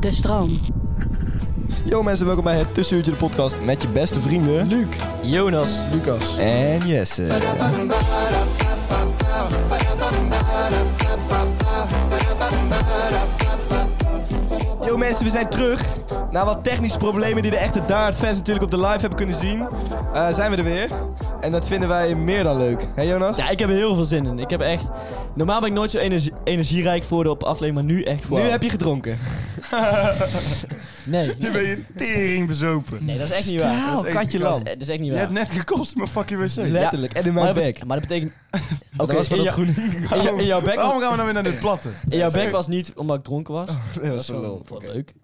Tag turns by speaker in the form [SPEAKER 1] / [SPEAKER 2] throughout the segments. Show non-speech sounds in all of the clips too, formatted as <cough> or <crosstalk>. [SPEAKER 1] De stroom.
[SPEAKER 2] Yo mensen, welkom bij het Tussenuurtje de podcast met je beste vrienden... Luc, Jonas
[SPEAKER 3] Lucas.
[SPEAKER 2] en Jesse. Yo mensen, we zijn terug. Na wat technische problemen die de echte Daard fans natuurlijk op de live hebben kunnen zien... eh, zijn we er weer. En dat vinden wij meer dan leuk. Hé Jonas?
[SPEAKER 3] Ja, ik heb er heel veel zin in. Ik heb echt... Normaal ben ik nooit zo energie, energierijk voor de op aflevering, maar nu echt gewoon...
[SPEAKER 2] Nu heb je gedronken.
[SPEAKER 3] Nee.
[SPEAKER 4] Nu ben je tering bezopen.
[SPEAKER 3] Nee, dat is echt niet waar.
[SPEAKER 2] Oh,
[SPEAKER 4] echt
[SPEAKER 2] katje
[SPEAKER 3] Dat is,
[SPEAKER 2] lam.
[SPEAKER 3] dat is echt niet
[SPEAKER 4] Je
[SPEAKER 3] waar.
[SPEAKER 4] hebt net gekost mijn fucking wc.
[SPEAKER 2] Letterlijk, en in
[SPEAKER 3] maar,
[SPEAKER 2] mijn
[SPEAKER 3] dat
[SPEAKER 2] bek.
[SPEAKER 3] bet- maar dat betekent... Oké,
[SPEAKER 2] <laughs> Dat was van
[SPEAKER 3] in,
[SPEAKER 2] dat
[SPEAKER 3] jou-
[SPEAKER 2] groene. Oh
[SPEAKER 3] in jou- in jouw bek
[SPEAKER 4] Waarom
[SPEAKER 3] was,
[SPEAKER 4] gaan we nou weer naar dit platte?
[SPEAKER 3] in jouw bek was niet omdat ik dronken was.
[SPEAKER 2] Dat was
[SPEAKER 3] wel
[SPEAKER 2] wel lol.
[SPEAKER 3] wel leuk.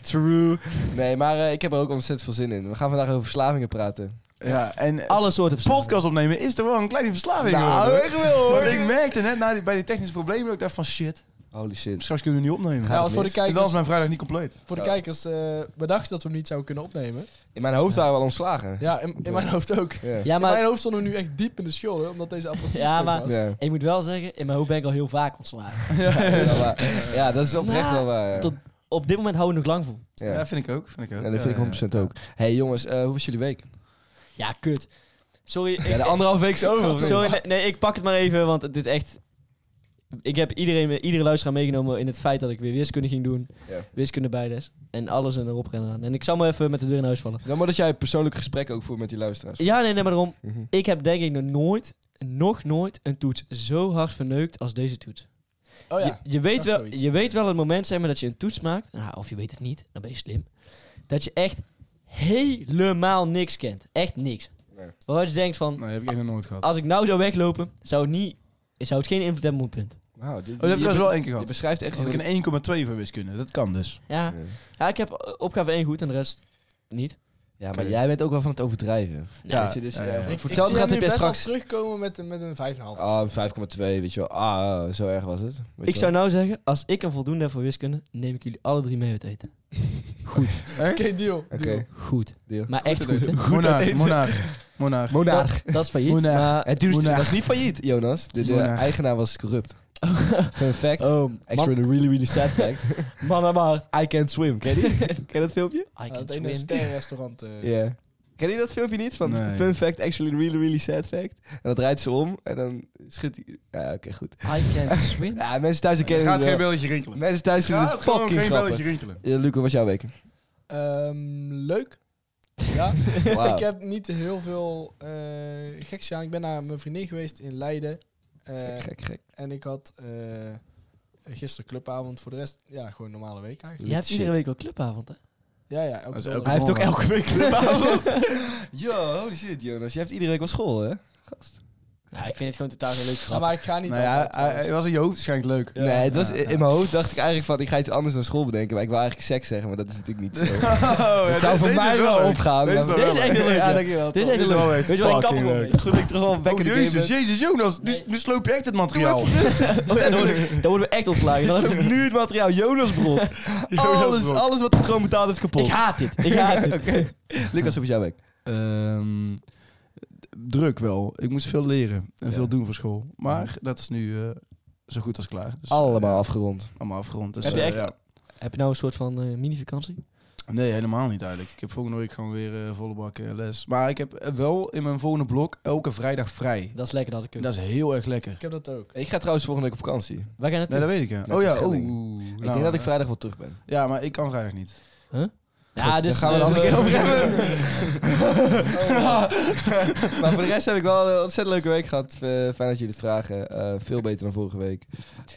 [SPEAKER 2] True. Nee, maar eh, ik heb er ook ontzettend veel zin in. We gaan vandaag over verslavingen praten.
[SPEAKER 4] Ja, en eh,
[SPEAKER 3] Alle soorten verslavingen.
[SPEAKER 4] podcast opnemen is toch wel een kleine verslaving.
[SPEAKER 2] Nou,
[SPEAKER 4] hoor.
[SPEAKER 2] echt wel hoor.
[SPEAKER 4] Want ik merkte net na die- bij die technische problemen dat ik dacht van shit,
[SPEAKER 2] Holy shit.
[SPEAKER 4] straks kunnen we niet opnemen.
[SPEAKER 5] Ja, want voor de
[SPEAKER 4] en dan is
[SPEAKER 5] kijkers,
[SPEAKER 4] mijn vrijdag niet compleet.
[SPEAKER 5] voor de
[SPEAKER 2] Zo.
[SPEAKER 5] kijkers eh, we dachten dat we hem niet zouden kunnen opnemen.
[SPEAKER 2] In mijn hoofd waren we al ontslagen.
[SPEAKER 5] Ja, in, in mijn hoofd ook.
[SPEAKER 2] Ja.
[SPEAKER 3] Ja,
[SPEAKER 5] In
[SPEAKER 3] maar
[SPEAKER 5] mijn hoofd stonden we nu echt diep in de schulden, omdat deze apparatuur
[SPEAKER 3] Ja,
[SPEAKER 5] stuk
[SPEAKER 3] maar-
[SPEAKER 5] was.
[SPEAKER 2] Ja.
[SPEAKER 3] ik moet wel zeggen, in mijn hoofd ben ik al heel vaak ontslagen.
[SPEAKER 2] <laughs> Ja, maar- ja, dat is oprecht
[SPEAKER 3] Nou,
[SPEAKER 2] wel waar. Ja.
[SPEAKER 3] tot- Op dit moment houden we nog lang vol.
[SPEAKER 2] Ja.
[SPEAKER 4] Ja, eh, vind ik ook. Vind ik ook.
[SPEAKER 2] Ja, dat vind ik 100% ook. hey, jongens, eh, hoe was jullie week?
[SPEAKER 3] Ja, kut. Sorry. ik-
[SPEAKER 2] Ja, de anderhalf week is over. of niet?
[SPEAKER 3] Sorry, nee, nee, ik pak het maar even, want dit is echt... Ik heb iedereen, iedere luisteraar meegenomen in het feit dat ik weer wiskunde ging doen.
[SPEAKER 2] Ja.
[SPEAKER 3] Wiskunde bijles. En alles en erop rennen aan. En ik zal maar even met de deur in huis vallen.
[SPEAKER 2] Dan moet Nou, dat jij persoonlijk gesprek ook voert met die luisteraars.
[SPEAKER 3] Ja, nee, nee, maar daarom.
[SPEAKER 2] Mhm.
[SPEAKER 3] Ik heb denk ik nog nooit, nog nooit een toets zo hard verneukt als deze toets.
[SPEAKER 5] Oh ja,
[SPEAKER 3] je, je, weet
[SPEAKER 5] zag
[SPEAKER 3] wel,
[SPEAKER 5] zoiets.
[SPEAKER 3] je weet wel het moment zeg maar, dat je een toets maakt. Nou, of je weet het niet, dan ben je slim. Dat je echt helemaal niks kent. Echt niks.
[SPEAKER 2] Nee.
[SPEAKER 3] Waar je denkt van,
[SPEAKER 4] Nee, heb ik echt nog nooit gehad.
[SPEAKER 3] als ik nou zou weglopen, zou het, niet, zou het geen invloed hebben op mijn punt.
[SPEAKER 2] Wauw, dit,
[SPEAKER 4] Oh, dat heb ik
[SPEAKER 2] je,
[SPEAKER 4] trouwens wel één keer
[SPEAKER 2] je
[SPEAKER 4] gehad.
[SPEAKER 2] beschrijft echt...
[SPEAKER 4] Had ik een 1,2 voor wiskunde. Dat kan dus.
[SPEAKER 3] Ja. Ja, ik heb eh, opgave 1 goed en de rest niet.
[SPEAKER 2] Ja, maar jij bent ook wel van het overdrijven.
[SPEAKER 4] Ja,
[SPEAKER 2] Weet je, dus,
[SPEAKER 4] ja,
[SPEAKER 2] eh,
[SPEAKER 4] ja.
[SPEAKER 2] voor
[SPEAKER 4] Ik-
[SPEAKER 5] ik
[SPEAKER 2] hetzelfde
[SPEAKER 5] zie
[SPEAKER 2] gaat dit
[SPEAKER 5] hem nu
[SPEAKER 2] best
[SPEAKER 5] best wel
[SPEAKER 2] straks...
[SPEAKER 5] terugkomen met, een- met een 5,5.
[SPEAKER 2] Ah, 5,2, weet je wel. Ah, zo erg was het. Weet
[SPEAKER 3] Ik
[SPEAKER 2] je
[SPEAKER 3] zou
[SPEAKER 2] wel.
[SPEAKER 3] nou zeggen, als ik een voldoende heb voor wiskunde, neem ik jullie alle drie mee uit eten.
[SPEAKER 5] Oké, deal. deal.
[SPEAKER 2] Oké.
[SPEAKER 3] Goed.
[SPEAKER 2] Deal.
[SPEAKER 3] Maar echt goed, hè?
[SPEAKER 4] Monaar, monaar, monaar.
[SPEAKER 2] Monaar.
[SPEAKER 3] Dat, dat is failliet.
[SPEAKER 4] Moenaar.
[SPEAKER 3] Maar...
[SPEAKER 2] Het duurste
[SPEAKER 4] Moenaar.
[SPEAKER 2] was niet failliet, Jonas. De, de
[SPEAKER 4] Moenaar.
[SPEAKER 2] eigenaar was corrupt. <laughs> Fun fact.
[SPEAKER 3] Oh,
[SPEAKER 2] Extra
[SPEAKER 3] man,
[SPEAKER 2] the really, really sad fact.
[SPEAKER 3] man aan maart.
[SPEAKER 2] I can swim. <laughs> Ken je die? Ken je dat filmpje?
[SPEAKER 3] <laughs> I
[SPEAKER 5] Ja,
[SPEAKER 3] can
[SPEAKER 5] dat ene
[SPEAKER 3] swim.
[SPEAKER 5] sterrenrestaurant. eh.
[SPEAKER 2] Ja. Ken je dat filmpje niet? Van
[SPEAKER 4] Nee.
[SPEAKER 2] fun fact, actually really, really sad fact. En dat draait ze om en dan schudt hij... Ja, oké, goed.
[SPEAKER 3] I
[SPEAKER 2] <laughs>
[SPEAKER 3] can swim.
[SPEAKER 2] Ja, mensen thuis
[SPEAKER 4] Er
[SPEAKER 2] kennen
[SPEAKER 4] gaat
[SPEAKER 2] het
[SPEAKER 4] geen
[SPEAKER 2] wel.
[SPEAKER 4] belletje rinkelen.
[SPEAKER 2] eh, Mensen thuis vinden
[SPEAKER 4] Gaat
[SPEAKER 2] het
[SPEAKER 4] gewoon
[SPEAKER 2] fucking
[SPEAKER 4] geen
[SPEAKER 2] grappig.
[SPEAKER 4] belletje rinkelen.
[SPEAKER 2] Ja, Luc, hoe was jouw week?
[SPEAKER 5] Ehm, leuk. Ja,
[SPEAKER 2] <laughs> Wauw.
[SPEAKER 5] ik heb niet heel veel eh geks gedaan. Ik ben naar mijn vriendin geweest in Leiden. Eh,
[SPEAKER 2] Gek, gek, gek.
[SPEAKER 5] en ik had eh, gisteren clubavond. Voor de rest, ja, gewoon een normale week eigenlijk.
[SPEAKER 3] Je hebt
[SPEAKER 2] Shit.
[SPEAKER 3] iedere week wel clubavond, hè?
[SPEAKER 5] Ja, ja. Elke
[SPEAKER 4] Dat is
[SPEAKER 5] zondag.
[SPEAKER 4] elke
[SPEAKER 2] Hij heeft ook
[SPEAKER 4] Morgen.
[SPEAKER 2] elke week <laughs> clubavond. Yo, holy shit, Jonas. Je hebt iedere week wel school, hè?
[SPEAKER 3] ik vind het gewoon totaal geen leuk
[SPEAKER 5] Ja, maar ik ga niet
[SPEAKER 4] Nou ja,
[SPEAKER 5] altijd,
[SPEAKER 4] hij-
[SPEAKER 5] trouwens.
[SPEAKER 4] hij was in je hoofd waarschijnlijk leuk.
[SPEAKER 2] nee, <laughs> het was,
[SPEAKER 4] Ja, <laughs>
[SPEAKER 2] in
[SPEAKER 4] ja.
[SPEAKER 2] mijn hoofd dacht ik eigenlijk van, ik ga iets anders dan school bedenken. Maar ik wil eigenlijk seks zeggen, maar dat is natuurlijk niet
[SPEAKER 4] <laughs>
[SPEAKER 2] zo.
[SPEAKER 4] Oh,
[SPEAKER 2] Het zou voor mij wel opgaan.
[SPEAKER 4] Deze is
[SPEAKER 2] maar-
[SPEAKER 4] wel
[SPEAKER 3] Dit is echt heel leuk.
[SPEAKER 2] Ja,
[SPEAKER 3] ja.
[SPEAKER 2] dankjewel.
[SPEAKER 3] Dit is
[SPEAKER 2] top.
[SPEAKER 3] echt heel leuk.
[SPEAKER 4] echt
[SPEAKER 3] Weet je wel, ik kap
[SPEAKER 4] fucking
[SPEAKER 3] erop.
[SPEAKER 4] leuk.
[SPEAKER 2] Goed dat ik terug al back
[SPEAKER 4] Oh,
[SPEAKER 2] in the game
[SPEAKER 4] jezus,
[SPEAKER 2] ben.
[SPEAKER 4] jezus, Jonas. Nu,
[SPEAKER 3] Nee.
[SPEAKER 4] nu sloop je echt het materiaal. <laughs>
[SPEAKER 3] Oh, ja, dan, worden we, dan worden we echt ontslagen. Dan heb
[SPEAKER 2] <laughs>
[SPEAKER 3] ik nu het materiaal. Jonas Brot.
[SPEAKER 4] Jonas
[SPEAKER 2] alles,
[SPEAKER 4] Brok.
[SPEAKER 2] alles wat de stroom betaald heeft kapot.
[SPEAKER 3] Ik haat dit. Ik haat
[SPEAKER 2] <laughs>
[SPEAKER 3] dit.
[SPEAKER 2] Lucas, hoe was jouw week?
[SPEAKER 4] Ehm, druk wel. Ik moest veel leren en
[SPEAKER 2] Ja.
[SPEAKER 4] veel doen voor school. Maar dat is nu eh, zo goed als klaar. Dus, eh,
[SPEAKER 2] Allemaal afgerond.
[SPEAKER 4] allemaal afgerond. Dus,
[SPEAKER 3] Heb je
[SPEAKER 4] eh,
[SPEAKER 3] echt-
[SPEAKER 4] ja.
[SPEAKER 3] Heb je nou een soort van eh, mini-vakantie?
[SPEAKER 4] Nee, helemaal niet eigenlijk. Ik heb volgende week gewoon weer eh, volle bak eh, les. Maar ik heb eh, wel in mijn volgende blok elke vrijdag vrij.
[SPEAKER 3] Dat is lekker dat ik
[SPEAKER 4] En
[SPEAKER 3] kunnen.
[SPEAKER 4] dat is heel erg lekker.
[SPEAKER 5] Ik heb dat ook.
[SPEAKER 2] Ik ga trouwens volgende week op vakantie.
[SPEAKER 3] Wij gaan het
[SPEAKER 4] Nee, dat weet ik ja.
[SPEAKER 2] Met
[SPEAKER 4] Oh ja,
[SPEAKER 2] Schelling.
[SPEAKER 4] oeh.
[SPEAKER 2] Ik
[SPEAKER 4] Nou,
[SPEAKER 2] denk dat ik vrijdag wel terug ben.
[SPEAKER 4] Ja, maar ik kan vrijdag niet.
[SPEAKER 3] Ja, dus
[SPEAKER 2] gaan we een
[SPEAKER 3] eh,
[SPEAKER 2] <laughs> andere keer
[SPEAKER 3] Oh, <laughs>
[SPEAKER 2] over
[SPEAKER 3] eh,
[SPEAKER 2] hebben. maar voor de rest heb ik wel een ontzettend leuke week gehad. Eh, fijn dat jullie het vragen. Eh, veel beter dan vorige week.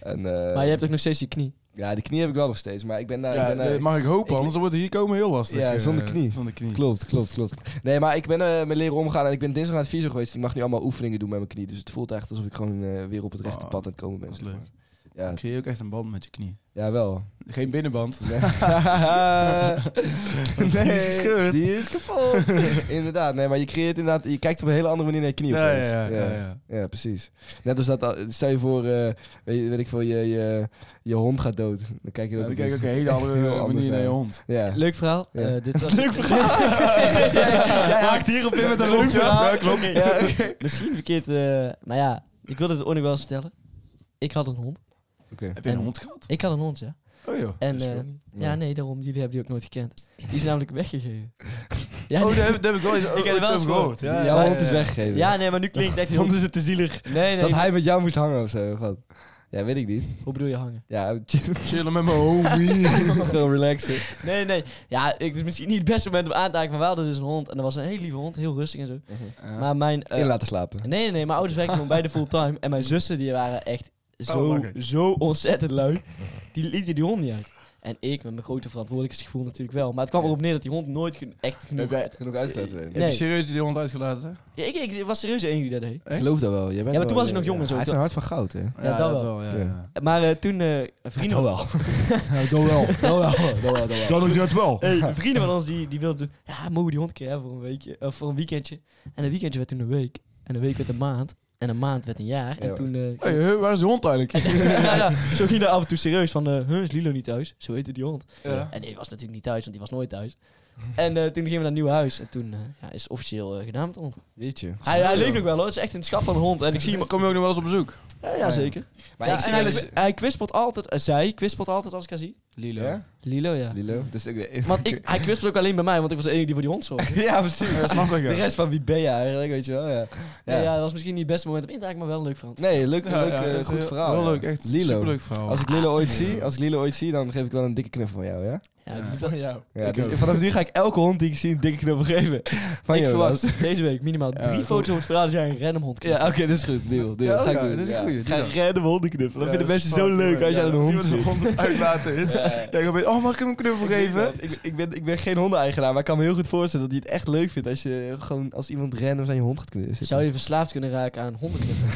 [SPEAKER 2] En, eh,
[SPEAKER 3] Maar je hebt ook nog steeds je knie.
[SPEAKER 2] Ja, de knie heb ik wel nog steeds. Maar ik ben daar... ik
[SPEAKER 4] ja,
[SPEAKER 2] ben daar-
[SPEAKER 4] eh, mag ik hopen,
[SPEAKER 2] ik-
[SPEAKER 4] anders wordt het hier komen heel lastig.
[SPEAKER 2] Ja,
[SPEAKER 4] eh,
[SPEAKER 2] zonder knie.
[SPEAKER 4] Zonder knie.
[SPEAKER 2] Klopt, klopt, klopt. Nee, maar ik ben eh met leren omgaan en ik ben dinsdag naar het fysio geweest. Ik mag nu allemaal oefeningen doen met mijn knie. Dus het voelt echt alsof ik gewoon eh, weer op het rechte
[SPEAKER 4] Oh,
[SPEAKER 2] pad aan het komen ben.
[SPEAKER 4] dat is
[SPEAKER 2] zeg maar.
[SPEAKER 4] leuk.
[SPEAKER 2] Ja,
[SPEAKER 4] Ik zie ook echt een band met je knie.
[SPEAKER 2] ja,
[SPEAKER 4] <laughs>
[SPEAKER 2] wel.
[SPEAKER 4] Geen binnenband.
[SPEAKER 2] Nee. <laughs>
[SPEAKER 4] Die is gescheurd.
[SPEAKER 2] Die is kapot. <laughs> inderdaad, nee, maar je creëert inderdaad, je kijkt op een hele andere manier naar je knie.
[SPEAKER 4] Ja,
[SPEAKER 2] opeens.
[SPEAKER 4] ja, ja, ja,
[SPEAKER 2] ja.
[SPEAKER 4] ja.
[SPEAKER 2] Ja, precies. Net als dat, al- stel je voor, eh, weet, je- weet ik veel, je, je, je hond gaat dood. Dan kijk je ook
[SPEAKER 4] Ja, Dan
[SPEAKER 2] opeens
[SPEAKER 4] kijk ik ook een hele
[SPEAKER 2] echt <laughs> heel
[SPEAKER 4] andere eh,
[SPEAKER 2] anders
[SPEAKER 4] manier naar je
[SPEAKER 2] naar.
[SPEAKER 4] hond.
[SPEAKER 2] Ja.
[SPEAKER 3] Leuk verhaal.
[SPEAKER 2] Ja.
[SPEAKER 3] Eh, dit was
[SPEAKER 2] <laughs> Leuk
[SPEAKER 3] <laughs>
[SPEAKER 2] verhaal. Jij haakt hierop in met een leuk verhaal.
[SPEAKER 4] Ja, klopt.
[SPEAKER 2] Ja, oké.
[SPEAKER 3] Misschien verkeerd. eh maar ja, ik wilde het ooit nog wel eens vertellen. Ik had een hond.
[SPEAKER 4] Heb je een
[SPEAKER 3] En-
[SPEAKER 4] hond gehad?
[SPEAKER 3] Ik had een hond, ja.
[SPEAKER 4] Oh joh.
[SPEAKER 3] En
[SPEAKER 4] Dat is
[SPEAKER 3] eh,
[SPEAKER 4] goed.
[SPEAKER 3] ja, nee, daarom. Jullie hebben die ook nooit gekend. Die is namelijk
[SPEAKER 2] <laughs>
[SPEAKER 3] weggegeven. Ja,
[SPEAKER 4] Oh,
[SPEAKER 3] nee,
[SPEAKER 4] dat heb, dat heb ik wel eens
[SPEAKER 3] heb
[SPEAKER 4] ooit
[SPEAKER 3] er wel
[SPEAKER 4] zo
[SPEAKER 3] eens
[SPEAKER 4] gehoord. Ja,
[SPEAKER 2] Jouw
[SPEAKER 4] ja,
[SPEAKER 2] hond is
[SPEAKER 4] ja.
[SPEAKER 2] weggegeven.
[SPEAKER 3] ja, nee, maar nu klinkt het echt heel...
[SPEAKER 2] Vond is het te zielig.
[SPEAKER 3] Nee, nee.
[SPEAKER 2] Dat hij met jou moest hangen of zo. of wat? Ja, weet ik niet.
[SPEAKER 3] Hoe bedoel je hangen?
[SPEAKER 2] Ja,
[SPEAKER 4] <laughs> Chillen met mijn homie.
[SPEAKER 2] <laughs> gewoon relaxen.
[SPEAKER 3] Nee, nee. Ja, ik, het is misschien niet het beste moment om aan te haken, maar wel, dat is een hond. En dat was een hele lieve hond, heel rustig en zo. Maar mijn... eh,
[SPEAKER 2] In laten slapen.
[SPEAKER 3] Nee, nee, nee. Mijn ouders werkten gewoon beide fulltime. En mijn zussen, die waren echt
[SPEAKER 4] Oh,
[SPEAKER 3] zo,
[SPEAKER 4] makkelijk.
[SPEAKER 3] zo ontzettend lui. Die lieten die hond niet uit. En ik, met mijn grote verantwoordelijkheidsgevoel natuurlijk wel. Maar het kwam erop neer dat die hond nooit gen- echt genoeg...
[SPEAKER 4] Heb jij-
[SPEAKER 2] Genoeg uitstoten.
[SPEAKER 4] Heb je serieus die hond uitgelaten?
[SPEAKER 3] Ja, ik, ik was serieus de enige die dat deed.
[SPEAKER 4] Echt?
[SPEAKER 2] Ik geloof dat wel. Jij bent
[SPEAKER 3] Ja, maar toen
[SPEAKER 2] wel- eh,
[SPEAKER 3] was ik nog jong en zo.
[SPEAKER 2] Hij is een hart van goud, hè?
[SPEAKER 3] Ja, dat wel.
[SPEAKER 4] ja,
[SPEAKER 2] Ja.
[SPEAKER 4] ja.
[SPEAKER 3] Maar eh, toen... eh,
[SPEAKER 4] <laughs> Oh,
[SPEAKER 3] vrienden,
[SPEAKER 2] wel.
[SPEAKER 3] <laughs>
[SPEAKER 4] Ja, dat wel. Dat wel.
[SPEAKER 2] Dat wel, dat wel.
[SPEAKER 4] Dan ook dat wel.
[SPEAKER 3] hey, vrienden van ons, die, die wilden toen... Ja, mogen we die hond krijgen voor een, weekje, of voor een weekendje. En een weekendje werd toen een week. En een week werd een maand. En een maand werd een jaar. En
[SPEAKER 2] Ja.
[SPEAKER 3] toen... eh,
[SPEAKER 4] Hey, hey, waar is de hond eigenlijk?
[SPEAKER 3] <laughs> ja, ja, zo ging dat af en toe serieus van... eh, huh, is Lilo niet thuis? Zo heette die hond.
[SPEAKER 4] Ja.
[SPEAKER 3] En die was natuurlijk niet thuis, want die was nooit thuis. <laughs> En eh, toen gingen we naar een nieuw huis. En toen eh, ja, is officieel eh, genaamd hond.
[SPEAKER 2] Weet je.
[SPEAKER 3] Hij, hij leeft nog wel hoor. Het is echt een schat van een hond. En ik zie hem...
[SPEAKER 4] Kom je ook nog wel eens op bezoek?
[SPEAKER 3] Ja, ja zeker.
[SPEAKER 2] Maar
[SPEAKER 3] Ja,
[SPEAKER 2] ik zie dus-
[SPEAKER 3] en
[SPEAKER 2] wel
[SPEAKER 3] hij,
[SPEAKER 2] eens...
[SPEAKER 3] hij kwispelt altijd... eh, zij kwispelt altijd als ik haar zie.
[SPEAKER 4] Lilo.
[SPEAKER 2] Ja?
[SPEAKER 3] Lilo, ja.
[SPEAKER 2] Lilo? Dus Dat is ook de...
[SPEAKER 3] <laughs> Want ik, hij kwispelt ook alleen bij mij, want ik was de enige die voor die hond zorgde.
[SPEAKER 2] <laughs> Ja, precies.
[SPEAKER 4] Dat snap
[SPEAKER 2] <laughs> De
[SPEAKER 4] ik. ja.
[SPEAKER 2] rest van wie ben je eigenlijk, weet je wel? Ja.
[SPEAKER 3] Ja.
[SPEAKER 2] Ja.
[SPEAKER 3] dat was misschien niet het beste moment om in te haken, maar wel een leuk verhaal.
[SPEAKER 2] Nee, leuk,
[SPEAKER 4] Ja,
[SPEAKER 2] leuk
[SPEAKER 4] ja,
[SPEAKER 2] eh,
[SPEAKER 4] dat is
[SPEAKER 2] goed
[SPEAKER 4] heel-
[SPEAKER 2] verhaal.
[SPEAKER 4] Heel
[SPEAKER 2] ja.
[SPEAKER 4] leuk, echt
[SPEAKER 2] Lilo.
[SPEAKER 4] superleuk verhaal.
[SPEAKER 2] Als ik
[SPEAKER 3] Ah.
[SPEAKER 2] Lilo ooit zie, als ik Lilo ooit zie, dan geef ik wel een dikke knuffel van jou, ja?
[SPEAKER 3] Ja,
[SPEAKER 4] Ja.
[SPEAKER 3] die-
[SPEAKER 5] Van jou.
[SPEAKER 2] Ja,
[SPEAKER 4] Ik
[SPEAKER 2] dus
[SPEAKER 4] ook.
[SPEAKER 2] vanaf nu ga ik elke hond die ik zie een dikke knuffel geven. Van
[SPEAKER 3] ik
[SPEAKER 2] jou.
[SPEAKER 3] verwacht deze week minimaal
[SPEAKER 4] Ja,
[SPEAKER 3] drie
[SPEAKER 4] goed.
[SPEAKER 3] foto's van het verhaal dat jij een random hond
[SPEAKER 2] Ja,
[SPEAKER 3] krijgt.
[SPEAKER 2] oké, dat is goed. Deal, deal.
[SPEAKER 4] Ja,
[SPEAKER 2] ga ik
[SPEAKER 4] ja,
[SPEAKER 2] doen,
[SPEAKER 4] dat is
[SPEAKER 2] ja.
[SPEAKER 4] een goeie,
[SPEAKER 2] Ga
[SPEAKER 4] doe dat.
[SPEAKER 2] random honden knuffelen.
[SPEAKER 4] Ja,
[SPEAKER 2] Dat vinden
[SPEAKER 4] dat is
[SPEAKER 2] mensen zo
[SPEAKER 4] fucking
[SPEAKER 2] leuk als je
[SPEAKER 4] Ja,
[SPEAKER 2] aan een
[SPEAKER 4] dan
[SPEAKER 2] hond
[SPEAKER 4] zien we
[SPEAKER 2] ziet.
[SPEAKER 4] de hond
[SPEAKER 2] <laughs>
[SPEAKER 4] uitlaten is. Ja, ik weet, oh, mag ik hem een knuffel geven?
[SPEAKER 2] Ik, ik, ben, ik ben geen hondeneigenaar, maar ik kan me heel goed voorstellen dat hij het echt leuk vindt als je gewoon als iemand random aan je hond gaat knuffelen.
[SPEAKER 3] Zou je verslaafd kunnen raken aan hondenknuffelen?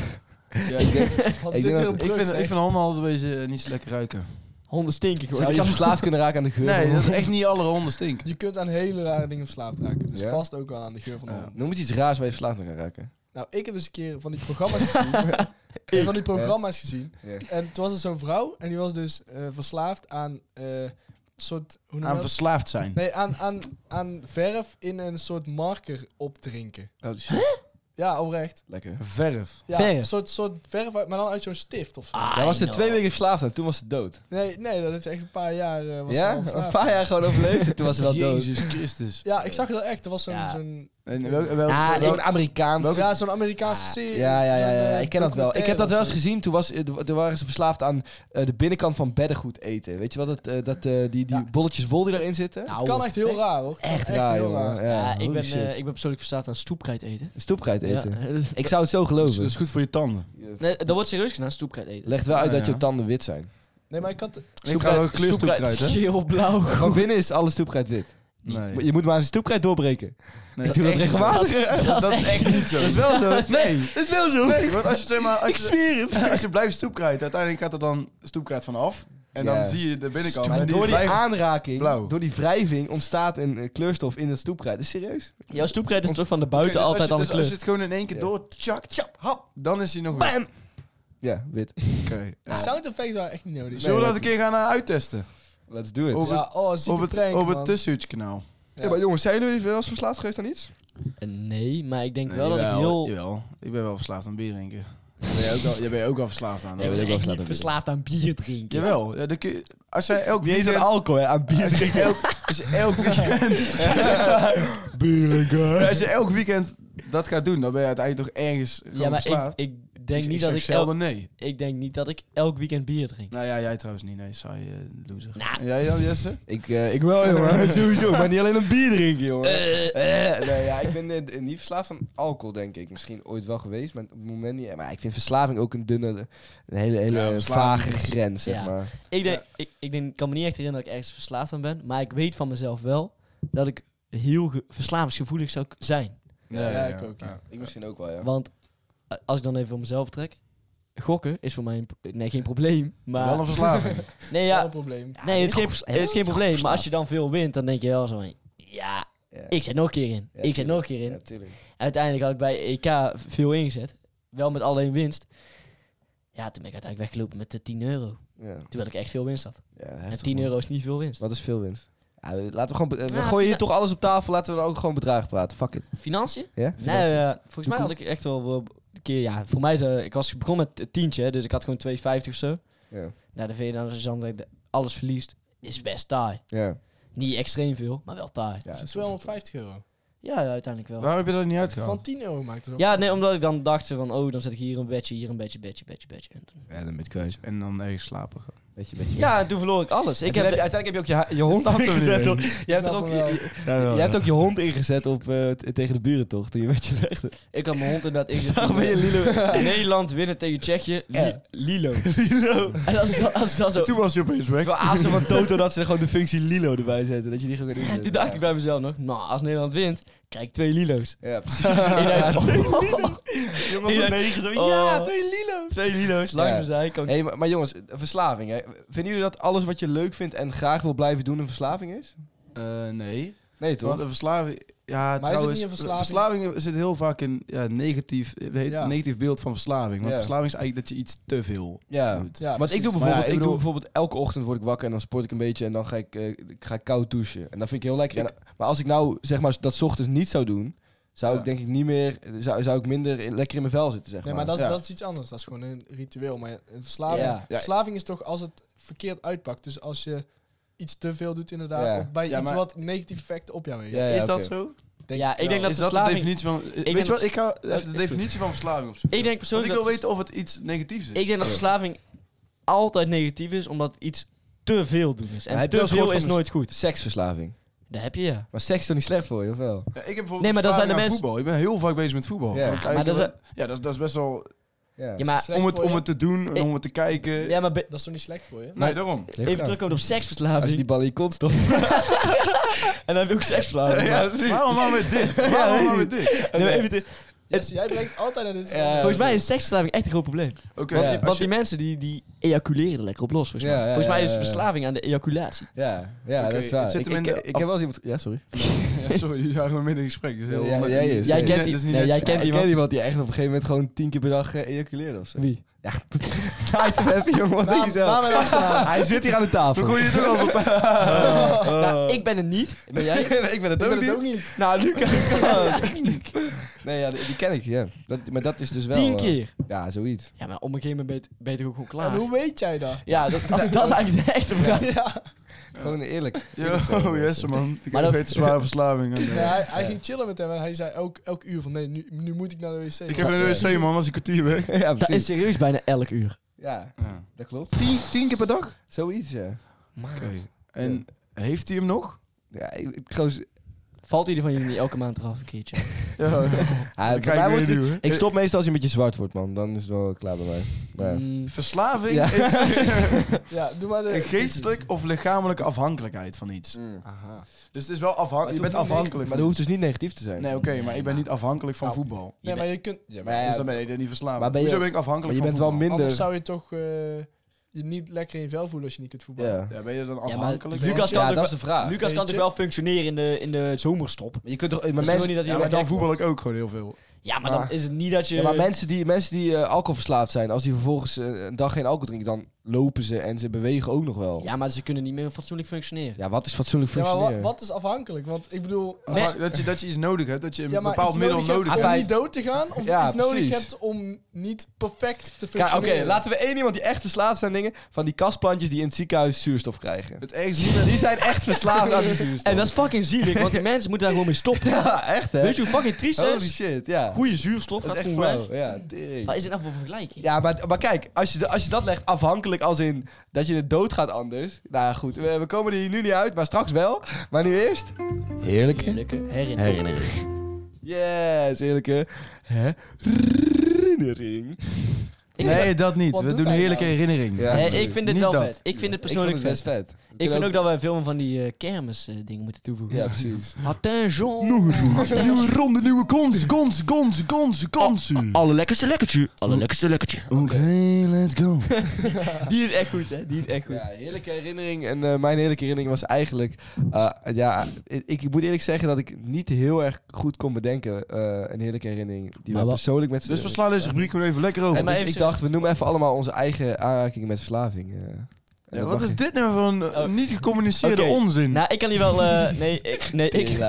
[SPEAKER 5] Ja, ik
[SPEAKER 2] Ik
[SPEAKER 5] denk, wat is
[SPEAKER 2] denk
[SPEAKER 5] dit weer
[SPEAKER 2] dat-
[SPEAKER 5] een
[SPEAKER 4] Ik
[SPEAKER 5] plug,
[SPEAKER 4] vind,
[SPEAKER 5] zeg?
[SPEAKER 4] ik vind honden altijd een beetje eh, niet zo lekker ruiken.
[SPEAKER 3] Honden stinken
[SPEAKER 2] <laughs>
[SPEAKER 3] gewoon.
[SPEAKER 2] Zou je
[SPEAKER 3] Ik kan-
[SPEAKER 2] verslaafd kunnen raken aan de geur?
[SPEAKER 4] Nee,
[SPEAKER 2] van
[SPEAKER 4] dat
[SPEAKER 2] honden?
[SPEAKER 4] is echt niet alle honden stinken.
[SPEAKER 5] Je kunt aan hele rare dingen verslaafd raken. Dus
[SPEAKER 2] Ja?
[SPEAKER 5] vast ook wel aan de geur van de
[SPEAKER 4] Ja.
[SPEAKER 5] hond.
[SPEAKER 2] Noem eens iets raars waar je verslaafd aan kan raken.
[SPEAKER 5] Nou, ik heb dus een keer van die programma's gezien. ik. Van die programma's gezien. En toen was er zo'n vrouw. En die was dus eh, verslaafd aan eh soort... Hoe noem je
[SPEAKER 4] Aan
[SPEAKER 5] dat?
[SPEAKER 4] verslaafd zijn.
[SPEAKER 5] Nee, aan, aan, aan verf in een soort marker opdrinken.
[SPEAKER 2] Oh, shit.
[SPEAKER 5] Ja, oprecht.
[SPEAKER 2] Lekker.
[SPEAKER 4] Verf.
[SPEAKER 5] Ja,
[SPEAKER 3] Verf?
[SPEAKER 5] Een soort, soort verf, uit- maar dan uit zo'n stift of zo.
[SPEAKER 3] Ah,
[SPEAKER 2] Daar was ze
[SPEAKER 3] joh.
[SPEAKER 2] twee weken verslaafd aan, toen was ze dood.
[SPEAKER 5] Nee, nee, dat is echt een paar jaar. eh, was
[SPEAKER 2] ja?
[SPEAKER 5] ze al
[SPEAKER 2] Een
[SPEAKER 5] verslaafd.
[SPEAKER 2] paar jaar gewoon overleefd en toen was ze wel dood.
[SPEAKER 4] Jezus Christus.
[SPEAKER 5] Ja, ik zag dat echt. Er was zo'n...
[SPEAKER 3] Ja.
[SPEAKER 5] zo'n-
[SPEAKER 4] En wel, wel,
[SPEAKER 3] Ah,
[SPEAKER 4] wel-
[SPEAKER 2] Zo'n Amerikaans.
[SPEAKER 5] ja, zo'n Amerikaanse serie.
[SPEAKER 2] Ah, Ja, ja, ja, ja,
[SPEAKER 5] zo'n,
[SPEAKER 2] ja,
[SPEAKER 5] eh,
[SPEAKER 2] ik ken dat wel. Ik heb dat wel eens
[SPEAKER 5] documentaire
[SPEAKER 2] gezien. Toen, was, eh, d- toen waren ze verslaafd aan eh, de binnenkant van beddengoed eten. Weet je wel, dat, eh, dat, eh, die, die
[SPEAKER 5] Ja.
[SPEAKER 2] bolletjes wol die daarin zitten?
[SPEAKER 5] of zo. Het kan echt heel raar, hoor. Het kan
[SPEAKER 2] echt raar,
[SPEAKER 5] heel
[SPEAKER 2] jongen.
[SPEAKER 5] raar.
[SPEAKER 2] Ja,
[SPEAKER 3] Ja, ik,
[SPEAKER 2] holy
[SPEAKER 3] ben,
[SPEAKER 2] shit.
[SPEAKER 3] eh, ik ben persoonlijk verslaafd aan stoepkrijt eten.
[SPEAKER 2] Stoepkrijt eten.
[SPEAKER 3] Ja. <laughs>
[SPEAKER 2] Ik zou het zo
[SPEAKER 4] dat is- dat
[SPEAKER 2] geloven.
[SPEAKER 4] is goed voor je tanden.
[SPEAKER 3] Nee, dat wordt serieus gedaan, stoepkrijt eten.
[SPEAKER 2] Leg wel uit
[SPEAKER 4] Ja,
[SPEAKER 2] dat je
[SPEAKER 4] ja.
[SPEAKER 2] tanden wit zijn.
[SPEAKER 5] Nee, maar ik had...
[SPEAKER 4] Ik ga wel kleurstoepkruid,
[SPEAKER 3] <laughs>
[SPEAKER 4] hè?
[SPEAKER 3] geel, blauw.
[SPEAKER 2] Van binnen is alle stoepkrijt wit.
[SPEAKER 4] Nee.
[SPEAKER 2] Je moet maar eens een stoepkrijt doorbreken.
[SPEAKER 4] Nee,
[SPEAKER 2] ik doe dat
[SPEAKER 4] echt niet zo.
[SPEAKER 2] regelmatig.
[SPEAKER 3] Dat, is echt niet
[SPEAKER 4] zo.
[SPEAKER 2] Dat is wel zo.
[SPEAKER 4] Nee,
[SPEAKER 2] Dat is wel zo.
[SPEAKER 4] nee, want als je, zeg maar, als
[SPEAKER 2] Ik
[SPEAKER 4] je, <laughs> als je blijft stoepkruid, uiteindelijk gaat er dan stoepkruid vanaf. En dan
[SPEAKER 2] Ja.
[SPEAKER 4] zie je de binnenkant.
[SPEAKER 2] Maar
[SPEAKER 4] en die
[SPEAKER 2] door die
[SPEAKER 4] blijft-
[SPEAKER 2] aanraking,
[SPEAKER 4] blauw.
[SPEAKER 2] door die wrijving, ontstaat een eh, kleurstof in het stoepkrijt. Is serieus?
[SPEAKER 3] Jouw stoepkrijt is toch van de
[SPEAKER 4] Oké,
[SPEAKER 3] buiten
[SPEAKER 4] dus als
[SPEAKER 3] altijd
[SPEAKER 4] je,
[SPEAKER 3] aan de
[SPEAKER 4] dus als
[SPEAKER 3] kleur.
[SPEAKER 4] je het gewoon in één keer
[SPEAKER 2] Ja.
[SPEAKER 4] door, tjak, tjap, hap, dan is hij nog weer.
[SPEAKER 2] Ja, wit.
[SPEAKER 4] Oké. Ja.
[SPEAKER 5] Sound effects waren echt niet nodig.
[SPEAKER 4] Zullen we
[SPEAKER 2] Nee,
[SPEAKER 4] dat een keer gaan eh, uittesten?
[SPEAKER 2] Let's do it.
[SPEAKER 4] Of-
[SPEAKER 5] ja, oh, zieke
[SPEAKER 4] Op het,
[SPEAKER 5] prank,
[SPEAKER 4] op
[SPEAKER 5] man.
[SPEAKER 4] het tussenhuurtskanaal.
[SPEAKER 2] Ja, maar jongens, zijn jullie wel eens verslaafd geweest aan iets?
[SPEAKER 3] Eh, Nee, maar ik denk
[SPEAKER 4] Nee,
[SPEAKER 3] wel dat ik
[SPEAKER 4] jawel,
[SPEAKER 3] heel...
[SPEAKER 4] jawel. Ik ben wel verslaafd aan bier drinken. Daar ben je <laughs> ook al, daar ben je ook al verslaafd aan.
[SPEAKER 3] Nee,
[SPEAKER 4] hoor.
[SPEAKER 3] ik ben
[SPEAKER 4] Ja,
[SPEAKER 3] echt niet verslaafd aan bier drinken.
[SPEAKER 4] Jawel. Ja, dan kun je- als jij elk
[SPEAKER 2] Niet eens aan
[SPEAKER 4] weekend-
[SPEAKER 2] alcohol, hè, aan bier.
[SPEAKER 4] Als <laughs> je elk, als je elk <laughs> weekend... Ja, Als je elk weekend dat gaat doen, dan ben je uiteindelijk toch ergens gewoon
[SPEAKER 3] Ja, maar ik,
[SPEAKER 4] verslaafd.
[SPEAKER 3] ik, denk
[SPEAKER 4] Dus
[SPEAKER 3] niet
[SPEAKER 4] zeg
[SPEAKER 3] dat ik
[SPEAKER 4] zelden
[SPEAKER 3] el-
[SPEAKER 4] nee.
[SPEAKER 3] ik denk niet dat ik elk weekend bier drink.
[SPEAKER 4] Nou ja, jij trouwens niet. Nee, saai eh, loser.
[SPEAKER 3] Nou.
[SPEAKER 4] En Jij dan, Jesse?
[SPEAKER 2] Ik, eh, ik wel, jongen. Sowieso. Maar niet alleen een bier drinken, jongen. Eh, nee, ja, ik ben eh, niet verslaafd aan alcohol, denk ik. Misschien ooit wel geweest, maar op het moment niet. Maar ik vind verslaving ook een dunne, een hele, hele
[SPEAKER 4] Ja, verslaving
[SPEAKER 2] vage
[SPEAKER 4] is-
[SPEAKER 2] grens, zeg
[SPEAKER 3] Ja.
[SPEAKER 2] maar.
[SPEAKER 3] <laughs> Ik, denk, ik, ik denk, ik kan me niet echt herinneren dat ik ergens verslaafd aan ben. Maar ik weet van mezelf wel dat ik heel ge- verslavingsgevoelig zou k- zijn.
[SPEAKER 5] Ja, ja, ik ook, ja.
[SPEAKER 2] Ik misschien ook wel, ja.
[SPEAKER 3] Want eh, als ik dan even voor mezelf trek. Gokken is voor mij een pro- nee, geen probleem.
[SPEAKER 4] Wel een
[SPEAKER 3] Maar,
[SPEAKER 4] verslaving. <laughs>
[SPEAKER 3] nee,
[SPEAKER 5] is wel
[SPEAKER 3] ja,
[SPEAKER 5] een probleem.
[SPEAKER 3] nee het, is geen, het is geen probleem. Maar als je dan veel wint, dan denk je wel zo van... Ja,
[SPEAKER 2] Ja.
[SPEAKER 3] ik zet nog een keer in.
[SPEAKER 2] Ja,
[SPEAKER 3] Ik zet nog een keer
[SPEAKER 2] Ja,
[SPEAKER 3] in.
[SPEAKER 2] tuurlijk.
[SPEAKER 3] Uiteindelijk had ik bij EK v- veel ingezet. Wel met alleen winst. Ja, toen ben ik uiteindelijk weggelopen met de 10 euro.
[SPEAKER 2] Ja,
[SPEAKER 3] Terwijl ik echt veel winst had.
[SPEAKER 2] ja,
[SPEAKER 3] En
[SPEAKER 2] heftig,
[SPEAKER 3] 10
[SPEAKER 2] man.
[SPEAKER 3] euro is niet veel winst.
[SPEAKER 2] Wat is veel winst? Ja, we- laten we gewoon... be- eh, We
[SPEAKER 3] Ja,
[SPEAKER 2] gooien hier
[SPEAKER 3] vina-
[SPEAKER 2] toch alles op tafel. Laten we dan ook gewoon bedragen praten. Fuck it.
[SPEAKER 3] Financiën?
[SPEAKER 2] Ja?
[SPEAKER 3] Nee, eh, volgens mij had ik echt wel wel een keer, ja, voor mij, is, eh, ik was begonnen met het tientje, dus ik had gewoon 2,50 of zo.
[SPEAKER 2] Ja.
[SPEAKER 3] Nou, dan vind je dan, als je dan denkt, alles verliest, is best taai.
[SPEAKER 2] Ja.
[SPEAKER 3] Niet extreem veel, maar wel taai.
[SPEAKER 2] Ja,
[SPEAKER 5] Dat is 250 euro.
[SPEAKER 3] Ja, ja, uiteindelijk wel.
[SPEAKER 4] Waarom heb je dat niet
[SPEAKER 5] Van
[SPEAKER 4] uitgehaald?
[SPEAKER 5] 10 euro maakt het wel.
[SPEAKER 3] Ja, nee, omdat ik dan dacht van, oh, dan zet ik hier een bedje, hier een bedje, bedje, bedje, bedje. En toen-
[SPEAKER 4] Ja, dan ben je kwijt. En dan ergens slapen. gewoon.
[SPEAKER 2] Beetje, beetje.
[SPEAKER 3] Ja, en toen verloor ik alles.
[SPEAKER 2] Ik
[SPEAKER 3] Ik heb,
[SPEAKER 2] uiteindelijk heb je ook je, ha- je <laughs> hond
[SPEAKER 4] Snap hem
[SPEAKER 2] ingezet
[SPEAKER 4] niet.
[SPEAKER 2] op... Je hebt, er
[SPEAKER 5] Snap
[SPEAKER 2] ook,
[SPEAKER 5] hem wel.
[SPEAKER 2] je, je hebt ook je hond ingezet op, eh, t- tegen de buren, toch? Toen je werd je legde.
[SPEAKER 3] ik had mijn hond
[SPEAKER 2] <laughs>
[SPEAKER 3] inderdaad
[SPEAKER 2] Daarom ben je
[SPEAKER 3] ingezet.
[SPEAKER 2] Lilo.
[SPEAKER 3] In <laughs> Nederland winnen tegen Tsjechië, Li-
[SPEAKER 2] Ja.
[SPEAKER 3] Lilo.
[SPEAKER 2] <laughs> Lilo.
[SPEAKER 3] En als dat, als dat zo...
[SPEAKER 4] Toen was je opeens weg.
[SPEAKER 2] Ik wil azen van Toto dat ze er gewoon
[SPEAKER 3] <laughs>
[SPEAKER 2] de functie Lilo erbij zetten. Dat je die gewoon kan
[SPEAKER 3] En
[SPEAKER 2] inzetten.
[SPEAKER 3] toen dacht ik bij mezelf nog, nou, als Nederland wint, krijg ik twee
[SPEAKER 2] <laughs>
[SPEAKER 3] Lilo's.
[SPEAKER 2] Ja, precies.
[SPEAKER 3] En <laughs>
[SPEAKER 2] Ja,
[SPEAKER 3] hij-
[SPEAKER 2] twee- <laughs>
[SPEAKER 3] Ik
[SPEAKER 2] Jongen van
[SPEAKER 3] dacht-
[SPEAKER 2] negen zo.
[SPEAKER 3] oh.
[SPEAKER 2] Ja, twee Lilo's.
[SPEAKER 3] Twee Lilo's, lang
[SPEAKER 2] Ja.
[SPEAKER 3] ja. zijn. Kan...
[SPEAKER 2] Hey, maar, maar jongens, verslaving. Hè? Vinden jullie dat alles wat je leuk vindt en graag wil blijven doen een verslaving is?
[SPEAKER 4] Eh, nee.
[SPEAKER 2] Nee, toch?
[SPEAKER 4] Want een verslaving... Ja,
[SPEAKER 5] Maar is het
[SPEAKER 4] trouwens,
[SPEAKER 5] niet een verslaving?
[SPEAKER 4] verslaving zit heel vaak in ja, negatief, het heet
[SPEAKER 5] Ja.
[SPEAKER 4] negatief beeld van verslaving. Want
[SPEAKER 2] Ja.
[SPEAKER 4] verslaving is eigenlijk dat je iets te veel
[SPEAKER 2] ja.
[SPEAKER 4] doet.
[SPEAKER 5] Ja,
[SPEAKER 2] Want ik doe,
[SPEAKER 5] precies.
[SPEAKER 2] bijvoorbeeld,
[SPEAKER 4] Maar ja, ik
[SPEAKER 2] ik doe
[SPEAKER 4] bedoel-
[SPEAKER 2] bijvoorbeeld elke ochtend word ik wakker en dan sport ik een beetje en dan ga ik, eh, ik ga koud douchen. En dat vind ik heel lekker. En- maar als ik nou zeg maar dat 's ochtends niet zou doen, zou
[SPEAKER 4] Ja.
[SPEAKER 2] ik denk ik niet meer, zou, zou ik minder in- lekker in mijn vel zitten zeg
[SPEAKER 5] Nee, maar dat is,
[SPEAKER 4] Ja.
[SPEAKER 5] dat is iets anders. Dat is gewoon een ritueel. Maar een verslaving,
[SPEAKER 3] Ja.
[SPEAKER 5] verslaving is toch als het verkeerd uitpakt. Dus als je iets te veel doet inderdaad.
[SPEAKER 2] Ja.
[SPEAKER 5] Of bij
[SPEAKER 4] Ja,
[SPEAKER 5] iets
[SPEAKER 4] maar-
[SPEAKER 5] wat negatief effect op jou heeft.
[SPEAKER 2] Ja, ja,
[SPEAKER 4] is
[SPEAKER 2] oké.
[SPEAKER 4] dat zo?
[SPEAKER 5] Denk
[SPEAKER 3] Ja, ik denk
[SPEAKER 5] wel.
[SPEAKER 3] dat
[SPEAKER 4] is dat de
[SPEAKER 3] verslaving-
[SPEAKER 4] definitie van... eh,
[SPEAKER 3] denk
[SPEAKER 4] weet je
[SPEAKER 3] dat-
[SPEAKER 4] wat, ik ga
[SPEAKER 3] dat
[SPEAKER 4] even de
[SPEAKER 3] is goed.
[SPEAKER 4] definitie van verslaving opzoeken.
[SPEAKER 3] Ik denk
[SPEAKER 4] Want ik
[SPEAKER 3] persoonlijk
[SPEAKER 4] wil
[SPEAKER 3] dat,
[SPEAKER 4] weten of het iets negatiefs is.
[SPEAKER 3] ik denk dat verslaving altijd negatief is, omdat iets te veel doen is.
[SPEAKER 2] Maar
[SPEAKER 3] En
[SPEAKER 2] heb je wel
[SPEAKER 3] te
[SPEAKER 2] eens gehoord
[SPEAKER 3] veel is
[SPEAKER 2] van de-
[SPEAKER 3] nooit goed.
[SPEAKER 2] Seksverslaving.
[SPEAKER 3] Daar heb je, ja.
[SPEAKER 2] Maar seks is toch niet slecht voor je, of wel?
[SPEAKER 4] Ja, ik heb bijvoorbeeld
[SPEAKER 3] Nee, maar dat zijn
[SPEAKER 4] verslaving
[SPEAKER 3] de
[SPEAKER 4] aan
[SPEAKER 3] mensen-
[SPEAKER 4] voetbal. Ik ben heel vaak bezig met voetbal.
[SPEAKER 2] Ja.
[SPEAKER 4] Gewoon
[SPEAKER 3] Ja,
[SPEAKER 4] kijken
[SPEAKER 3] maar dat is-
[SPEAKER 4] wat- ja, dat is, dat is best wel...
[SPEAKER 2] Ja.
[SPEAKER 3] Ja,
[SPEAKER 5] Is het
[SPEAKER 3] maar...
[SPEAKER 5] slecht
[SPEAKER 4] om het,
[SPEAKER 5] voor
[SPEAKER 4] om
[SPEAKER 5] je?
[SPEAKER 4] het te doen en
[SPEAKER 3] Ik-
[SPEAKER 4] om het te kijken.
[SPEAKER 3] Ja, maar be-
[SPEAKER 5] Dat is toch niet slecht voor je?
[SPEAKER 4] nee, daarom.
[SPEAKER 2] Ligt
[SPEAKER 3] even
[SPEAKER 2] eraan.
[SPEAKER 3] terugkomen op
[SPEAKER 2] Als je die
[SPEAKER 3] seksverslaving.
[SPEAKER 2] bal in je kont stopt.
[SPEAKER 3] <laughs> En dan heb je ook seksverslaving. maar-
[SPEAKER 4] Waarom dan met dit? Waarom dan met dit?
[SPEAKER 3] Nee, maar even terug.
[SPEAKER 5] Jesse, jij brengt altijd naar dit
[SPEAKER 2] Ja, ja.
[SPEAKER 3] Volgens mij is seksverslaving echt een groot probleem.
[SPEAKER 4] Oké,
[SPEAKER 3] Want,
[SPEAKER 4] ja,
[SPEAKER 3] die,
[SPEAKER 4] als
[SPEAKER 3] want
[SPEAKER 4] je-
[SPEAKER 3] die mensen die, die ejaculeren er lekker op los, volgens
[SPEAKER 2] Ja,
[SPEAKER 3] mij.
[SPEAKER 2] ja,
[SPEAKER 3] volgens mij
[SPEAKER 2] ja,
[SPEAKER 3] is
[SPEAKER 2] ja, ja.
[SPEAKER 3] verslaving aan de ejaculatie.
[SPEAKER 2] Ja, ja
[SPEAKER 4] Oké,
[SPEAKER 2] dat is
[SPEAKER 4] het
[SPEAKER 2] waar.
[SPEAKER 4] zit
[SPEAKER 2] Ik,
[SPEAKER 4] hem
[SPEAKER 2] ik,
[SPEAKER 4] in de
[SPEAKER 2] ik
[SPEAKER 4] af-
[SPEAKER 2] heb wel eens iemand... Ja, sorry.
[SPEAKER 4] Ja, sorry, jullie zijn gewoon midden in gesprek. Dat is heel
[SPEAKER 2] Ja,
[SPEAKER 4] net-
[SPEAKER 2] jij is-
[SPEAKER 4] dat
[SPEAKER 3] Jij
[SPEAKER 4] is niet-
[SPEAKER 3] kent die-
[SPEAKER 4] dat is niet
[SPEAKER 3] nee,
[SPEAKER 4] net
[SPEAKER 3] jij
[SPEAKER 4] zo.
[SPEAKER 3] kent-
[SPEAKER 2] ik
[SPEAKER 3] iemand-
[SPEAKER 2] ken iemand die echt op een gegeven moment gewoon tien keer per dag eh, ejaculeerde of zo.
[SPEAKER 3] Wie?
[SPEAKER 2] Ja, draait hem even, jongen. Wat denk je
[SPEAKER 5] Naam-
[SPEAKER 2] zelf?
[SPEAKER 5] naam en achternaam.
[SPEAKER 2] <laughs> Hij zit hier aan de
[SPEAKER 4] We
[SPEAKER 2] tafel. <laughs>
[SPEAKER 4] gooien het ook altijd op
[SPEAKER 3] Nou, ik ben het niet. Ben
[SPEAKER 4] <laughs>
[SPEAKER 3] jij?
[SPEAKER 2] ik Oh. ben het
[SPEAKER 5] Ik
[SPEAKER 2] ook
[SPEAKER 5] ben
[SPEAKER 2] niet. Oh.
[SPEAKER 5] het ook niet.
[SPEAKER 3] nou,
[SPEAKER 2] <laughs>
[SPEAKER 3] Luca.
[SPEAKER 2] Nee, ja, die, die ken ik, ja. Dat, maar dat is dus wel...
[SPEAKER 3] Tien
[SPEAKER 2] eh,
[SPEAKER 3] keer.
[SPEAKER 2] ja, zoiets.
[SPEAKER 3] Ja, maar op een gegeven moment ben je- ben je toch ook gewoon
[SPEAKER 5] En
[SPEAKER 3] klaar.
[SPEAKER 5] hoe weet jij dat?
[SPEAKER 3] Ja, dat, als- dat is eigenlijk de echte vraag.
[SPEAKER 2] Gewoon eerlijk.
[SPEAKER 4] <laughs> Yo, oh, yes man. Ik
[SPEAKER 3] Maar
[SPEAKER 4] heb
[SPEAKER 3] dat-
[SPEAKER 4] een zware verslaving. En, eh,
[SPEAKER 5] Nee, hij, hij ging chillen met hem en hij zei elk, elk uur van nee, nu, nu moet ik naar de wc.
[SPEAKER 4] Ik heb een wc man, was ik kwartier
[SPEAKER 2] <laughs>
[SPEAKER 4] weg.
[SPEAKER 2] ja,
[SPEAKER 3] Dat is
[SPEAKER 2] precies.
[SPEAKER 3] serieus bijna elk uur.
[SPEAKER 2] Ja,
[SPEAKER 4] Ja.
[SPEAKER 2] dat klopt.
[SPEAKER 4] Tien, tien keer per dag?
[SPEAKER 2] Zoiets, ja.
[SPEAKER 4] Oké. En heeft hij hem nog?
[SPEAKER 2] Ja, ik, ik, goos-
[SPEAKER 3] Valt ieder van jullie niet elke maand eraf een keertje?
[SPEAKER 4] Ja,
[SPEAKER 2] Ah,
[SPEAKER 4] <laughs> Dan
[SPEAKER 2] bij
[SPEAKER 4] krijg
[SPEAKER 2] mij
[SPEAKER 4] ik weer
[SPEAKER 2] wordt
[SPEAKER 4] een
[SPEAKER 2] het-
[SPEAKER 4] nieuwe.
[SPEAKER 2] ik stop meestal als je met je zwart wordt, man. Dan is het wel klaar bij mij. Maar, ja.
[SPEAKER 3] Mm,
[SPEAKER 4] Verslaving
[SPEAKER 2] Ja.
[SPEAKER 4] is
[SPEAKER 5] <laughs>
[SPEAKER 2] <laughs>
[SPEAKER 5] Ja, doe maar de...
[SPEAKER 4] een geestelijk of lichamelijke afhankelijkheid van iets.
[SPEAKER 5] Aha.
[SPEAKER 4] Dus het is wel
[SPEAKER 5] Maar
[SPEAKER 4] afhankelijk. Je
[SPEAKER 5] het
[SPEAKER 4] bent
[SPEAKER 5] hoeft niet
[SPEAKER 4] afhankelijk
[SPEAKER 2] Mm. maar
[SPEAKER 4] van
[SPEAKER 2] dat hoeft dus niet negatief te zijn.
[SPEAKER 4] Nee, oké, maar ik ben niet afhankelijk van
[SPEAKER 5] Nou,
[SPEAKER 4] voetbal.
[SPEAKER 5] Nee, maar je kunt...
[SPEAKER 2] Ja, maar ja,
[SPEAKER 4] dus dan ben ik er niet verslaafd.
[SPEAKER 2] Maar ben je-
[SPEAKER 4] Hoezo ben ik
[SPEAKER 2] maar
[SPEAKER 4] afhankelijk
[SPEAKER 2] je
[SPEAKER 4] van
[SPEAKER 2] bent wel
[SPEAKER 4] voetbal?
[SPEAKER 2] minder...
[SPEAKER 5] Anders zou je toch eh, je niet lekker in je vel voelen als je niet kunt voetballen.
[SPEAKER 2] Ja.
[SPEAKER 4] Ja, dus ben je dan
[SPEAKER 3] maar
[SPEAKER 4] afhankelijk?
[SPEAKER 3] Lucas
[SPEAKER 4] van-
[SPEAKER 3] kan
[SPEAKER 2] ja,
[SPEAKER 3] ook
[SPEAKER 2] dat
[SPEAKER 3] wel-
[SPEAKER 2] is de vraag.
[SPEAKER 3] Lucas kan natuurlijk wel functioneren in de, in de zomerstop.
[SPEAKER 2] Maar je kunt toch, maar
[SPEAKER 4] Dus
[SPEAKER 3] Maar
[SPEAKER 2] mensen,
[SPEAKER 3] niet dat hij
[SPEAKER 4] Ja, maar
[SPEAKER 3] helemaal
[SPEAKER 4] dan
[SPEAKER 3] gek wordt.
[SPEAKER 4] voetbal ik ook gewoon heel veel.
[SPEAKER 3] Ja, maar dan
[SPEAKER 2] Maar-
[SPEAKER 3] is het niet dat je...
[SPEAKER 2] ja, maar mensen die, mensen die eh, alcoholverslaafd zijn, als die vervolgens eh, een dag geen alcohol drinken, dan lopen ze en ze bewegen ook nog wel. Ja,
[SPEAKER 3] Ja, maar ze kunnen niet meer fatsoenlijk functioneren.
[SPEAKER 2] wat is fatsoenlijk
[SPEAKER 5] Ja, maar
[SPEAKER 2] functioneren?
[SPEAKER 5] wat, wat is afhankelijk? Want ik bedoel...
[SPEAKER 4] Afhan- Dat, je, dat je iets nodig hebt, dat je een
[SPEAKER 5] Ja, maar
[SPEAKER 4] bepaald
[SPEAKER 5] iets
[SPEAKER 4] middel
[SPEAKER 5] nodig hebt
[SPEAKER 4] nodig
[SPEAKER 5] om
[SPEAKER 4] hebt.
[SPEAKER 5] niet dood te gaan? Of
[SPEAKER 2] Ja,
[SPEAKER 5] iets nodig
[SPEAKER 2] precies.
[SPEAKER 5] hebt om niet perfect te
[SPEAKER 2] Kijk, oké,
[SPEAKER 5] functioneren?
[SPEAKER 2] laten we één iemand die echt verslaafd is aan dingen... van die kastplantjes die in het ziekenhuis zuurstof krijgen.
[SPEAKER 4] Het ergste niet
[SPEAKER 2] Die zijn echt verslaafd aan die zuurstof.
[SPEAKER 3] En dat is fucking zielig, want die mensen moeten daar gewoon mee
[SPEAKER 2] <laughs>
[SPEAKER 3] stoppen.
[SPEAKER 2] Ja, echt hè?
[SPEAKER 3] Weet je hoe fucking triest
[SPEAKER 2] Holy
[SPEAKER 3] het is?
[SPEAKER 2] shit, ja.
[SPEAKER 3] Goede zuurstof
[SPEAKER 2] dat is
[SPEAKER 3] gaat
[SPEAKER 2] echt
[SPEAKER 3] gewoon weg.
[SPEAKER 2] flauw. Ja, tering.
[SPEAKER 3] Wat is het nou voor vergelijking?
[SPEAKER 2] Ja, maar, maar kijk, als je, de- als je dat legt afhankelijk als in dat je het doodgaat anders. Nou ja, goed, we, we komen er hier nu niet uit, maar straks wel. Maar nu eerst... Heerlijke
[SPEAKER 3] Heerlijke herinnering.
[SPEAKER 2] Yes, heerlijke herinnering.
[SPEAKER 3] Ik,
[SPEAKER 4] Nee, dat niet.
[SPEAKER 5] Wat
[SPEAKER 4] We
[SPEAKER 5] doet
[SPEAKER 4] doen een
[SPEAKER 5] hij
[SPEAKER 4] heerlijke
[SPEAKER 5] nou?
[SPEAKER 4] herinnering.
[SPEAKER 2] Ja.
[SPEAKER 3] Eh,
[SPEAKER 4] Sorry.
[SPEAKER 3] ik vind dit
[SPEAKER 4] Niet
[SPEAKER 3] wel
[SPEAKER 4] dat.
[SPEAKER 3] vet. Ik vind het
[SPEAKER 2] Ik vond
[SPEAKER 3] persoonlijk
[SPEAKER 2] het best
[SPEAKER 3] vet.
[SPEAKER 2] vet.
[SPEAKER 3] Ik vind ook
[SPEAKER 2] dat...
[SPEAKER 3] dat wij veel meer van die eh, kermis dingen moeten toevoegen. <laughs>
[SPEAKER 2] Ja, precies.
[SPEAKER 3] Attention!
[SPEAKER 4] Nieuwe ronde, nieuwe kons, kons, kons, kons, kons.
[SPEAKER 6] Alle lekkerste lekkertje. Alle lekkerste lekkertje.
[SPEAKER 4] Oké, let's go.
[SPEAKER 3] <laughs> Die is echt goed, hè? Die is echt goed.
[SPEAKER 2] Ja, heerlijke herinnering. En eh, mijn heerlijke herinnering was eigenlijk... eh, ja, ik, ik moet eerlijk zeggen dat ik niet heel erg goed kon bedenken eh, een heerlijke herinnering. Die
[SPEAKER 3] Maar
[SPEAKER 2] we
[SPEAKER 3] wat-
[SPEAKER 2] persoonlijk met z'n
[SPEAKER 4] Dus we slaan deze rubriek gewoon even lekker over.
[SPEAKER 2] En
[SPEAKER 3] maar
[SPEAKER 2] dus
[SPEAKER 3] even
[SPEAKER 2] ik dacht, we noemen even allemaal onze eigen aanrakingen met verslaving. eh. En
[SPEAKER 4] Ja,
[SPEAKER 2] dat
[SPEAKER 4] wat
[SPEAKER 2] mag
[SPEAKER 4] is
[SPEAKER 2] ik-
[SPEAKER 4] dit nou voor een eh, niet gecommuniceerde
[SPEAKER 3] Oké.
[SPEAKER 4] onzin?
[SPEAKER 3] Nou, ik kan hier wel... eh, nee, ik, nee ik,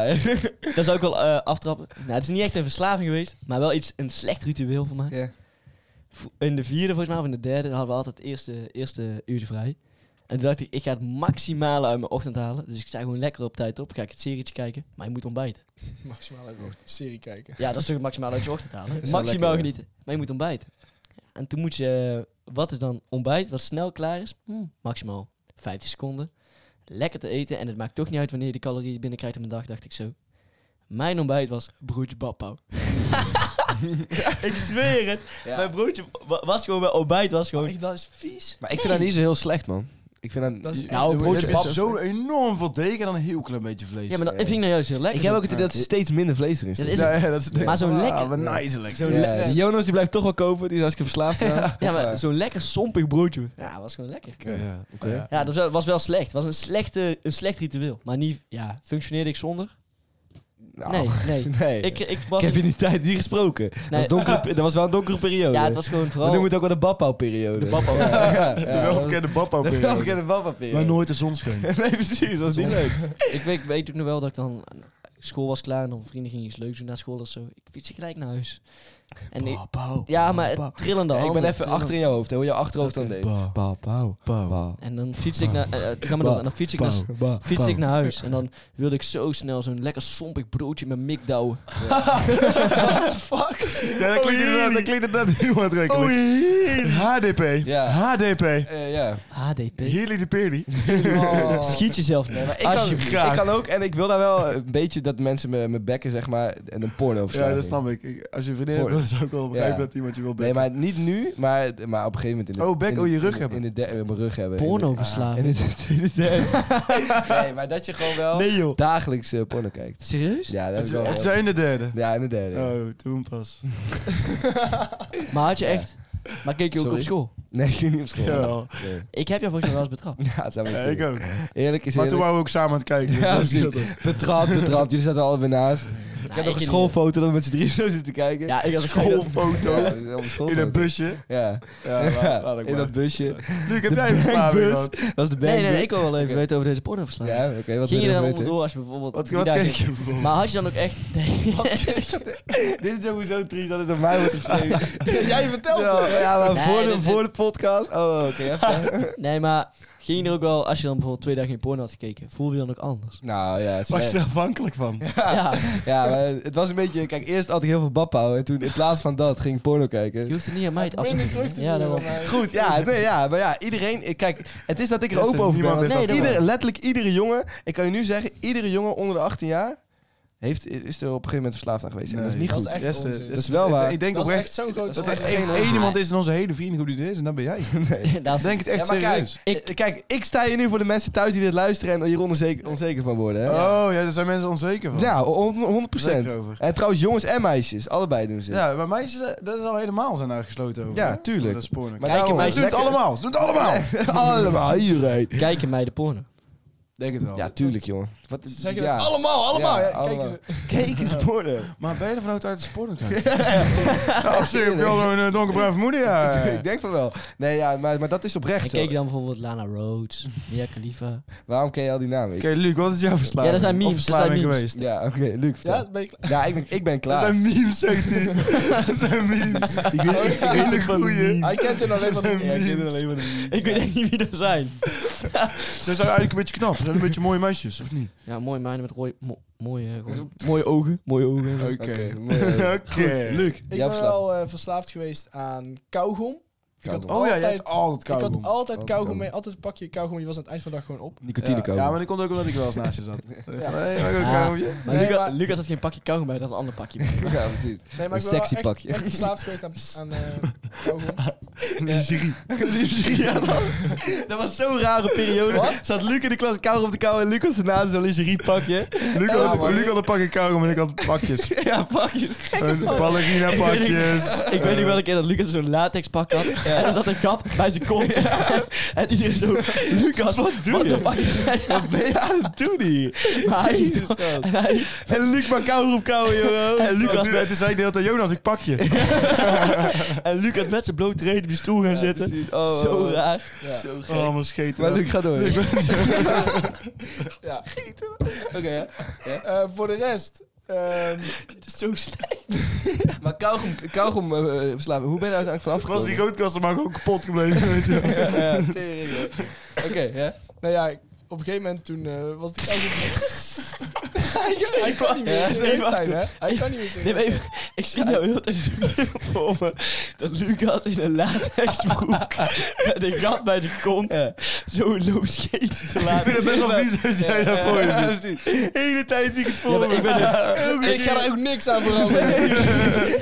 [SPEAKER 3] <laughs> dat zou ik wel eh, aftrappen. Nou, het is niet echt een verslaving geweest, maar wel iets, een slecht ritueel voor mij.
[SPEAKER 2] Ja.
[SPEAKER 3] Vo- In de vierde volgens mij, of in de derde, dan hadden we altijd het eerste, eerste uurtje vrij. En toen dacht ik, ik ga het maximale uit mijn ochtend halen. Dus ik sta gewoon lekker op tijd op, ga ik het serietje kijken. Maar je moet ontbijten.
[SPEAKER 5] Maximaal even een serie kijken.
[SPEAKER 3] Ja, dat is toch het maximaal uit je ochtend halen.
[SPEAKER 2] is wel
[SPEAKER 3] Maximaal
[SPEAKER 2] lekker, ja.
[SPEAKER 3] genieten. Maar je moet ontbijten. En toen moet je, eh, wat is dan ontbijt, wat snel klaar is? Hm, maximaal 15 seconden. Lekker te eten en het maakt toch niet uit wanneer je de calorieën binnenkrijgt op een dag, dacht ik zo. Mijn ontbijt was broodje badpauw. <laughs> ik zweer het.
[SPEAKER 2] Ja.
[SPEAKER 3] Mijn broodje wa- was gewoon, mijn ontbijt was gewoon...
[SPEAKER 5] Echt, dat is vies.
[SPEAKER 2] Maar ik vind dat niet zo heel slecht, man. Ik vind dat...
[SPEAKER 5] Dat is echt-
[SPEAKER 3] Nou,
[SPEAKER 4] Het
[SPEAKER 3] broodje
[SPEAKER 4] is
[SPEAKER 3] bab-
[SPEAKER 4] zo enorm veel deken en dan een heel klein beetje vlees.
[SPEAKER 3] Ja, maar dat vind ik nou juist heel lekker.
[SPEAKER 2] ik heb
[SPEAKER 3] zo.
[SPEAKER 2] ook het idee dat er steeds minder vlees erin
[SPEAKER 3] Dat
[SPEAKER 2] zit.
[SPEAKER 3] is
[SPEAKER 4] Ja,
[SPEAKER 3] het.
[SPEAKER 4] ja, dat is
[SPEAKER 3] Maar zo lekker.
[SPEAKER 4] Ah, wat nice
[SPEAKER 3] Zo
[SPEAKER 4] lekker.
[SPEAKER 2] Ja,
[SPEAKER 3] lekker.
[SPEAKER 2] dus Jonas die blijft toch wel kopen, die is hartstikke verslaafd. eraan.
[SPEAKER 3] Ja, maar zo'n lekker sompig broodje. Ja, was gewoon lekker.
[SPEAKER 4] Ja,
[SPEAKER 2] Oké.
[SPEAKER 4] ja.
[SPEAKER 3] Ja, dat was wel- was wel slecht. Het was een, slechte, een slecht ritueel. Maar niet, ja, functioneerde ik zonder?
[SPEAKER 2] Nou, <laughs>
[SPEAKER 3] Nee, nee.
[SPEAKER 2] nee.
[SPEAKER 3] Ik,
[SPEAKER 2] Ik,
[SPEAKER 3] ik was
[SPEAKER 2] heb
[SPEAKER 3] in-
[SPEAKER 2] in die tijd niet gesproken. Dat, was
[SPEAKER 3] Nee.
[SPEAKER 2] donkere, pe- <laughs> dat was wel een donkere periode.
[SPEAKER 3] Ja, het was gewoon
[SPEAKER 2] We
[SPEAKER 3] vooral...
[SPEAKER 2] noemen het ook wel de babbouwperiode.
[SPEAKER 3] de
[SPEAKER 2] <laughs>
[SPEAKER 3] papa.
[SPEAKER 2] ja, ja,
[SPEAKER 4] De welbekende bappa
[SPEAKER 2] De welbekende babbouwperiode.
[SPEAKER 4] Maar nooit de zon scheen.
[SPEAKER 2] <laughs> Nee, precies. Dat was niet leuk.
[SPEAKER 3] ik weet, weet ook nog wel dat ik dan... School was klaar en dan vrienden gingen iets leuks doen na school of zo. Ik fiets gelijk naar huis. En ik, ja, maar het trillende
[SPEAKER 2] Ja, ik
[SPEAKER 3] handen.
[SPEAKER 2] ben even
[SPEAKER 3] trillende-
[SPEAKER 2] achter in jouw hoofd. hè, Hoe je achterhoofd dan deed.
[SPEAKER 3] En dan fiets ik naar... eh, eh, ga maar door. En dan fiets ik naar... Fiets ik naar huis en dan wilde ik zo snel zo'n lekker sompig broodje met mikdouwen.
[SPEAKER 5] Fuck.
[SPEAKER 4] Ja, dat
[SPEAKER 3] Oh,
[SPEAKER 4] klinkt inderdaad, dat klinkt inderdaad heel aantrekkelijk. HDP.
[SPEAKER 2] Ja.
[SPEAKER 4] HDP.
[SPEAKER 2] Eh, ja.
[SPEAKER 3] HDP.
[SPEAKER 4] Heerly de Perly.
[SPEAKER 2] <laughs>
[SPEAKER 5] Oh.
[SPEAKER 3] Schiet jezelf niet.
[SPEAKER 2] Maar ik, kan,
[SPEAKER 4] Alsjeblieft.
[SPEAKER 2] ik kan ook, en ik wil daar wel een beetje dat mensen me, me bekken, zeg maar, en een porno
[SPEAKER 4] Ja, dat snap ik. Ik- Als je vriendin hebt,
[SPEAKER 2] Hoor.
[SPEAKER 4] dan zou ik wel begrijpen
[SPEAKER 2] Ja.
[SPEAKER 4] dat iemand je wil
[SPEAKER 2] Nee,
[SPEAKER 4] bekken.
[SPEAKER 2] maar niet nu, maar, maar op een gegeven moment in de...
[SPEAKER 4] Oh, bek,
[SPEAKER 2] in de-
[SPEAKER 4] oh, je rug
[SPEAKER 2] in-
[SPEAKER 4] hebben.
[SPEAKER 2] In de de- in mijn rug hebben. In
[SPEAKER 3] Pornoverslaving.
[SPEAKER 2] de, in de- in de derde.
[SPEAKER 4] <laughs>
[SPEAKER 2] nee, maar dat je gewoon wel
[SPEAKER 3] Nee joh.
[SPEAKER 2] dagelijks eh, porno kijkt.
[SPEAKER 3] Serieus?
[SPEAKER 2] Ja, dat
[SPEAKER 4] Het
[SPEAKER 2] is
[SPEAKER 4] is-
[SPEAKER 2] wel...
[SPEAKER 4] Het zijn de derde.
[SPEAKER 2] Ja, in de derde.
[SPEAKER 4] Oh, toen pas.
[SPEAKER 3] Maar had je echt... Maar keek je ook
[SPEAKER 2] Sorry?
[SPEAKER 3] op school?
[SPEAKER 2] Nee, ik ging niet op school.
[SPEAKER 4] Jawel.
[SPEAKER 2] Nee.
[SPEAKER 3] Ik heb jou volgens mij wel eens betrapt.
[SPEAKER 2] Ja, het zou wel
[SPEAKER 4] Ja,
[SPEAKER 2] kunnen.
[SPEAKER 4] ik ook.
[SPEAKER 2] Eerlijk is
[SPEAKER 4] Maar
[SPEAKER 2] eerlijk.
[SPEAKER 4] toen waren we ook samen aan het kijken. dus
[SPEAKER 2] Ja,
[SPEAKER 4] dat
[SPEAKER 2] precies.
[SPEAKER 4] scheelt ook.
[SPEAKER 2] Betrapt, betrapt. Jullie zaten allebei naast. ik heb nog een schoolfoto dat we met z'n drieën zo zitten kijken.
[SPEAKER 3] Ja, ik had een schoolfoto.
[SPEAKER 4] <laughs> Schoolfoto.
[SPEAKER 2] Ja, dat is allemaal
[SPEAKER 4] In
[SPEAKER 2] schoolfoto.
[SPEAKER 4] een busje.
[SPEAKER 2] Ja,
[SPEAKER 4] Ja,
[SPEAKER 2] Ja,
[SPEAKER 4] laat, laat ik
[SPEAKER 2] in dat
[SPEAKER 4] maar.
[SPEAKER 2] busje.
[SPEAKER 4] Luc, heb
[SPEAKER 2] de
[SPEAKER 4] jij een verslaving
[SPEAKER 2] bankbus.
[SPEAKER 4] gehad?
[SPEAKER 2] Dat is de band.
[SPEAKER 3] Nee, nee, nee, ik wil wel even
[SPEAKER 2] Oké.
[SPEAKER 3] weten over deze pornoverslaving.
[SPEAKER 2] Ja, oké, wat
[SPEAKER 3] Ging je
[SPEAKER 2] wil
[SPEAKER 3] er dan
[SPEAKER 2] weten?
[SPEAKER 3] onderdoor als je bijvoorbeeld...
[SPEAKER 4] Wat,
[SPEAKER 3] die
[SPEAKER 4] wat
[SPEAKER 3] daar
[SPEAKER 4] keek
[SPEAKER 3] ging?
[SPEAKER 4] je bijvoorbeeld?
[SPEAKER 3] Maar had je dan ook echt... Nee.
[SPEAKER 2] Dit is sowieso triest dat het op mij wordt geschreven. <laughs>
[SPEAKER 5] Jij vertelt het.
[SPEAKER 2] ja, ja, maar
[SPEAKER 3] Nee,
[SPEAKER 2] voor, de,
[SPEAKER 3] dat-
[SPEAKER 2] voor de podcast. Oh, oké. even.
[SPEAKER 3] <laughs> nee, maar ging je er ook wel... Als je dan bijvoorbeeld twee dagen geen porno had gekeken, voelde je dan ook anders?
[SPEAKER 2] nou ja, het is
[SPEAKER 4] Was je
[SPEAKER 2] wel-
[SPEAKER 4] er afhankelijk van?
[SPEAKER 3] Ja.
[SPEAKER 2] ja, maar het was een beetje. Kijk, eerst had ik heel veel babbouw. En toen in plaats van dat ging ik porno
[SPEAKER 3] Je
[SPEAKER 2] kijken.
[SPEAKER 3] hoeft het niet aan mij te
[SPEAKER 5] Ik ben
[SPEAKER 3] afspreken.
[SPEAKER 5] niet terug te
[SPEAKER 3] Ja,
[SPEAKER 5] voeren
[SPEAKER 3] daarom.
[SPEAKER 5] aan mij.
[SPEAKER 2] Goed, ja, nee, ja, maar ja, iedereen. Kijk, het is dat ik er
[SPEAKER 4] Yes,
[SPEAKER 2] open over ben.
[SPEAKER 4] niemand
[SPEAKER 2] want
[SPEAKER 4] heeft
[SPEAKER 3] dat
[SPEAKER 2] ieder-
[SPEAKER 4] gedaan.
[SPEAKER 2] letterlijk iedere jongen. Ik kan je nu zeggen, iedere jongen onder de 18 jaar heeft, is er op een gegeven moment verslaafd aan geweest. en dat is niet
[SPEAKER 5] dat
[SPEAKER 2] goed.
[SPEAKER 5] is echt
[SPEAKER 4] Yes, eh,
[SPEAKER 5] onzin.
[SPEAKER 2] Dat is wel waar.
[SPEAKER 4] Ik denk
[SPEAKER 5] Dat is
[SPEAKER 4] oprecht
[SPEAKER 5] echt zo'n groot
[SPEAKER 4] dat er
[SPEAKER 5] stap.
[SPEAKER 4] echt één één iemand is in onze hele vriendengroep die dit is. En dat ben
[SPEAKER 2] <laughs>
[SPEAKER 4] jij.
[SPEAKER 3] Dat <laughs>
[SPEAKER 4] Ik denk het echt
[SPEAKER 2] Ja, maar kijk,
[SPEAKER 4] serieus.
[SPEAKER 2] Ik, kijk, ik sta hier nu voor de mensen thuis die dit luisteren en hier onzeker, onzeker van worden. Hè?
[SPEAKER 4] Oh, ja, daar zijn mensen onzeker van.
[SPEAKER 2] Ja, hon- 100 procent.
[SPEAKER 4] Zeker over.
[SPEAKER 2] En trouwens, jongens en meisjes, allebei doen ze. het.
[SPEAKER 4] Ja, maar meisjes, eh, dat is al helemaal zijn daar gesloten over.
[SPEAKER 2] Ja,
[SPEAKER 4] hè?
[SPEAKER 2] tuurlijk.
[SPEAKER 4] Dat is porno.
[SPEAKER 2] Maar
[SPEAKER 4] Maar
[SPEAKER 3] Kijk,
[SPEAKER 2] daarom-
[SPEAKER 3] maar
[SPEAKER 2] <laughs>
[SPEAKER 4] ze doen het allemaal. Ze doen het allemaal.
[SPEAKER 2] Allemaal, iedereen.
[SPEAKER 3] Kijken mij de porno.
[SPEAKER 4] Denk het wel.
[SPEAKER 2] Ja, tuurlijk, jongen. Wat,
[SPEAKER 5] Ze zeggen
[SPEAKER 2] ja.
[SPEAKER 5] dat allemaal, allemaal.
[SPEAKER 2] Ja,
[SPEAKER 5] Ja, kijk
[SPEAKER 2] allemaal.
[SPEAKER 5] eens.
[SPEAKER 2] Kijk eens, porno.
[SPEAKER 4] Maar ben je er vanuit uit de sport gaan?
[SPEAKER 2] <laughs>
[SPEAKER 4] ja, op zich heb je al een eh, donkerbruin vermoeden,
[SPEAKER 2] <laughs>
[SPEAKER 4] ja.
[SPEAKER 2] ik denk van wel. Nee, ja, maar, maar dat is oprecht
[SPEAKER 3] En
[SPEAKER 2] zo.
[SPEAKER 3] keek je dan bijvoorbeeld Lana Rhodes, Mia Khalifa.
[SPEAKER 2] Waarom ken je al die namen? Ik-
[SPEAKER 4] Oké, Luc, wat is jouw verslaving?
[SPEAKER 3] Ja, dat zijn
[SPEAKER 4] Of
[SPEAKER 3] memes, dat zijn
[SPEAKER 4] verslaving
[SPEAKER 3] memes.
[SPEAKER 4] geweest.
[SPEAKER 2] Ja, oké, Luc, vertel.
[SPEAKER 5] Ja,
[SPEAKER 2] Ja,
[SPEAKER 5] ben je klaar?
[SPEAKER 2] ik, ben, ik ben klaar.
[SPEAKER 4] Dat zijn memes, zegt hij. <laughs> Dat zijn memes.
[SPEAKER 2] Ik weet, ik
[SPEAKER 5] Ja,
[SPEAKER 2] weet niet
[SPEAKER 4] van
[SPEAKER 2] van
[SPEAKER 4] die
[SPEAKER 2] die
[SPEAKER 4] meme.
[SPEAKER 5] Hij kent er alleen maar
[SPEAKER 4] <laughs> Ja, ik ken er alleen
[SPEAKER 2] maar
[SPEAKER 3] Ik weet echt niet wie dat zijn.
[SPEAKER 4] Ze zijn eigenlijk een beetje knap. Ze zijn een beetje mooie meisjes, of niet?
[SPEAKER 3] Ja, mooie meiden met rooi, mo- mooie, mooie ogen. Mooie ogen.
[SPEAKER 4] Oké.
[SPEAKER 2] Oké.
[SPEAKER 4] <laughs> Oké.
[SPEAKER 2] Luc,
[SPEAKER 5] Ik
[SPEAKER 2] jouw
[SPEAKER 5] ben
[SPEAKER 2] verslag.
[SPEAKER 5] wel eh, verslaafd geweest aan kauwgom. Ik had
[SPEAKER 2] Kauwgom.
[SPEAKER 4] Oh ja, je
[SPEAKER 5] altijd-
[SPEAKER 4] hebt altijd
[SPEAKER 5] Ik had
[SPEAKER 4] kauwgom.
[SPEAKER 5] altijd kauwgom
[SPEAKER 2] kauwgom.
[SPEAKER 5] mee, altijd een pakje kauwgom. Je was aan het eind van de dag gewoon op.
[SPEAKER 2] Nicotine
[SPEAKER 4] ja,
[SPEAKER 2] komen.
[SPEAKER 4] ja, maar dat komt ook omdat ik wel eens naast je zat. ja.
[SPEAKER 3] Maar,
[SPEAKER 5] Nee,
[SPEAKER 3] Luca-
[SPEAKER 5] maar-
[SPEAKER 3] Lucas had geen pakje kauwgom bij, dat had een ander
[SPEAKER 2] <laughs>
[SPEAKER 3] pakje. <laughs>
[SPEAKER 2] Ja, precies. Een
[SPEAKER 5] Nee, ik ben wel
[SPEAKER 2] sexy
[SPEAKER 5] echt,
[SPEAKER 2] pakje.
[SPEAKER 5] echt verslaafd geweest aan, aan eh, kauwgom.
[SPEAKER 4] Lingerie.
[SPEAKER 2] Dat was zo'n rare periode. Zat Luc in de klas kauwgom te kauwen en Luc was daarna zo'n
[SPEAKER 3] <laughs>
[SPEAKER 2] lingerie-pakje.
[SPEAKER 4] Luc
[SPEAKER 5] Ja,
[SPEAKER 4] had,
[SPEAKER 5] maar-
[SPEAKER 4] Luc had een pakje kauwgom en ik had pakjes.
[SPEAKER 2] ja, <laughs> pakjes.
[SPEAKER 4] Een ballerina pakjes.
[SPEAKER 3] Ik weet nog wel een keer dat Lucas zo'n latex pak had. En er zat een gat bij zijn kont. En, <laughs> en iedereen zo, Lucas, wat doe je? <laughs>
[SPEAKER 2] Wat ben je aan het doen hier?
[SPEAKER 3] Maar
[SPEAKER 2] <laughs>
[SPEAKER 3] hij-
[SPEAKER 2] Jezus, gast.
[SPEAKER 3] <laughs> en hij-
[SPEAKER 2] En Luc maar kauwgom kauwen, jongen.
[SPEAKER 3] en Lucas,
[SPEAKER 4] Het is eigenlijk de hele tijd, Jonas, ik pak je.
[SPEAKER 3] en Lucas met zijn blote reet op die stoel gaan zitten.
[SPEAKER 2] precies. Oh, oh,
[SPEAKER 3] Zo
[SPEAKER 2] oh.
[SPEAKER 3] raar.
[SPEAKER 5] Ja.
[SPEAKER 4] Oh, maar scheten.
[SPEAKER 2] Maar Luc, ga door.
[SPEAKER 4] <laughs>
[SPEAKER 5] Ja.
[SPEAKER 2] <laughs> Oké, ja.
[SPEAKER 5] Eh, voor de rest, ehm,
[SPEAKER 3] Het is zo slecht.
[SPEAKER 2] Maar kauwgom, kauwgom eh, eh, verslaving, hoe ben je daar uiteindelijk vanaf
[SPEAKER 4] was die
[SPEAKER 2] gekomen?
[SPEAKER 4] roodkast er maar gewoon kapot gebleven, weet je.
[SPEAKER 2] Ja, tering, joh. Oké, ja.
[SPEAKER 5] nou ja, ik- op een gegeven moment toen eh, was de kauwgom... hij, kan- hij kan niet
[SPEAKER 3] Ja,
[SPEAKER 5] meer
[SPEAKER 3] nee,
[SPEAKER 5] serieus
[SPEAKER 3] wacht,
[SPEAKER 5] zijn, hè? <laughs>
[SPEAKER 3] hoor.
[SPEAKER 5] Hij kan niet meer serieus
[SPEAKER 3] Nee, maar even, ik zie jou heel de tijd in de film voor me. Dat Lucas in een latexbroek <laughs> met een gat bij zijn kont zo loopt scheten te
[SPEAKER 4] Ik
[SPEAKER 3] laten
[SPEAKER 4] vind het best wel
[SPEAKER 3] zitten.
[SPEAKER 4] vies als jij dat voor je
[SPEAKER 2] Ja,
[SPEAKER 4] zit.
[SPEAKER 2] precies.
[SPEAKER 4] De hele tijd zie ik het voor
[SPEAKER 3] Ja, maar
[SPEAKER 4] me.
[SPEAKER 3] ik ben een,
[SPEAKER 5] zijn. Ik ga er ook niks aan veranderen.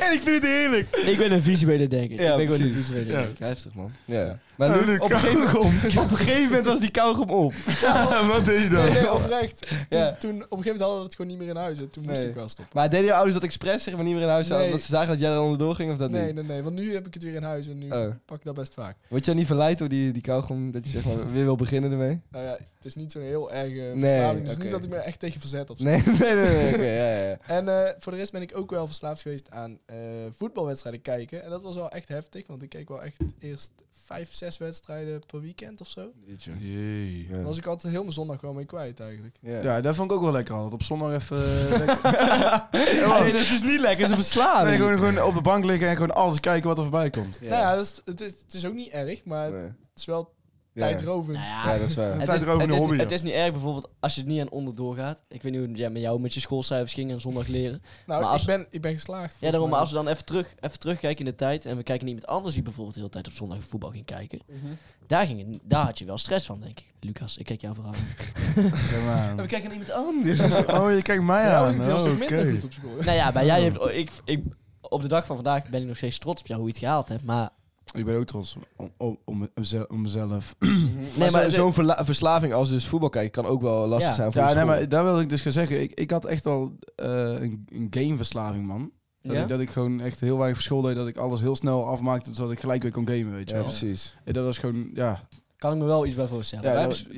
[SPEAKER 4] En ik vind het heerlijk. <laughs>
[SPEAKER 3] ik ben een visuele denker.
[SPEAKER 2] Ja,
[SPEAKER 3] ik ben gewoon een
[SPEAKER 2] precies.
[SPEAKER 3] visuele denker.
[SPEAKER 2] Heftig, man. Ja. Maar
[SPEAKER 4] Nou,
[SPEAKER 2] Luc,
[SPEAKER 4] Luc,
[SPEAKER 2] op een gegeven
[SPEAKER 4] kauwgom.
[SPEAKER 2] Op een gegeven moment was die kauwgom op.
[SPEAKER 4] Wat deed je
[SPEAKER 5] Nee,
[SPEAKER 4] dan?
[SPEAKER 5] nee, oprecht. Toen,
[SPEAKER 2] Ja.
[SPEAKER 5] toen, op een gegeven moment hadden we dat gewoon niet meer in huis. En toen moest
[SPEAKER 2] Nee.
[SPEAKER 5] ik wel stoppen.
[SPEAKER 2] Maar deden jouw ouders dat expres, zeg maar, niet meer in huis halen?
[SPEAKER 5] Nee.
[SPEAKER 2] Omdat ze zagen dat jij er onderdoor ging, of dat
[SPEAKER 5] Nee,
[SPEAKER 2] niet?
[SPEAKER 5] nee, nee. Want nu heb ik het weer in huis en nu
[SPEAKER 2] Oh.
[SPEAKER 5] pak ik dat best vaak.
[SPEAKER 2] Word je dan niet verleid door die, die kauwgom, dat je zeg maar <laughs> weer wil beginnen ermee?
[SPEAKER 5] Nou ja, het is niet zo'n heel erg eh
[SPEAKER 2] Nee,
[SPEAKER 5] verslaving. Dus
[SPEAKER 2] oké.
[SPEAKER 5] niet dat ik me echt tegen verzet of zo.
[SPEAKER 2] Nee, <laughs> nee, nee, nee, oké, ja, ja, ja.
[SPEAKER 5] En eh, voor de rest ben ik ook wel verslaafd geweest aan eh, voetbalwedstrijden kijken. En dat was wel echt heftig, want ik keek wel echt eerst vijf, zes wedstrijden per weekend of zo.
[SPEAKER 4] Jee.
[SPEAKER 5] Dan was ik altijd heel mijn zondag gewoon mee kwijt eigenlijk.
[SPEAKER 2] Ja.
[SPEAKER 4] Ja, dat vond ik ook wel lekker altijd. Op zondag even... <laughs> eh, lekker-
[SPEAKER 2] Nee, dat is dus niet lekker, ze verslaan.
[SPEAKER 4] Nee, gewoon, gewoon op de bank liggen en gewoon alles kijken wat er voorbij komt.
[SPEAKER 2] Ja.
[SPEAKER 5] Nou ja, dat is, het, is, het is ook niet erg, maar
[SPEAKER 2] Nee.
[SPEAKER 5] het is wel
[SPEAKER 2] Ja.
[SPEAKER 5] tijdrovend.
[SPEAKER 3] Nou ja,
[SPEAKER 2] Ja, dat is waar.
[SPEAKER 4] Het is erover
[SPEAKER 3] het,
[SPEAKER 4] een
[SPEAKER 3] is
[SPEAKER 4] hobby.
[SPEAKER 3] niet,
[SPEAKER 4] joh.
[SPEAKER 3] het is niet erg bijvoorbeeld als je het niet aan onderdoor gaat. Ik weet niet hoe het ja, met jou met je schoolcijfers ging en zondag leren.
[SPEAKER 5] Nou,
[SPEAKER 3] Maar als-
[SPEAKER 5] ik, ben, ik ben geslaagd.
[SPEAKER 3] Ja, daarom, maar als
[SPEAKER 5] volgens
[SPEAKER 3] we dan even, terug, even terugkijken in de tijd en we kijken naar iemand anders die bijvoorbeeld de hele tijd op zondag voetbal ging kijken. daar, ging het- daar had je wel stress van, denk ik. Lucas, ik kijk jou vooral. aan.
[SPEAKER 2] We kijken naar iemand anders.
[SPEAKER 4] <laughs> Oh, je kijkt mij
[SPEAKER 5] mij. Ja,
[SPEAKER 4] aan.
[SPEAKER 5] ik was
[SPEAKER 4] Oh,
[SPEAKER 5] ook minder
[SPEAKER 4] oké.
[SPEAKER 5] goed op school.
[SPEAKER 3] nou ja, maar jij hebt, ik, ik, op de dag van vandaag ben ik nog steeds trots op jou hoe je het gehaald hebt. Maar
[SPEAKER 4] Ik ben ook trots om, om, om, mezelf- om mezelf.
[SPEAKER 2] Nee, maar
[SPEAKER 3] het-
[SPEAKER 2] zo'n verla- verslaving als dus voetbal kijken kan ook wel lastig
[SPEAKER 3] Ja.
[SPEAKER 2] zijn voor
[SPEAKER 4] Ja,
[SPEAKER 2] je
[SPEAKER 4] nee,
[SPEAKER 2] school.
[SPEAKER 4] maar daar wil ik dus gaan zeggen. Ik, ik had echt al eh, een, een gameverslaving, man. Dat,
[SPEAKER 3] Ja?
[SPEAKER 4] ik, dat ik gewoon echt heel weinig verschil deed. Dat ik alles heel snel afmaakte, zodat ik gelijk weer kon gamen, weet je
[SPEAKER 2] Ja,
[SPEAKER 4] wel.
[SPEAKER 2] precies.
[SPEAKER 4] En dat was gewoon, ja,
[SPEAKER 3] kan ik me wel iets bij voorstellen.
[SPEAKER 4] Ja,
[SPEAKER 2] Wij
[SPEAKER 4] dat-
[SPEAKER 2] hebben-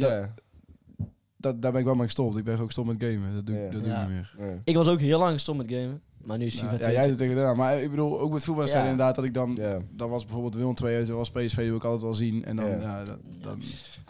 [SPEAKER 2] ja.
[SPEAKER 4] dat, daar ben ik wel mee gestopt. Ik ben ook gestopt met gamen. Dat doe, ik-
[SPEAKER 2] Ja.
[SPEAKER 4] dat doe
[SPEAKER 3] Ja. Dus
[SPEAKER 4] ik niet meer.
[SPEAKER 2] Nee.
[SPEAKER 3] Ik was ook heel lang gestopt met gamen, maar nu is FIFA
[SPEAKER 4] Nou, ja,
[SPEAKER 3] 20.
[SPEAKER 4] jij doet tegen daarna. Maar ik bedoel, ook met voetbalwedstrijden
[SPEAKER 3] Ja.
[SPEAKER 4] inderdaad, dat ik dan...
[SPEAKER 2] Ja.
[SPEAKER 4] Dan was bijvoorbeeld Willem 2 uit, dan was PSV, die wil ik altijd wel zien. En dan,
[SPEAKER 2] Ja.
[SPEAKER 4] ja. dat- dan,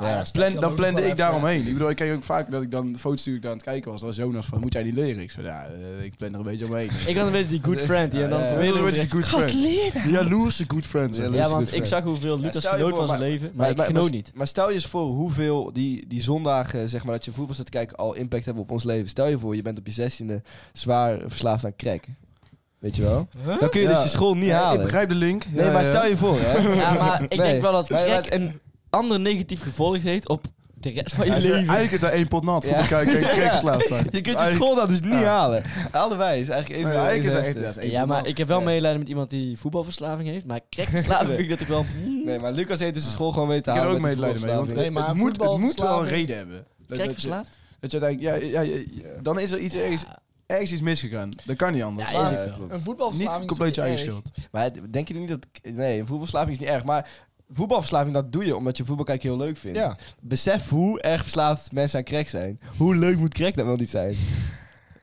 [SPEAKER 2] Ja.
[SPEAKER 4] plan, dan
[SPEAKER 5] ook
[SPEAKER 4] plande
[SPEAKER 5] wel
[SPEAKER 4] ik
[SPEAKER 5] even,
[SPEAKER 4] daaromheen. Ik bedoel, ik kreeg ook vaak dat ik dan foto's die ik daar aan het kijken was. Dan was Jonas van, moet jij die leren? Ik zei, ja, eh, ik plan er een beetje omheen.
[SPEAKER 3] Ik was een beetje die good
[SPEAKER 2] <laughs>
[SPEAKER 3] friend die en dan
[SPEAKER 2] Ja, ja, ja.
[SPEAKER 4] Weet je
[SPEAKER 3] probeerde
[SPEAKER 4] wel,
[SPEAKER 3] ik
[SPEAKER 4] een beetje
[SPEAKER 3] direct-
[SPEAKER 4] good friend. Die Jaloerse good friend.
[SPEAKER 2] Ja,
[SPEAKER 4] zeg.
[SPEAKER 3] Ja,
[SPEAKER 2] Lucas
[SPEAKER 3] want
[SPEAKER 2] good
[SPEAKER 3] ik
[SPEAKER 2] friend.
[SPEAKER 3] zag hoeveel Lucas
[SPEAKER 2] stel je
[SPEAKER 3] genoot
[SPEAKER 2] voor,
[SPEAKER 3] van zijn
[SPEAKER 2] maar-
[SPEAKER 3] leven, maar, ik genoot niet.
[SPEAKER 2] Maar stel je eens voor hoeveel die, die zondagen, zeg maar, dat je voetbal zat te kijken, al impact hebben op ons leven. Stel je voor, je bent op je zestiende zwaar verslaafd aan crack. Weet je wel? Dan kun je dus
[SPEAKER 4] Ja.
[SPEAKER 2] je school niet
[SPEAKER 4] Ja, Ik
[SPEAKER 2] halen.
[SPEAKER 4] begrijp de link.
[SPEAKER 2] Nee,
[SPEAKER 4] Ja,
[SPEAKER 2] maar
[SPEAKER 4] ja.
[SPEAKER 2] stel je voor, hè?
[SPEAKER 4] <laughs>
[SPEAKER 3] Ja, maar ik
[SPEAKER 2] Nee.
[SPEAKER 3] denk wel dat
[SPEAKER 2] Maar-
[SPEAKER 3] crack een ander negatief gevolg heeft op de rest van je
[SPEAKER 4] Hij is-
[SPEAKER 3] leven.
[SPEAKER 4] Eigenlijk is daar één pot nat voor
[SPEAKER 2] <laughs> Ja.
[SPEAKER 4] elkaar en crackverslaafd zijn.
[SPEAKER 2] Je kunt je
[SPEAKER 4] Eigenlijk-
[SPEAKER 2] school dan dus niet
[SPEAKER 4] Ja.
[SPEAKER 2] halen. Allebei is eigenlijk even...
[SPEAKER 4] Nee, eigenlijk is dat echt-
[SPEAKER 2] even-
[SPEAKER 4] dat is één
[SPEAKER 3] Ja,
[SPEAKER 4] pot
[SPEAKER 3] maar
[SPEAKER 4] nat.
[SPEAKER 3] ik heb wel
[SPEAKER 2] Ja.
[SPEAKER 3] medelijden met iemand die voetbalverslaving heeft, maar crackverslaving vind ik dat ik wel...
[SPEAKER 2] Nee, maar Lucas heeft dus de school gewoon weten te
[SPEAKER 4] Ik heb er
[SPEAKER 2] houden.
[SPEAKER 4] ook
[SPEAKER 2] met die
[SPEAKER 4] medelijden mee. Want
[SPEAKER 2] voetbalverslaving.
[SPEAKER 5] Nee, maar
[SPEAKER 4] het, moet, het moet wel een
[SPEAKER 5] voetbalverslaving-
[SPEAKER 4] reden hebben. Dat, dat, je,
[SPEAKER 3] Crackverslaafd?
[SPEAKER 4] dat je uiteindelijk... Ja, ja, ja, ja, dan is er iets ergens, ergens iets misgegaan. Dat kan niet anders.
[SPEAKER 3] Ja,
[SPEAKER 4] Maar
[SPEAKER 3] is het
[SPEAKER 2] klopt.
[SPEAKER 5] Een
[SPEAKER 4] niet
[SPEAKER 5] voetbalverslaving
[SPEAKER 4] compleet je eigen
[SPEAKER 5] is toch niet erg?
[SPEAKER 4] schuld.
[SPEAKER 2] Maar het- denk je nu niet dat... Nee, een voetbalverslaving is niet erg, maar... voetbalverslaving, dat doe je omdat je voetbal kijken heel leuk vindt.
[SPEAKER 5] Ja.
[SPEAKER 2] Besef hoe erg verslaafd mensen aan crack zijn. Hoe leuk moet crack dan wel niet zijn?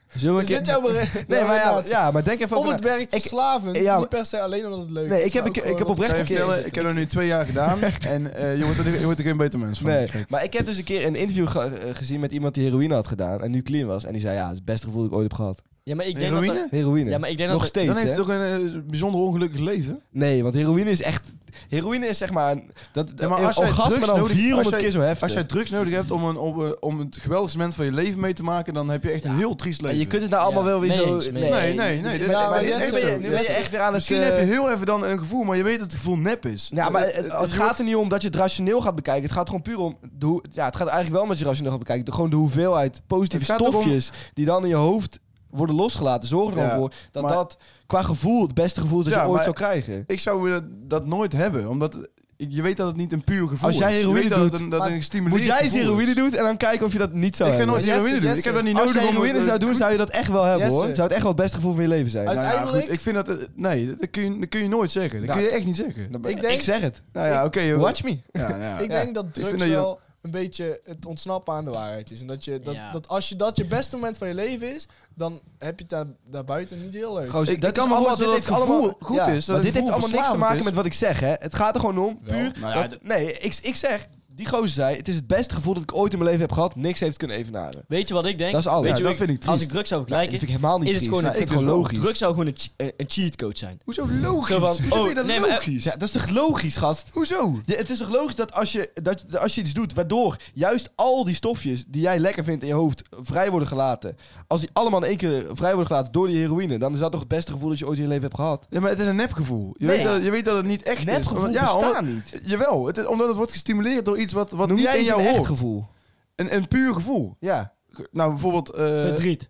[SPEAKER 2] Zullen we
[SPEAKER 5] Is
[SPEAKER 2] een
[SPEAKER 5] dit
[SPEAKER 2] keer-
[SPEAKER 5] jouw bere-
[SPEAKER 2] Nee,
[SPEAKER 5] jouw
[SPEAKER 2] maar ja,
[SPEAKER 5] relatie?
[SPEAKER 2] ja, maar denk even
[SPEAKER 5] Of
[SPEAKER 2] over
[SPEAKER 5] het
[SPEAKER 2] na.
[SPEAKER 5] werkt
[SPEAKER 2] Ik-
[SPEAKER 5] verslavend,
[SPEAKER 2] ja,
[SPEAKER 5] niet per se alleen omdat het leuk is.
[SPEAKER 2] Nee, ik heb,
[SPEAKER 5] maar
[SPEAKER 2] ik,
[SPEAKER 5] ook
[SPEAKER 2] ik heb
[SPEAKER 5] gewoon
[SPEAKER 2] oprecht
[SPEAKER 5] omdat
[SPEAKER 4] Zou
[SPEAKER 2] een
[SPEAKER 4] je
[SPEAKER 2] keer...
[SPEAKER 4] vertellen, ik heb er nu twee jaar
[SPEAKER 2] <laughs>
[SPEAKER 4] gedaan en eh, je, wordt er, je wordt er geen beter mens van.
[SPEAKER 2] Nee,
[SPEAKER 4] Kijk.
[SPEAKER 2] maar ik heb dus een keer een interview ge- eh, gezien met iemand die heroïne had gedaan en nu clean was. En die zei, ja, het is het beste gevoel dat ik ooit heb gehad.
[SPEAKER 3] Ja, maar ik denk dat...
[SPEAKER 4] Heroïne?
[SPEAKER 3] dat-
[SPEAKER 2] Heroïne.
[SPEAKER 3] Ja, maar ik denk
[SPEAKER 2] Nog
[SPEAKER 3] dat...
[SPEAKER 2] steeds,
[SPEAKER 4] Dan heeft
[SPEAKER 2] hè?
[SPEAKER 4] het toch een eh, bijzonder ongelukkig leven?
[SPEAKER 2] Nee, want heroïne is echt... Heroïne is zeg maar... een- Dat,
[SPEAKER 4] Ja, maar als
[SPEAKER 2] een
[SPEAKER 4] jij
[SPEAKER 2] orgasme
[SPEAKER 4] drugs
[SPEAKER 2] dan
[SPEAKER 4] nodig-
[SPEAKER 2] 400
[SPEAKER 4] als jij-
[SPEAKER 2] keer zo heftig.
[SPEAKER 4] Als jij drugs nodig hebt om, een, om, eh, om het geweldigste moment van je leven mee te maken, dan heb je echt een heel triest
[SPEAKER 2] Ja,
[SPEAKER 4] leven.
[SPEAKER 2] je kunt het nou allemaal
[SPEAKER 3] Ja,
[SPEAKER 2] wel weer
[SPEAKER 3] mee
[SPEAKER 2] zo...
[SPEAKER 3] eens, mee
[SPEAKER 4] Nee, nee, nee. dit-
[SPEAKER 5] maar-
[SPEAKER 4] dit
[SPEAKER 5] maar
[SPEAKER 4] is
[SPEAKER 5] Jesse,
[SPEAKER 4] echt
[SPEAKER 2] nu ben je-
[SPEAKER 4] zo.
[SPEAKER 2] nu ben je echt weer aan het...
[SPEAKER 4] Misschien
[SPEAKER 2] eh,
[SPEAKER 4] heb je heel even dan een gevoel, maar je weet dat het gevoel nep is.
[SPEAKER 2] Ja, maar
[SPEAKER 4] Eh,
[SPEAKER 2] het,
[SPEAKER 4] eh,
[SPEAKER 2] het
[SPEAKER 4] je
[SPEAKER 2] gaat er niet om dat je het rationeel gaat bekijken. Het gaat gewoon puur om... De, hoe- ja, het gaat eigenlijk wel met je rationeel gaat bekijken. De, gewoon de hoeveelheid positieve
[SPEAKER 4] Het gaat erom-
[SPEAKER 2] stofjes die dan in je hoofd worden losgelaten. Zorg er gewoon
[SPEAKER 4] Ja,
[SPEAKER 2] voor dat
[SPEAKER 4] maar-
[SPEAKER 2] dat qua gevoel het beste gevoel is dat
[SPEAKER 4] Ja,
[SPEAKER 2] je ooit
[SPEAKER 4] maar-
[SPEAKER 2] zou krijgen.
[SPEAKER 4] Ik zou eh, dat nooit hebben, omdat je weet dat het niet een puur gevoel
[SPEAKER 2] Als jij
[SPEAKER 4] is. Je
[SPEAKER 2] heroïne
[SPEAKER 4] weet dat
[SPEAKER 2] doet,
[SPEAKER 4] het een, dat
[SPEAKER 5] maar
[SPEAKER 4] het een gestimuleerd
[SPEAKER 2] Moet jij eens
[SPEAKER 4] gevoel
[SPEAKER 2] heroïne
[SPEAKER 4] is.
[SPEAKER 2] doen en dan kijken of je dat niet zou
[SPEAKER 4] Ik ga
[SPEAKER 2] hebben.
[SPEAKER 4] nooit
[SPEAKER 5] Jesse,
[SPEAKER 4] heroïne doen. Ik
[SPEAKER 5] Jesse.
[SPEAKER 4] heb dat niet
[SPEAKER 2] Als
[SPEAKER 4] nodig
[SPEAKER 2] jij
[SPEAKER 4] om...
[SPEAKER 2] heroïne zou doen, zou je dat echt wel hebben
[SPEAKER 5] Jesse.
[SPEAKER 2] hoor. Zou het echt wel het beste gevoel van je leven zijn.
[SPEAKER 5] Uit-
[SPEAKER 4] Nou ja,
[SPEAKER 5] Uiteindelijk-
[SPEAKER 4] goed, ik vind dat... eh, Nee, dat kun je, dat kun je nooit zeggen. Dat
[SPEAKER 2] Nou,
[SPEAKER 4] kun je echt niet zeggen.
[SPEAKER 2] Dan-
[SPEAKER 5] ik denk-
[SPEAKER 2] zeg het.
[SPEAKER 4] Nou ja, oké. je-
[SPEAKER 2] Watch me.
[SPEAKER 4] Ja, nou ja.
[SPEAKER 5] Ik
[SPEAKER 2] Ja.
[SPEAKER 5] denk dat
[SPEAKER 4] vind
[SPEAKER 5] drugs
[SPEAKER 4] dat je-
[SPEAKER 5] wel een beetje het ontsnappen aan de waarheid is. En dat, je, dat,
[SPEAKER 3] Ja.
[SPEAKER 5] dat als je dat je beste moment van je leven is, dan heb je het daar, daarbuiten niet heel leuk.
[SPEAKER 2] Goos,
[SPEAKER 4] Ik-
[SPEAKER 2] dat
[SPEAKER 4] ik kan
[SPEAKER 2] is
[SPEAKER 4] me
[SPEAKER 2] allemaal-
[SPEAKER 4] voorstellen
[SPEAKER 2] dit
[SPEAKER 4] dat het
[SPEAKER 2] heeft
[SPEAKER 4] gevoel goed is,
[SPEAKER 2] maar
[SPEAKER 4] dat het
[SPEAKER 2] dit heeft
[SPEAKER 4] gevoel
[SPEAKER 2] allemaal niks te maken
[SPEAKER 4] verslavend
[SPEAKER 2] met wat ik zeg, hè. Het gaat er gewoon om,
[SPEAKER 5] Wel.
[SPEAKER 2] puur...
[SPEAKER 4] Nou ja,
[SPEAKER 2] dat- nee, ik, ik zeg... Die gozer zei, het is het beste gevoel dat ik ooit in mijn leven heb gehad. Niks heeft kunnen evenaren.
[SPEAKER 3] Weet je wat ik denk?
[SPEAKER 2] Dat is alles.
[SPEAKER 3] Weet
[SPEAKER 2] Ja,
[SPEAKER 3] je
[SPEAKER 2] dat
[SPEAKER 3] wat
[SPEAKER 2] vind ik
[SPEAKER 3] Als ik
[SPEAKER 2] triest.
[SPEAKER 3] drugs zou
[SPEAKER 2] Ja, dat
[SPEAKER 3] vergelijken,
[SPEAKER 2] vind ik helemaal niet
[SPEAKER 3] is het
[SPEAKER 2] triest.
[SPEAKER 3] gewoon,
[SPEAKER 2] Nou,
[SPEAKER 3] een,
[SPEAKER 2] ik vind het gewoon logisch.
[SPEAKER 3] drugs zou gewoon een, che- een, een cheatcode zijn.
[SPEAKER 4] Hoezo logisch?
[SPEAKER 3] Zo van,
[SPEAKER 4] Hoezo
[SPEAKER 3] oh,
[SPEAKER 4] vind je dat
[SPEAKER 3] nee, maar-
[SPEAKER 4] logisch?
[SPEAKER 2] Ja, dat is toch logisch, gast?
[SPEAKER 4] Hoezo?
[SPEAKER 2] Ja, het is toch logisch dat als, je, dat, dat als je iets doet waardoor juist al die stofjes die jij lekker vindt in je hoofd vrij worden gelaten. Als die allemaal in één keer vrij worden gelaten door die heroïne, dan is dat toch het beste gevoel dat je ooit in je leven hebt gehad?
[SPEAKER 4] Ja, maar het is een nepgevoel. Je,
[SPEAKER 2] Nee.
[SPEAKER 4] weet, dat, je weet dat het niet echt is.
[SPEAKER 2] Nepgevoel
[SPEAKER 4] Omdat-
[SPEAKER 2] ja,
[SPEAKER 4] omdat-
[SPEAKER 2] bestaan niet.
[SPEAKER 4] Jawel, het is, omdat het wordt gestimuleerd door iets wat, wat
[SPEAKER 2] Noem
[SPEAKER 4] niet
[SPEAKER 2] jij
[SPEAKER 4] in
[SPEAKER 2] eens
[SPEAKER 4] jou
[SPEAKER 2] een echt
[SPEAKER 4] hoort.
[SPEAKER 2] gevoel?
[SPEAKER 4] Een, een puur gevoel.
[SPEAKER 2] Ja.
[SPEAKER 4] Ge- Nou, bijvoorbeeld...
[SPEAKER 2] <laughs>
[SPEAKER 4] eh,
[SPEAKER 3] Verdriet.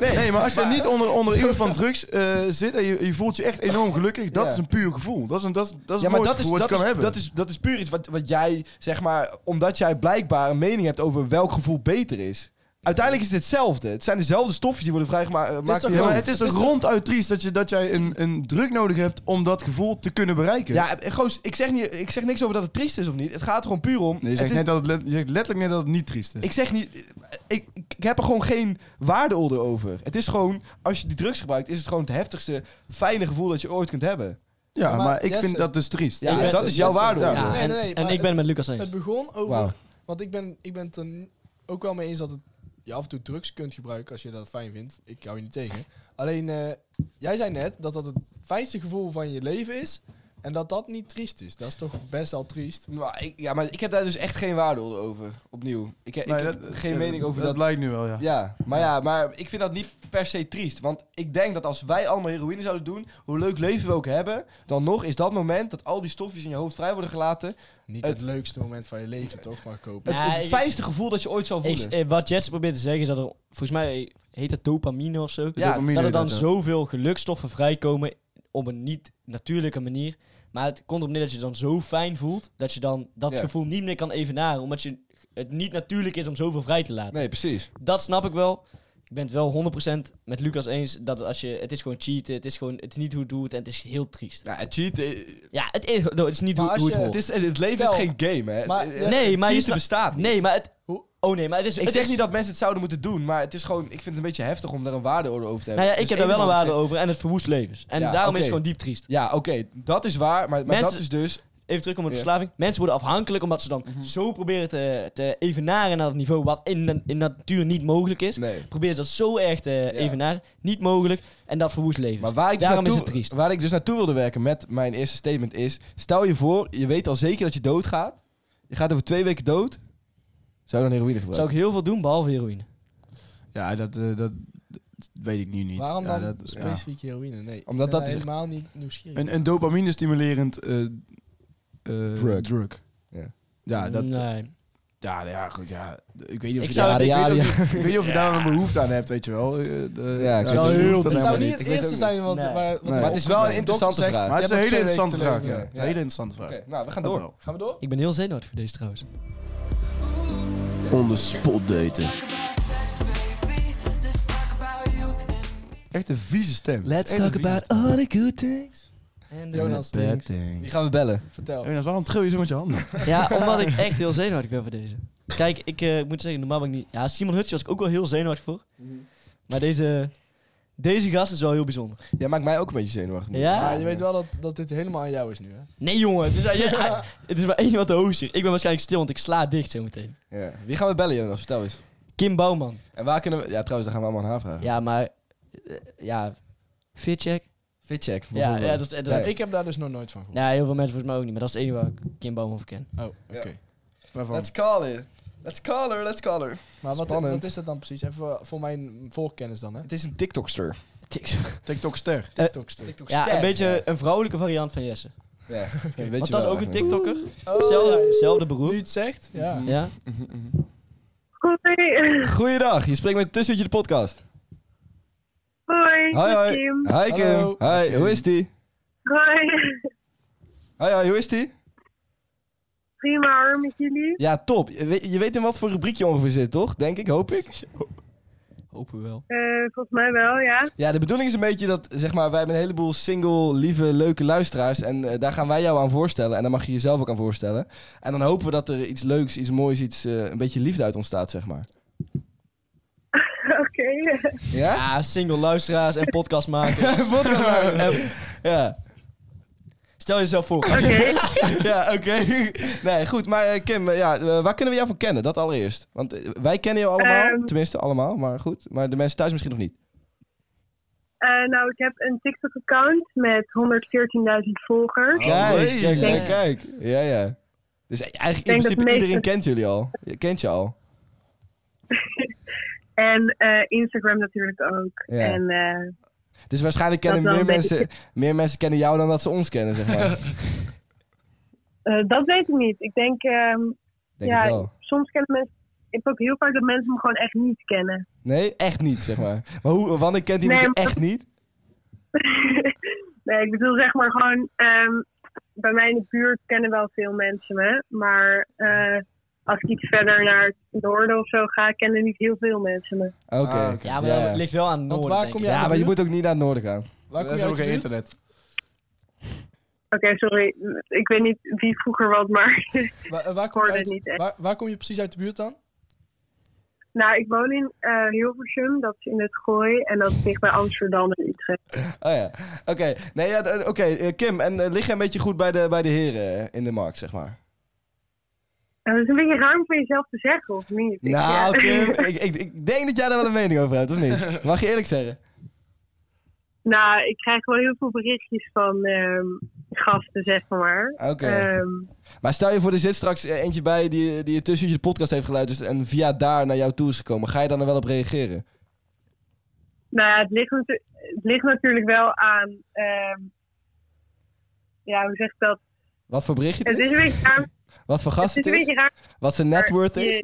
[SPEAKER 4] nee, maar als je niet onder, onder invloed
[SPEAKER 2] <laughs>
[SPEAKER 4] van drugs eh, zit en je, je voelt je echt enorm gelukkig, dat
[SPEAKER 2] Ja.
[SPEAKER 4] is een puur gevoel. Dat is, een, dat is, dat
[SPEAKER 2] ja,
[SPEAKER 4] is het
[SPEAKER 2] maar
[SPEAKER 4] mooiste
[SPEAKER 2] dat is,
[SPEAKER 4] gevoel
[SPEAKER 2] dat,
[SPEAKER 4] wat je
[SPEAKER 2] is,
[SPEAKER 4] kan hebben.
[SPEAKER 2] dat, is, dat is puur iets wat, wat jij, zeg maar, omdat jij blijkbaar een mening hebt over welk gevoel beter is. Uiteindelijk is het hetzelfde. Het zijn dezelfde stofjes die worden vrijgemaakt.
[SPEAKER 5] toch
[SPEAKER 4] ja, maar
[SPEAKER 5] gewoon-
[SPEAKER 4] het is
[SPEAKER 5] het
[SPEAKER 4] toch
[SPEAKER 5] is toch-
[SPEAKER 4] ronduit triest dat, je, dat jij een, een druk nodig hebt om dat gevoel te kunnen bereiken.
[SPEAKER 2] Ja, eh, goos, ik zeg, niet, ik zeg niks over dat het triest is of niet. Het gaat er gewoon puur om.
[SPEAKER 4] Nee, je,
[SPEAKER 2] het
[SPEAKER 4] zegt
[SPEAKER 2] is-
[SPEAKER 4] net dat het let- je zegt letterlijk net dat het niet triest is.
[SPEAKER 2] Ik zeg niet, ik, ik ik heb er gewoon geen waardeoordeel over. Het is gewoon, als je die drugs gebruikt, is het gewoon het heftigste, fijne gevoel dat je ooit kunt hebben.
[SPEAKER 4] ja,
[SPEAKER 5] Ja,
[SPEAKER 4] maar,
[SPEAKER 5] maar
[SPEAKER 4] ik vind
[SPEAKER 5] Jesse-
[SPEAKER 4] dat dus triest.
[SPEAKER 2] Ja,
[SPEAKER 5] Ja,
[SPEAKER 2] dat
[SPEAKER 5] Jesse,
[SPEAKER 2] is jouw
[SPEAKER 5] Jesse.
[SPEAKER 2] waardeoordeel.
[SPEAKER 3] Ja,
[SPEAKER 5] Nee,
[SPEAKER 3] en,
[SPEAKER 5] nee, nee,
[SPEAKER 3] en
[SPEAKER 5] maar
[SPEAKER 3] ik ben het met Lucas eens.
[SPEAKER 5] Het begon over...
[SPEAKER 2] Wauw.
[SPEAKER 5] Want ik ben, ik ben het er ook wel mee eens dat het, je af en toe drugs kunt gebruiken als je dat fijn vindt. Ik hou je niet tegen. Alleen, eh, jij zei net dat dat het fijnste gevoel van je leven is. En dat dat niet triest is. Dat is toch best wel triest.
[SPEAKER 2] Maar ik, ja, maar ik heb daar dus echt geen waardeoordeel over, opnieuw. Ik, ik
[SPEAKER 4] Nee,
[SPEAKER 2] heb
[SPEAKER 4] dat-
[SPEAKER 2] geen
[SPEAKER 4] ja,
[SPEAKER 2] mening over
[SPEAKER 4] Dat
[SPEAKER 2] dat.
[SPEAKER 4] blijkt nu wel, ja.
[SPEAKER 2] Ja, maar ja, maar ik vind dat niet per se triest. Want ik denk dat als wij allemaal heroïne zouden doen, hoe leuk leven we ook hebben, dan nog is dat moment dat al die stofjes in je hoofd vrij worden gelaten,
[SPEAKER 5] Niet
[SPEAKER 2] Het-
[SPEAKER 5] het, leukste moment van je leven, toch? Maar kopen.
[SPEAKER 2] het,
[SPEAKER 3] Ja,
[SPEAKER 2] het
[SPEAKER 3] ik-
[SPEAKER 2] fijnste gevoel dat je ooit zal
[SPEAKER 3] Ik-
[SPEAKER 2] voelen.
[SPEAKER 3] eh, wat Jesse probeert te zeggen is dat er, volgens mij heet het dopamine of zo.
[SPEAKER 2] Ja,
[SPEAKER 4] dopamine
[SPEAKER 3] dat er
[SPEAKER 4] heet
[SPEAKER 3] dan
[SPEAKER 4] dat, ja.
[SPEAKER 3] zoveel gelukstoffen vrijkomen op een niet natuurlijke manier. Maar het komt erop neer dat je dan zo fijn voelt, dat je dan dat
[SPEAKER 2] Ja.
[SPEAKER 3] gevoel niet meer kan evenaren. Omdat je, het niet natuurlijk is om zoveel vrij te laten.
[SPEAKER 2] nee, precies.
[SPEAKER 3] Dat snap ik wel. Ik ben het wel 100% met Lucas eens dat het als je, het is gewoon cheaten, het is gewoon het is niet hoe het doet en het is heel triest.
[SPEAKER 2] Ja, cheat, eh,
[SPEAKER 3] Ja, het is, no, het is niet
[SPEAKER 5] Maar
[SPEAKER 3] hoe,
[SPEAKER 5] als
[SPEAKER 3] hoe het
[SPEAKER 5] je-
[SPEAKER 3] hoort.
[SPEAKER 2] het, is, het leven
[SPEAKER 5] Stel-
[SPEAKER 2] is geen game, hè.
[SPEAKER 5] Maar-
[SPEAKER 2] Eh,
[SPEAKER 5] ja,
[SPEAKER 3] nee, Oh. maar je
[SPEAKER 2] cheaten
[SPEAKER 3] sna-
[SPEAKER 2] bestaat niet.
[SPEAKER 3] Nee, maar het...
[SPEAKER 5] Hoe-
[SPEAKER 3] Oh nee, maar het is...
[SPEAKER 2] Ik
[SPEAKER 3] het
[SPEAKER 2] zeg
[SPEAKER 3] is-
[SPEAKER 2] niet dat mensen het zouden moeten doen, maar het is gewoon, ik vind het een beetje heftig om daar een waardeoordeel over te
[SPEAKER 3] Nou
[SPEAKER 2] hebben.
[SPEAKER 3] ja, ik
[SPEAKER 2] Dus
[SPEAKER 3] heb daar wel een
[SPEAKER 2] van
[SPEAKER 3] waarde
[SPEAKER 2] zegt-
[SPEAKER 3] over en het verwoest levens. En
[SPEAKER 2] Ja,
[SPEAKER 3] daarom
[SPEAKER 2] oké.
[SPEAKER 3] is het gewoon diep triest.
[SPEAKER 2] Ja, oké, dat is waar, maar, maar
[SPEAKER 3] Mensen-
[SPEAKER 2] dat is dus...
[SPEAKER 3] Even terug om de
[SPEAKER 2] Ja. Mhm.
[SPEAKER 3] verslaving. Mensen worden afhankelijk omdat ze dan zo proberen te, te evenaren naar het niveau wat in de, in de natuur niet mogelijk is.
[SPEAKER 2] Nee.
[SPEAKER 3] Proberen ze dat zo erg te evenaren. Niet mogelijk. En dat verwoest levens.
[SPEAKER 2] Maar waar ik, dus
[SPEAKER 3] Daarom is
[SPEAKER 2] naartoe,
[SPEAKER 3] het triest.
[SPEAKER 2] waar ik dus naartoe wilde werken met mijn eerste statement is... Stel je voor, je weet al zeker dat je doodgaat. Je gaat over twee weken dood. Zou je dan heroïne gebruiken?
[SPEAKER 3] Zou ik heel veel doen behalve heroïne.
[SPEAKER 4] Ja, dat, eh, dat weet ik nu niet.
[SPEAKER 5] Waarom
[SPEAKER 4] Ja,
[SPEAKER 5] dan
[SPEAKER 4] dat- ja.
[SPEAKER 5] specifiek heroïne? Nee, ik
[SPEAKER 2] Omdat
[SPEAKER 5] ben
[SPEAKER 2] dat
[SPEAKER 5] daar
[SPEAKER 2] is-
[SPEAKER 5] helemaal niet nieuwsgierig.
[SPEAKER 4] Een, een dopamine stimulerend eh, eh,
[SPEAKER 2] Drug.
[SPEAKER 4] drug.
[SPEAKER 2] Ja.
[SPEAKER 4] Ja. Ja, dat,
[SPEAKER 3] Nee.
[SPEAKER 4] ja, nou ja, goed. Ja. Ik weet niet of
[SPEAKER 3] Ik
[SPEAKER 4] je
[SPEAKER 3] zou
[SPEAKER 4] daar,
[SPEAKER 3] het
[SPEAKER 2] Ja,
[SPEAKER 3] ik weet
[SPEAKER 2] ja,
[SPEAKER 3] het niet.
[SPEAKER 4] ik weet niet of je daar een behoefte aan hebt, weet je wel. Eh, de-
[SPEAKER 2] Ja, ik zou
[SPEAKER 4] dat
[SPEAKER 2] heel
[SPEAKER 4] hoeft
[SPEAKER 2] diep-
[SPEAKER 4] dan
[SPEAKER 5] Het zou
[SPEAKER 4] helemaal
[SPEAKER 5] niet het
[SPEAKER 4] Ik weet
[SPEAKER 5] eerste
[SPEAKER 4] ook
[SPEAKER 5] zijn wat,
[SPEAKER 3] Nee.
[SPEAKER 5] waar- wat
[SPEAKER 4] Maar
[SPEAKER 5] er
[SPEAKER 4] het
[SPEAKER 2] is
[SPEAKER 5] opkomt
[SPEAKER 2] wel
[SPEAKER 5] als
[SPEAKER 2] een
[SPEAKER 5] de dokter
[SPEAKER 2] interessante
[SPEAKER 5] zegt,
[SPEAKER 2] vraag.
[SPEAKER 4] Maar het is
[SPEAKER 5] "Je
[SPEAKER 4] een
[SPEAKER 5] hebt
[SPEAKER 4] hele
[SPEAKER 5] nog
[SPEAKER 4] interessante
[SPEAKER 5] twee
[SPEAKER 4] vraag.
[SPEAKER 5] weken
[SPEAKER 4] Ja.
[SPEAKER 5] te
[SPEAKER 4] Een hele interessante vraag.
[SPEAKER 2] Oké, nou, we gaan
[SPEAKER 4] Dat
[SPEAKER 2] door.
[SPEAKER 4] wel.
[SPEAKER 2] Gaan we door?
[SPEAKER 3] Ik ben heel zenuwachtig voor deze trouwens.
[SPEAKER 4] On the spot daten. Echt een vieze stem.
[SPEAKER 3] Let's
[SPEAKER 4] Echt een
[SPEAKER 3] talk
[SPEAKER 4] vieze
[SPEAKER 3] about Oh.
[SPEAKER 4] stem.
[SPEAKER 3] all the good things. En de
[SPEAKER 5] Jonas
[SPEAKER 3] links.
[SPEAKER 4] ding.
[SPEAKER 2] Die gaan we bellen.
[SPEAKER 5] Vertel.
[SPEAKER 4] Jonas, waarom tril je zo met je handen?
[SPEAKER 3] Ja, omdat ik echt heel zenuwachtig ben voor deze. Kijk, ik eh, moet zeggen, normaal ben ik niet... Ja, Simon Hutje was ik ook wel heel zenuwachtig voor. Maar deze, deze gast is wel heel bijzonder.
[SPEAKER 2] Jij maakt mij ook een beetje zenuwachtig. man.
[SPEAKER 3] Ja?
[SPEAKER 5] Ja, je weet wel dat, dat dit helemaal aan jou is nu, hè?
[SPEAKER 3] Nee, jongen. Het is, <laughs> het is maar één wat de hoogste. Ik ben waarschijnlijk stil, want ik sla dicht zo meteen.
[SPEAKER 2] Ja. Wie gaan we bellen, Jonas? Vertel eens.
[SPEAKER 3] Kim Bouwman.
[SPEAKER 2] En waar kunnen we... Ja, trouwens, daar gaan we allemaal aan haar vragen.
[SPEAKER 3] Ja, maar... eh, ja, fitcheck.
[SPEAKER 2] Fitcheck.
[SPEAKER 3] Ja,
[SPEAKER 2] bijvoorbeeld.
[SPEAKER 3] ja, dat is... Dat is
[SPEAKER 2] Ja.
[SPEAKER 5] Ik heb daar dus nog nooit van gehoord.
[SPEAKER 3] nou, heel veel mensen volgens mij ook niet, maar dat is het enige waar ik Kim Bouwman voor ken.
[SPEAKER 5] Oh, oké.
[SPEAKER 2] Ja.
[SPEAKER 4] Waarvan?
[SPEAKER 2] call her. Let's call her, let's call her.
[SPEAKER 5] Maar wat,
[SPEAKER 2] Spannend.
[SPEAKER 5] wat is dat dan precies? Even voor, voor mijn voorkennis dan, hè? Eh,
[SPEAKER 2] Het is een TikTokster.
[SPEAKER 4] TikTok-ster.
[SPEAKER 5] TikTokster.
[SPEAKER 3] Ja, een beetje een vrouwelijke variant van Jesse.
[SPEAKER 2] Ja, weet
[SPEAKER 3] Want
[SPEAKER 2] je
[SPEAKER 3] dat is
[SPEAKER 2] wel
[SPEAKER 3] ook
[SPEAKER 2] eigenlijk.
[SPEAKER 3] een TikToker.
[SPEAKER 5] Oh,
[SPEAKER 3] Zelfde,
[SPEAKER 5] ja.
[SPEAKER 3] zelfde
[SPEAKER 5] Nu je
[SPEAKER 3] beroep.
[SPEAKER 5] het zegt, ja.
[SPEAKER 2] Mhm.
[SPEAKER 3] Ja.
[SPEAKER 7] Hoi. <laughs>
[SPEAKER 2] Goeiedag, je spreekt met Tussentje de podcast.
[SPEAKER 7] Hoi.
[SPEAKER 2] Hoi,
[SPEAKER 7] met
[SPEAKER 2] hoi.
[SPEAKER 7] Kim.
[SPEAKER 2] Hi Kim.
[SPEAKER 5] Hallo.
[SPEAKER 2] Hi, hoe is die?
[SPEAKER 7] Hoi.
[SPEAKER 2] Hoi, hoi, hoe is die?
[SPEAKER 7] Prima hoor, met jullie.
[SPEAKER 2] Ja, top. Je weet, je weet in wat voor rubriek je ongeveer zit, toch? Denk ik, hoop ik.
[SPEAKER 3] Hopen we wel.
[SPEAKER 7] Eh, volgens mij wel, ja. <laughs>
[SPEAKER 2] Ja, de bedoeling is een beetje dat, zeg maar, wij hebben een heleboel single, lieve, leuke luisteraars. En eh, daar gaan wij jou aan voorstellen. En daar mag je jezelf ook aan voorstellen. En dan hopen we dat er iets leuks, iets moois, iets, eh, een beetje liefde uit ontstaat, zeg maar.
[SPEAKER 7] Oké.
[SPEAKER 3] <laughs>
[SPEAKER 2] Ja?
[SPEAKER 3] Ja, single luisteraars en podcastmakers. En
[SPEAKER 2] Ja,
[SPEAKER 3] Stel jezelf voor.
[SPEAKER 7] Oké.
[SPEAKER 2] ja oké. Nee, goed. Maar eh, Kim, eh, ja, eh, waar kunnen we jou van kennen? Dat allereerst. Want eh, wij kennen jou allemaal.
[SPEAKER 7] Ehm.
[SPEAKER 2] tenminste, allemaal. Maar goed. Maar de mensen thuis misschien nog niet.
[SPEAKER 7] Eh, nou, ik heb een TikTok-account met 114.000 volgers.
[SPEAKER 2] Kijk,
[SPEAKER 3] Oh,
[SPEAKER 2] kijk, kijk,
[SPEAKER 3] jeetje.
[SPEAKER 2] kijk. Ja, ja. Dus eigenlijk in
[SPEAKER 7] denk
[SPEAKER 2] principe
[SPEAKER 7] dat de
[SPEAKER 2] iedereen
[SPEAKER 7] meeste-
[SPEAKER 2] kent jullie al. Je kent je al.
[SPEAKER 7] En eh, Instagram natuurlijk ook.
[SPEAKER 2] Ja.
[SPEAKER 7] En eh,
[SPEAKER 2] Dus waarschijnlijk kennen
[SPEAKER 7] Dat wel
[SPEAKER 2] meer
[SPEAKER 7] een beetje.
[SPEAKER 2] mensen, meer mensen kennen jou dan dat ze ons kennen, zeg maar.
[SPEAKER 7] eh, dat weet ik niet. Ik denk, ehm,
[SPEAKER 2] Denk
[SPEAKER 7] ja,
[SPEAKER 2] het wel.
[SPEAKER 7] soms kennen mensen... Ik heb ook heel vaak dat mensen me gewoon echt niet kennen.
[SPEAKER 2] Nee, echt niet, zeg maar. Maar hoe, wanneer kent iemand
[SPEAKER 7] Nee,
[SPEAKER 2] je
[SPEAKER 7] maar-
[SPEAKER 2] echt niet?
[SPEAKER 7] nee, ik bedoel zeg maar gewoon... ehm, bij mij in de buurt kennen wel veel mensen me. Maar eh, als ik iets verder naar het noorden of zo ga, kennen niet heel veel mensen me.
[SPEAKER 2] Oké.
[SPEAKER 4] Ah, oké.
[SPEAKER 3] Ja, maar dat ligt wel aan het
[SPEAKER 5] Want
[SPEAKER 3] noorden,
[SPEAKER 5] waar
[SPEAKER 3] denk
[SPEAKER 5] kom
[SPEAKER 3] ik.
[SPEAKER 5] jij
[SPEAKER 2] Ja,
[SPEAKER 5] uit de
[SPEAKER 2] maar je
[SPEAKER 5] buurt?
[SPEAKER 2] moet ook niet naar het noorden gaan.
[SPEAKER 5] Waar
[SPEAKER 4] Er
[SPEAKER 5] kom
[SPEAKER 4] is
[SPEAKER 5] je
[SPEAKER 4] ook
[SPEAKER 5] uit de
[SPEAKER 4] geen
[SPEAKER 5] buurt?
[SPEAKER 4] internet.
[SPEAKER 7] Oké, sorry. Ik weet niet wie vroeger wat, maar... <laughs>
[SPEAKER 5] Waar, eh, waar,
[SPEAKER 7] Ik
[SPEAKER 5] kom je
[SPEAKER 7] hoorde
[SPEAKER 5] uit-
[SPEAKER 7] het niet echt.
[SPEAKER 5] waar, waar kom je precies uit de buurt dan?
[SPEAKER 7] nou, ik woon in eh, Hilversum. Dat is in het Gooi. En dat is dicht bij Amsterdam en Utrecht.
[SPEAKER 2] Oh ja. Oké, nee, ja, d- oké, eh, Kim, en eh, lig je een beetje goed bij de, bij de heren eh, in de markt, zeg maar?
[SPEAKER 7] En dat is een beetje ruim voor jezelf te zeggen, of niet? Ik- eh,
[SPEAKER 2] Nou,
[SPEAKER 7] ja.
[SPEAKER 2] Kim,
[SPEAKER 3] <laughs>
[SPEAKER 2] ik, ik, ik denk dat jij daar wel een mening over hebt, of niet? Mag je eerlijk zeggen?
[SPEAKER 7] <laughs> nou, ik krijg wel heel veel berichtjes van ehm, gasten, zeg maar.
[SPEAKER 2] Oké.
[SPEAKER 3] Eh,
[SPEAKER 7] Ehm,
[SPEAKER 2] Maar stel je voor, er zit straks eh, eentje bij die, die tussen je de podcast heeft geluisterd en via daar naar jou toe is gekomen. Ga je dan er wel op reageren?
[SPEAKER 7] nou ja, het ligt, natu- het ligt natuurlijk wel aan... ehm, ja, hoe zeg ik dat?
[SPEAKER 2] Wat voor berichtje het
[SPEAKER 7] Het is
[SPEAKER 2] is?
[SPEAKER 7] een beetje raar.
[SPEAKER 2] Wat voor
[SPEAKER 7] Het
[SPEAKER 2] gast
[SPEAKER 7] is
[SPEAKER 2] het
[SPEAKER 7] een
[SPEAKER 2] is?
[SPEAKER 7] beetje raar.
[SPEAKER 2] Wat zijn
[SPEAKER 3] eh,
[SPEAKER 2] net worth is?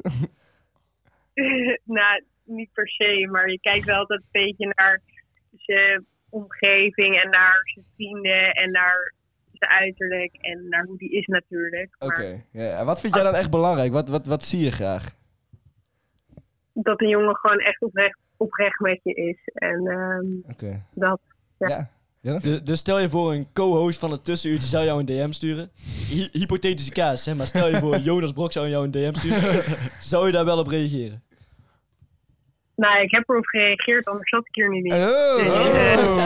[SPEAKER 7] Je- <laughs> nou, niet per se, maar je kijkt wel altijd een beetje naar zijn omgeving en naar zijn vrienden en naar zijn uiterlijk en naar hoe die is natuurlijk. Maar
[SPEAKER 2] Oké. Ja. En wat vind jij dan echt belangrijk? Wat, wat, wat zie je graag?
[SPEAKER 7] dat een jongen gewoon echt oprecht, oprecht met je is. En ehm,
[SPEAKER 2] Oké.
[SPEAKER 7] dat.
[SPEAKER 2] Ja.
[SPEAKER 7] Ja.
[SPEAKER 3] Dus, dus stel je voor een co-host van het tussenuurtje zou jou een DM sturen. Hy- hypothetische kaas, hè? maar stel je
[SPEAKER 2] <laughs>
[SPEAKER 3] voor Jonas Brok zou jou een DM sturen. zou je daar wel op reageren?
[SPEAKER 7] Nou, ik heb erop gereageerd, anders zat ik hier nu niet.
[SPEAKER 2] Oh.
[SPEAKER 7] Oh.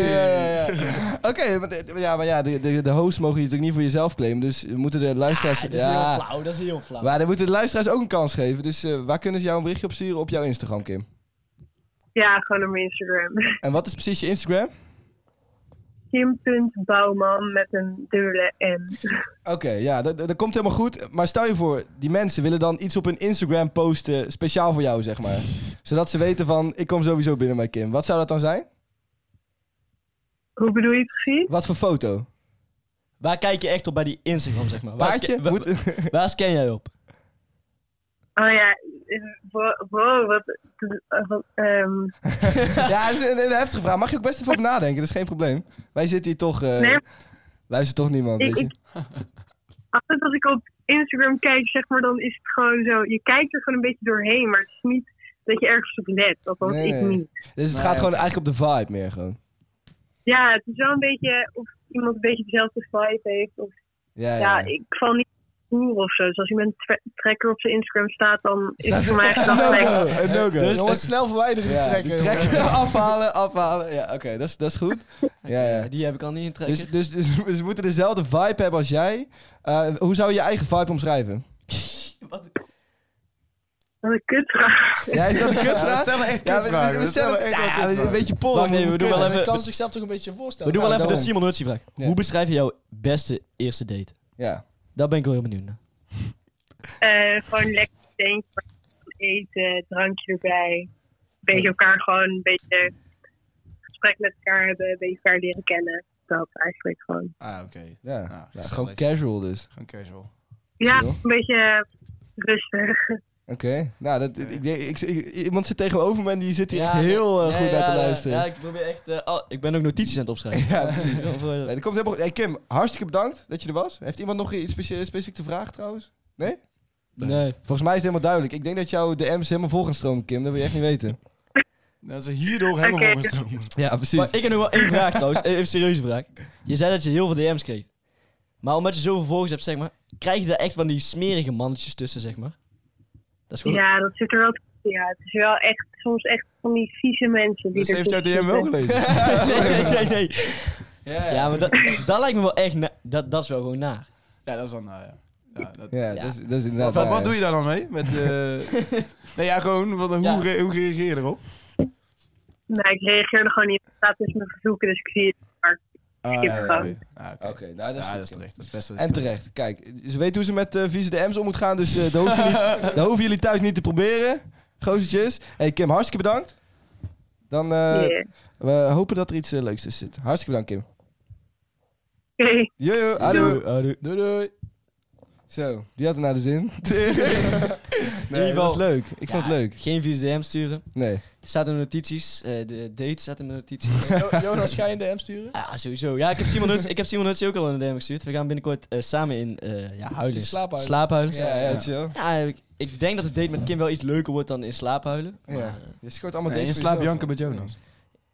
[SPEAKER 2] Oké, maar, de- ja, maar ja, de, de, de hosts mogen je natuurlijk niet voor jezelf claimen. Dus moeten de luisteraars.
[SPEAKER 3] dat is heel flauw, dat is heel flauw.
[SPEAKER 2] maar dan moeten de luisteraars ook een kans geven. Dus eh, waar kunnen ze jou een berichtje op sturen? Op jouw Instagram, Kim.
[SPEAKER 7] Ja, gewoon op mijn Instagram.
[SPEAKER 2] En wat is precies je Instagram?
[SPEAKER 7] Kim.bouwman met een dubbele N. <laughs>
[SPEAKER 2] Oké, ja, dat, dat dat komt helemaal goed. Maar stel je voor, die mensen willen dan iets op hun Instagram posten speciaal voor jou, zeg maar. Zodat ze weten van, ik kom sowieso binnen bij Kim. Wat zou dat dan zijn?
[SPEAKER 7] Hoe bedoel je het precies?
[SPEAKER 2] Wat voor foto?
[SPEAKER 3] Waar kijk je echt op bij die Instagram, zeg maar? Waar,
[SPEAKER 2] Paardje?
[SPEAKER 3] sca- wa-
[SPEAKER 2] Moet... <laughs>
[SPEAKER 3] waar scan jij op?
[SPEAKER 7] Oh ja, wow, wow wat... wat ehm,
[SPEAKER 2] ja, dat is een, een heftige vraag. Mag je ook best even over nadenken, dat is geen probleem. Wij zitten hier toch... eh,
[SPEAKER 7] Nee.
[SPEAKER 2] Luistert toch niemand,
[SPEAKER 7] Ik-
[SPEAKER 2] weet je?
[SPEAKER 7] ik- altijd als ik op Instagram kijk, zeg maar, dan is het gewoon zo. Je kijkt er gewoon een beetje doorheen, maar het is niet dat je ergens op let. Althans,
[SPEAKER 2] Nee,
[SPEAKER 7] ik
[SPEAKER 2] nee.
[SPEAKER 7] niet.
[SPEAKER 2] Dus het gaat gewoon eigenlijk op de vibe meer gewoon.
[SPEAKER 7] Ja, het is wel een beetje of iemand een beetje dezelfde vibe heeft. Of,
[SPEAKER 2] Ja,
[SPEAKER 7] ja,
[SPEAKER 2] ja.
[SPEAKER 7] ik val niet boer of zo. Dus als iemand tra- tracker op zijn Instagram staat, dan
[SPEAKER 2] <laughs>
[SPEAKER 7] is het voor mij echt
[SPEAKER 2] Een
[SPEAKER 7] een tracker.
[SPEAKER 2] no-go. <laughs> Een no-go.
[SPEAKER 5] Dus Jongens, snel verwijderen die
[SPEAKER 2] Ja,
[SPEAKER 5] trekker.
[SPEAKER 2] die
[SPEAKER 5] jongen.
[SPEAKER 2] trekker <laughs> afhalen, afhalen. Ja, oké, dat, is, dat is goed. Ja, ja.
[SPEAKER 3] Die heb ik al niet in trekker.
[SPEAKER 2] Dus, dus, dus <laughs> ze moeten dezelfde vibe hebben als jij. Eh, hoe zou je je eigen vibe omschrijven?
[SPEAKER 7] Wat een kutvraag.
[SPEAKER 2] Ja, is dat een kutvraag?
[SPEAKER 4] stel echt
[SPEAKER 2] Ja, we- we, we stellen ja, we- een beetje pollen.
[SPEAKER 3] Wacht, nee, we doen wel
[SPEAKER 5] Maar
[SPEAKER 3] even-
[SPEAKER 5] je kan zichzelf toch een beetje voorstellen.
[SPEAKER 3] We doen wel
[SPEAKER 5] Ja,
[SPEAKER 3] even de
[SPEAKER 5] daarom.
[SPEAKER 3] Simon Hutsie vraag.
[SPEAKER 2] Ja.
[SPEAKER 3] Hoe beschrijf je jouw beste eerste date?
[SPEAKER 2] Ja.
[SPEAKER 3] Daar ben ik wel heel benieuwd naar.
[SPEAKER 7] Eh, gewoon lekker steentje, eten, drankje erbij. Een beetje elkaar gewoon een beetje gesprek met elkaar hebben, een beetje elkaar leren kennen. Dat eigenlijk gewoon.
[SPEAKER 4] Ah, oké.
[SPEAKER 2] Ja.
[SPEAKER 4] Ja,
[SPEAKER 2] Ja,
[SPEAKER 4] gezellig.
[SPEAKER 2] gewoon casual dus.
[SPEAKER 4] Gewoon casual.
[SPEAKER 7] Ja,
[SPEAKER 2] Chill.
[SPEAKER 7] een beetje rustig.
[SPEAKER 2] Oké. Nou, dat, ik, denk- ik, ik- iemand zit tegenover me en die zit hier echt heel eh, goed naar te luisteren.
[SPEAKER 3] Ja,
[SPEAKER 2] Ja,
[SPEAKER 3] ik probeer echt... eh, al- ik ben ook notities aan het opschrijven. <laughs>
[SPEAKER 2] precies.
[SPEAKER 3] Of, eh,
[SPEAKER 2] Nee, dat komt helemaal goed. Hey, Kim, hartstieke bedankt dat je er was. Heeft iemand nog iets specia- specifiek te vragen trouwens? Nee?
[SPEAKER 3] nee.
[SPEAKER 2] Volgens mij is het helemaal duidelijk. Ik denk dat jouw DM's helemaal vol gaan stromen, Kim. Dat wil je echt niet weten.
[SPEAKER 4] Dat ze hierdoor helemaal
[SPEAKER 7] Oké.
[SPEAKER 4] volgestromen.
[SPEAKER 2] Ja, precies.
[SPEAKER 3] Maar ik heb nog wel één vraag trouwens. e- Even een serieuze vraag. Je zei dat je heel veel DM's kreeg. Maar omdat je zoveel volgers hebt, zeg maar... Krijg je daar echt van die smerige mannetjes tussen, zeg maar? Dat is gewoon...
[SPEAKER 7] Ja, dat zit er wel tussen. Ja, het is wel echt soms echt van die vieze mensen. Die
[SPEAKER 4] Dus
[SPEAKER 7] er
[SPEAKER 4] heeft jouw
[SPEAKER 7] tussen
[SPEAKER 4] DM wel
[SPEAKER 7] zitten.
[SPEAKER 4] gelezen.
[SPEAKER 3] <laughs> nee, nee, nee, nee. Ja, maar dat, dat lijkt me wel echt... na- dat, dat is wel gewoon naar.
[SPEAKER 4] Ja, dat is dan, nou ja. ja, dat,
[SPEAKER 2] Ja, Dat, is, dat is inderdaad
[SPEAKER 4] Wat, wat,
[SPEAKER 2] waar,
[SPEAKER 4] wat doe je daar dan mee? Met, <laughs> eh nee, ja, gewoon, wat, hoe,
[SPEAKER 3] Ja.
[SPEAKER 4] re- hoe reageer je erop?
[SPEAKER 7] Nee, ik reageer er gewoon niet. op. Het staat tussen mijn verzoeken, dus ik zie het. Maar
[SPEAKER 4] Ah,
[SPEAKER 7] ja, ja, ja.
[SPEAKER 2] Oké, nou dat is,
[SPEAKER 4] Ja,
[SPEAKER 2] goed,
[SPEAKER 4] dat is
[SPEAKER 2] Kim.
[SPEAKER 4] terecht. Dat is best wel
[SPEAKER 2] En terecht. Kijk, ze weten hoe ze met eh vieze DM's om moet gaan, dus eh, daar, hoeven
[SPEAKER 4] <laughs>
[SPEAKER 2] jullie, daar hoeven jullie thuis niet te proberen. Gozertjes. Hey Kim, hartstikke bedankt. Dan eh,
[SPEAKER 7] yeah.
[SPEAKER 2] we hopen dat er iets eh, leuks tussen zit. Hartstikke bedankt, Kim.
[SPEAKER 7] <laughs> Oké.
[SPEAKER 2] Jojo, hallo.
[SPEAKER 3] Doei, doei.
[SPEAKER 2] Doei, doei. Zo, die had er naar de zin. <laughs> nee, dat
[SPEAKER 3] geval-
[SPEAKER 2] was leuk. Ik vond het
[SPEAKER 3] Ja,
[SPEAKER 2] leuk.
[SPEAKER 3] Geen vieze DM sturen.
[SPEAKER 2] Nee.
[SPEAKER 3] Staat in de notities. eh, de date staat in de
[SPEAKER 2] <laughs>
[SPEAKER 3] notities.
[SPEAKER 5] Jo- Jonas, ga je een DM sturen?
[SPEAKER 3] ja, sowieso. Ja, ik heb Simon Huts, ik heb Simon Huts ook al een DM gestuurd. We gaan binnenkort eh, samen in eh ja, huilen.
[SPEAKER 5] In slaaphuilen.
[SPEAKER 3] Slaaphuilen. Ja.
[SPEAKER 2] Ja, ja, chill.
[SPEAKER 3] ik, ik denk dat het date met Kim wel iets leuker wordt dan in slaaphuilen.
[SPEAKER 2] Ja. Je scoort allemaal
[SPEAKER 4] Nee,
[SPEAKER 2] deze
[SPEAKER 4] je
[SPEAKER 2] voor
[SPEAKER 4] slaapt
[SPEAKER 2] jezelf.
[SPEAKER 4] janken met Jonas.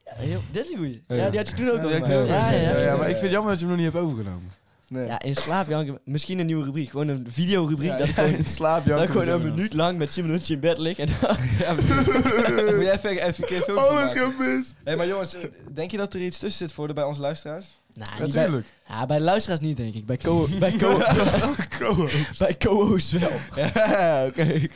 [SPEAKER 3] Ja, heel, dit is een goeie.
[SPEAKER 2] Ja.
[SPEAKER 3] Ja, die had je toen ook
[SPEAKER 4] Ja,
[SPEAKER 3] al.
[SPEAKER 4] dat
[SPEAKER 3] gemaakt. ja, ja, ja.
[SPEAKER 4] maar ik vind het jammer dat je hem nog niet hebt overgenomen.
[SPEAKER 2] Nee.
[SPEAKER 3] Ja, in slaap, Janke. Misschien een nieuwe rubriek. Gewoon een videorubriek.
[SPEAKER 4] Ja,
[SPEAKER 3] dat
[SPEAKER 2] <laughs>
[SPEAKER 3] ik <laughs> gewoon,
[SPEAKER 4] slaap
[SPEAKER 3] dat ik gewoon een minuut lang met Simon Huts in bed lig. <laughs> En Nou,
[SPEAKER 2] <laughs> Moet jij even, even een keer een filmpje
[SPEAKER 4] Alles
[SPEAKER 2] maken?
[SPEAKER 4] gaat mis.
[SPEAKER 2] Hé, maar jongens, eh, denk je dat er iets tussen zit voor de, bij onze luisteraars?
[SPEAKER 3] Nou, niet bij,
[SPEAKER 4] Natuurlijk.
[SPEAKER 3] ja, bij de luisteraars niet, denk ik. Bij co- <laughs> bij
[SPEAKER 2] <laughs>
[SPEAKER 3] co- bij co-hosts wel.
[SPEAKER 2] Ja, oké. Nee,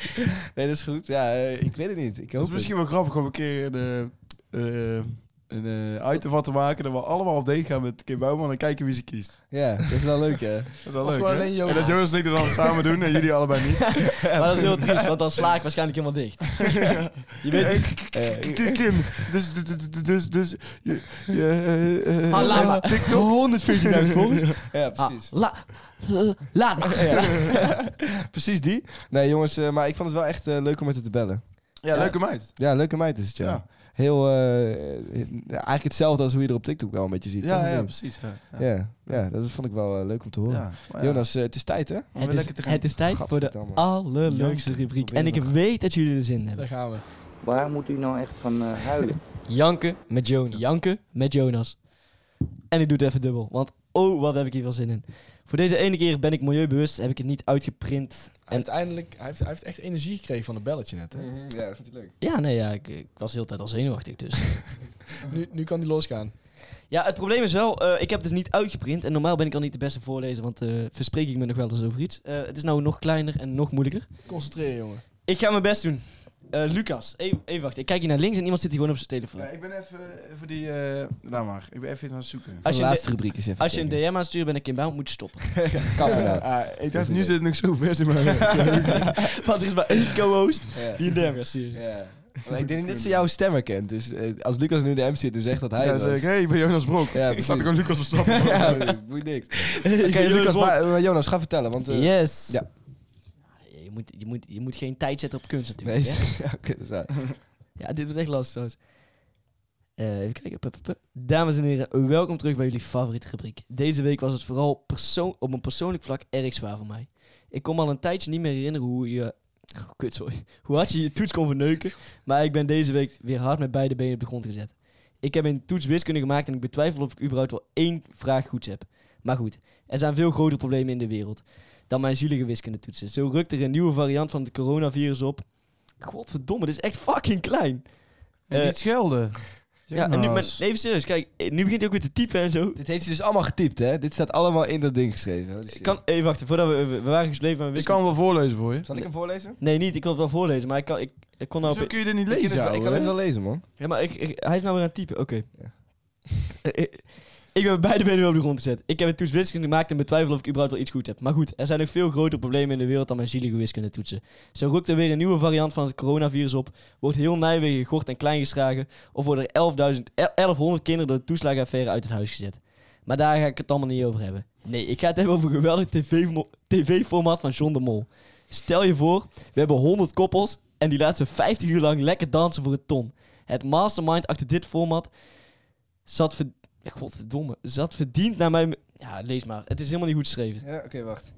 [SPEAKER 2] dat is goed. Ja, eh, ik weet het niet. Ik hoop
[SPEAKER 4] Het is misschien wel grappig om een keer een, eh, eh, een eh, item van te maken dat we allemaal op date gaan met Kim Bouwman en kijken wie ze kiest.
[SPEAKER 2] het. Ja, dat is wel leuk, hè?
[SPEAKER 4] Dat is wel
[SPEAKER 5] Of
[SPEAKER 4] leuk,
[SPEAKER 5] gewoon
[SPEAKER 4] hè?
[SPEAKER 5] alleen Jonas.
[SPEAKER 4] En dat Jonas en ik dat dan samen doen en jullie allebei niet.
[SPEAKER 3] Maar dat is heel triest, <laughs> want dan sla ik waarschijnlijk helemaal dicht. Je weet niet.
[SPEAKER 4] Kim, Kim, dus, dus, dus, dus, je, je, eh, eh,
[SPEAKER 3] Ah, laat maar.
[SPEAKER 4] TikTok 140 <laughs> volgers.
[SPEAKER 2] Ja, precies.
[SPEAKER 3] Ah, La, la- laat maar.
[SPEAKER 2] Precies die. Nee, jongens, eh, maar ik vond het wel echt eh, leuk om met haar te bellen.
[SPEAKER 4] Ja, leuke meid.
[SPEAKER 2] Ja, leuke meid is het, ja.
[SPEAKER 4] Ja.
[SPEAKER 2] Heel, eh, eh, eigenlijk hetzelfde als hoe je er op TikTok wel een beetje ziet. toch?
[SPEAKER 4] Ja, ja,
[SPEAKER 2] Nee.
[SPEAKER 4] precies. Ja, ja.
[SPEAKER 2] ja. ja, dat vond ik wel eh, leuk om te horen.
[SPEAKER 4] Ja, maar ja.
[SPEAKER 2] Jonas, eh, het is tijd, hè?
[SPEAKER 4] weer
[SPEAKER 3] Het
[SPEAKER 4] lekker te
[SPEAKER 3] is,
[SPEAKER 4] gaan.
[SPEAKER 3] het is tijd voor de
[SPEAKER 2] Gadverdamme.
[SPEAKER 3] allerleukste
[SPEAKER 2] Janken.
[SPEAKER 3] rubriek.
[SPEAKER 2] Probeer
[SPEAKER 3] En ik
[SPEAKER 2] nog.
[SPEAKER 3] weet dat jullie er zin in hebben.
[SPEAKER 5] Daar gaan we.
[SPEAKER 8] Waar moet u nou echt van eh, huilen?
[SPEAKER 3] Janken met Jonas. Janken met Jonas. En ik doe het even dubbel, want oh, wat heb ik hier veel zin in. Voor deze ene keer ben ik milieubewust, heb ik het niet uitgeprint.
[SPEAKER 5] Hij heeft, eindelijk, hij, heeft, hij heeft echt energie gekregen van een belletje net. Hè?
[SPEAKER 2] Ja, dat vind ik leuk.
[SPEAKER 3] Ja, nee, ja, ik, ik was de hele tijd al zenuwachtig dus.
[SPEAKER 5] Nu, nu kan hij losgaan.
[SPEAKER 3] <laughs> ja, het probleem is wel, eh, ik heb het dus niet uitgeprint. En normaal ben ik al niet de beste voorlezer, want eh, verspreek ik me nog wel eens over iets. Eh, het is nou nog kleiner en nog moeilijker.
[SPEAKER 5] Concentreer, jongen.
[SPEAKER 3] Ik ga mijn best doen. Eh, Lucas, even, even wachten. Ik kijk hier naar links en iemand zit hier gewoon op zijn telefoon.
[SPEAKER 4] Ja, ik ben even eh, voor die... eh nou maar, ik ben even iets aan het zoeken.
[SPEAKER 3] Als
[SPEAKER 2] de
[SPEAKER 3] je, een
[SPEAKER 2] laatste
[SPEAKER 3] D-
[SPEAKER 2] rubriek is even
[SPEAKER 3] als je een DM aanstuurt, ben ik in Bouw, moet je
[SPEAKER 2] <laughs>
[SPEAKER 3] stoppen. <laughs>
[SPEAKER 2] kappen nou.
[SPEAKER 4] Ah, ik
[SPEAKER 2] is
[SPEAKER 4] dacht, nu
[SPEAKER 2] leuk.
[SPEAKER 4] zit het nog zo ver in mijn...
[SPEAKER 3] Want er is maar één co-host
[SPEAKER 2] Ja.
[SPEAKER 3] die een DM gaat sturen.
[SPEAKER 2] Ja. Maar ik denk niet dat ze jouw stemmen kent. Dus eh, als Lucas nu de M zit en zegt dat hij
[SPEAKER 4] Ja,
[SPEAKER 2] dat
[SPEAKER 4] dan
[SPEAKER 2] was...
[SPEAKER 4] zeg ik, hey, ik ben Jonas Brok.
[SPEAKER 2] Ja,
[SPEAKER 4] ik sta
[SPEAKER 2] precies.
[SPEAKER 4] toch
[SPEAKER 2] <laughs>
[SPEAKER 4] gewoon Lucas Verstappen.
[SPEAKER 2] ja, dat boeit
[SPEAKER 4] <laughs>
[SPEAKER 2] niks. Oké,
[SPEAKER 3] ben Jonas
[SPEAKER 2] <laughs> Lucas,
[SPEAKER 3] Blok.
[SPEAKER 2] maar, eh, Jonas, ga vertellen. Want, eh,
[SPEAKER 3] yes.
[SPEAKER 2] ja.
[SPEAKER 3] Ah, Je, moet, je, moet, je moet geen tijd zetten op
[SPEAKER 2] <laughs>
[SPEAKER 3] kunst
[SPEAKER 2] nee,
[SPEAKER 3] natuurlijk.
[SPEAKER 2] ja,
[SPEAKER 3] hè?
[SPEAKER 2] <laughs> oké, dat is waar.
[SPEAKER 3] Ja, dit wordt echt lastig trouwens. Eh, even kijken. Pup, pup, pup. Dames en heren, welkom terug bij jullie favoriete rubriek. Deze week was het vooral persoon op een persoonlijk vlak erg zwaar voor mij. Ik kon me al een tijdje niet meer herinneren hoe je... Oh, kut, <laughs> sorry. Hoe hard je je toets kon verneuken. Maar ik ben deze week weer hard met beide benen op de grond gezet. Ik heb een toets wiskunde gemaakt en ik betwijfel of ik überhaupt wel één vraag goed heb. Maar goed, er zijn veel grotere problemen in de wereld dan mijn zielige wiskundetoetsen. Zo rukt er een nieuwe variant van het coronavirus op. Godverdomme, dit is echt fucking klein. Eh,
[SPEAKER 4] niet schelden.
[SPEAKER 3] ja, en nu, maar even serieus, kijk, eh, nu begint hij ook weer te typen en zo.
[SPEAKER 2] Dit heeft hij dus allemaal getypt, hè? Dit staat allemaal in dat ding geschreven. Dus, eh,
[SPEAKER 3] Ik Kan, even wachten, voordat we, we we waren gesleven maar we
[SPEAKER 4] ik kan hem wel voorlezen voor je.
[SPEAKER 2] Zal ik hem voorlezen?
[SPEAKER 3] Nee, niet, ik wil het wel voorlezen, maar ik, kan, ik, ik kon nou
[SPEAKER 4] Zo
[SPEAKER 3] op...
[SPEAKER 4] kun je dit niet
[SPEAKER 2] Ik,
[SPEAKER 4] lezen,
[SPEAKER 2] kan het wel lezen, man.
[SPEAKER 3] Ja, maar ik, ik- hij is nou weer aan het typen, oké. <laughs> ik ben met beide benen weer op de grond gezet. Ik heb een toets wiskunde gemaakt en betwijfel of ik überhaupt wel iets goed heb. Maar goed, er zijn nog veel grotere problemen in de wereld dan mijn zielige wiskunde toetsen. Zo rukt er weer een nieuwe variant van het coronavirus op, wordt heel Nijmegen gegort en klein geslagen, of worden er 11.000 el- 1100 kinderen door de toeslagenaffaire uit het huis gezet. Maar daar ga ik het allemaal niet over hebben. Nee, ik ga het hebben over een geweldig TV-mo- tv-format van John de Mol. Stel je voor, we hebben 100 koppels en die laten ze 50 uur lang lekker dansen voor een ton. Het mastermind achter dit format zat, ver... Godverdomme, zat verdiend naar mijn... Ja, lees maar. Het is helemaal niet goed geschreven.
[SPEAKER 2] Ja, oké, wacht.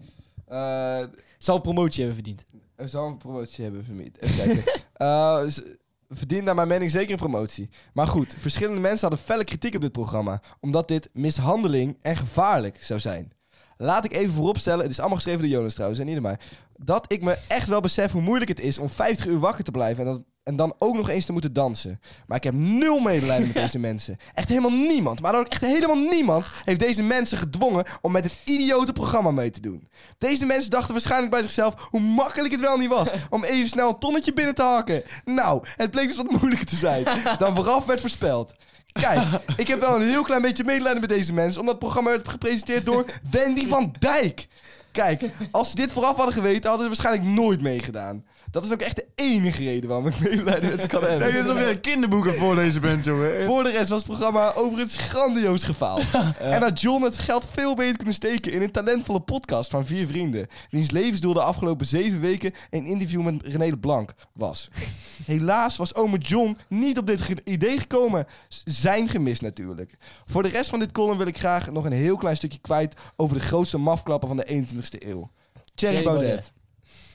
[SPEAKER 2] Eh
[SPEAKER 3] Het zou promotie hebben verdiend.
[SPEAKER 2] we zouden Eh, een promotie hebben vermid. Even kijken. Eh, z- verdient naar mijn mening zeker een promotie. Maar goed, verschillende mensen hadden felle kritiek op dit programma. Omdat dit mishandeling en gevaarlijk zou zijn. Laat ik even vooropstellen, het is allemaal geschreven door Jonas trouwens en niet door mij. Dat ik me echt wel besef hoe moeilijk het is om 50 uur wakker te blijven. En, dat, en dan ook nog eens te moeten dansen. Maar ik heb nul medelijden met deze mensen. Echt helemaal niemand, maar dan ook echt helemaal niemand heeft deze mensen gedwongen om met het idiote programma mee te doen. Deze mensen dachten waarschijnlijk bij zichzelf hoe makkelijk het wel niet was om even snel een tonnetje binnen te hakken. Nou, het bleek dus wat moeilijker te zijn dan vooraf werd voorspeld. Kijk, ik heb wel een heel klein beetje medelijden met deze mensen, omdat het programma werd gepresenteerd door Wendy van Dijk. Kijk, als ze dit vooraf hadden geweten, hadden ze waarschijnlijk nooit meegedaan. Dat is ook echt de enige reden waarom ik medelijden met ze kan hebben.
[SPEAKER 4] Nee, dit is alweer een kinderboek aan het voorlezen bent, jongen.
[SPEAKER 3] eh,
[SPEAKER 2] Voor de rest was het programma overigens grandioos
[SPEAKER 3] <laughs>
[SPEAKER 2] gefaald. En had John het geld veel beter kunnen steken in een talentvolle podcast van vier vrienden. Wiens levensdoel de afgelopen zeven weken een interview met René de Blanc
[SPEAKER 3] <laughs>
[SPEAKER 2] was. Helaas was ome John niet op dit ge- idee gekomen. S- Zijn gemis natuurlijk. Voor de rest van dit column wil ik graag nog een heel klein stukje kwijt over de grootste mafklappen van de 21ste eeuw. Thierry
[SPEAKER 3] Thierry Baudet.
[SPEAKER 2] Baudet.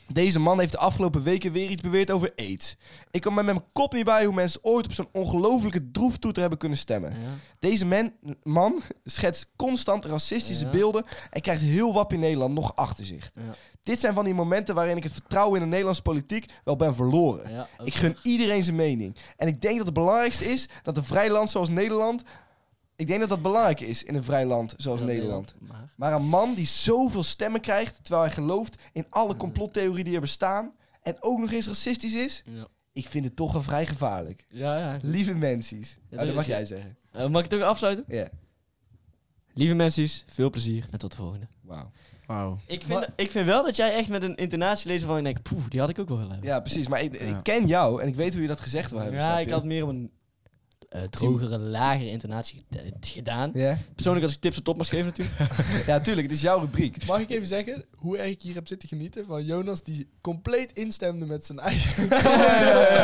[SPEAKER 2] Deze man heeft de afgelopen weken weer iets beweerd over AIDS. Ik kan met mijn kop niet bij hoe mensen ooit op zo'n ongelofelijke droeftoeter hebben kunnen stemmen.
[SPEAKER 3] Ja.
[SPEAKER 2] Deze men- man schetst constant racistische
[SPEAKER 3] Ja.
[SPEAKER 2] beelden en krijgt heel wat in Nederland nog achter zich.
[SPEAKER 3] Ja.
[SPEAKER 2] Dit zijn van die momenten waarin ik het vertrouwen in de Nederlandse politiek wel ben verloren.
[SPEAKER 3] Ja, ook
[SPEAKER 2] Ik gun iedereen zijn mening. En ik denk dat het belangrijkste is dat een vrij land zoals Nederland. Ik denk dat dat belangrijk is in een vrij land zoals
[SPEAKER 3] wel
[SPEAKER 2] Nederland.
[SPEAKER 3] Maar
[SPEAKER 2] Maar een man die zoveel stemmen krijgt terwijl hij gelooft in alle complottheorieën die er bestaan en ook nog eens racistisch is,
[SPEAKER 3] Ja.
[SPEAKER 2] ik vind het toch wel vrij gevaarlijk.
[SPEAKER 3] ja, ja.
[SPEAKER 2] Lieve mensies.
[SPEAKER 3] Ja,
[SPEAKER 2] Oh, dat
[SPEAKER 3] dat
[SPEAKER 2] mag
[SPEAKER 3] is-
[SPEAKER 2] jij zeggen.
[SPEAKER 3] Eh, mag ik het ook afsluiten?
[SPEAKER 2] Ja.
[SPEAKER 3] Lieve mensen, veel plezier en tot de volgende.
[SPEAKER 2] Wauw.
[SPEAKER 4] Wauw.
[SPEAKER 3] Ik vind, ik vind wel dat jij echt met een intonatie leest waarvan ik denk, poeh, die had ik ook wel willen hebben.
[SPEAKER 2] Ja, precies. Maar ik, ik
[SPEAKER 4] Ja.
[SPEAKER 2] ken jou en ik weet hoe je dat gezegd wil hebben. snap
[SPEAKER 3] ik
[SPEAKER 2] je?
[SPEAKER 3] had meer op een eh, drogere, lagere intonatie eh, gedaan.
[SPEAKER 2] Ja?
[SPEAKER 3] Persoonlijk als ik tips op top mag geven natuurlijk.
[SPEAKER 2] ja, tuurlijk. Het is jouw
[SPEAKER 3] <laughs>
[SPEAKER 2] rubriek.
[SPEAKER 5] Mag ik even zeggen hoe erg ik hier heb zitten genieten van Jonas die compleet instemde met zijn eigen. <laughs>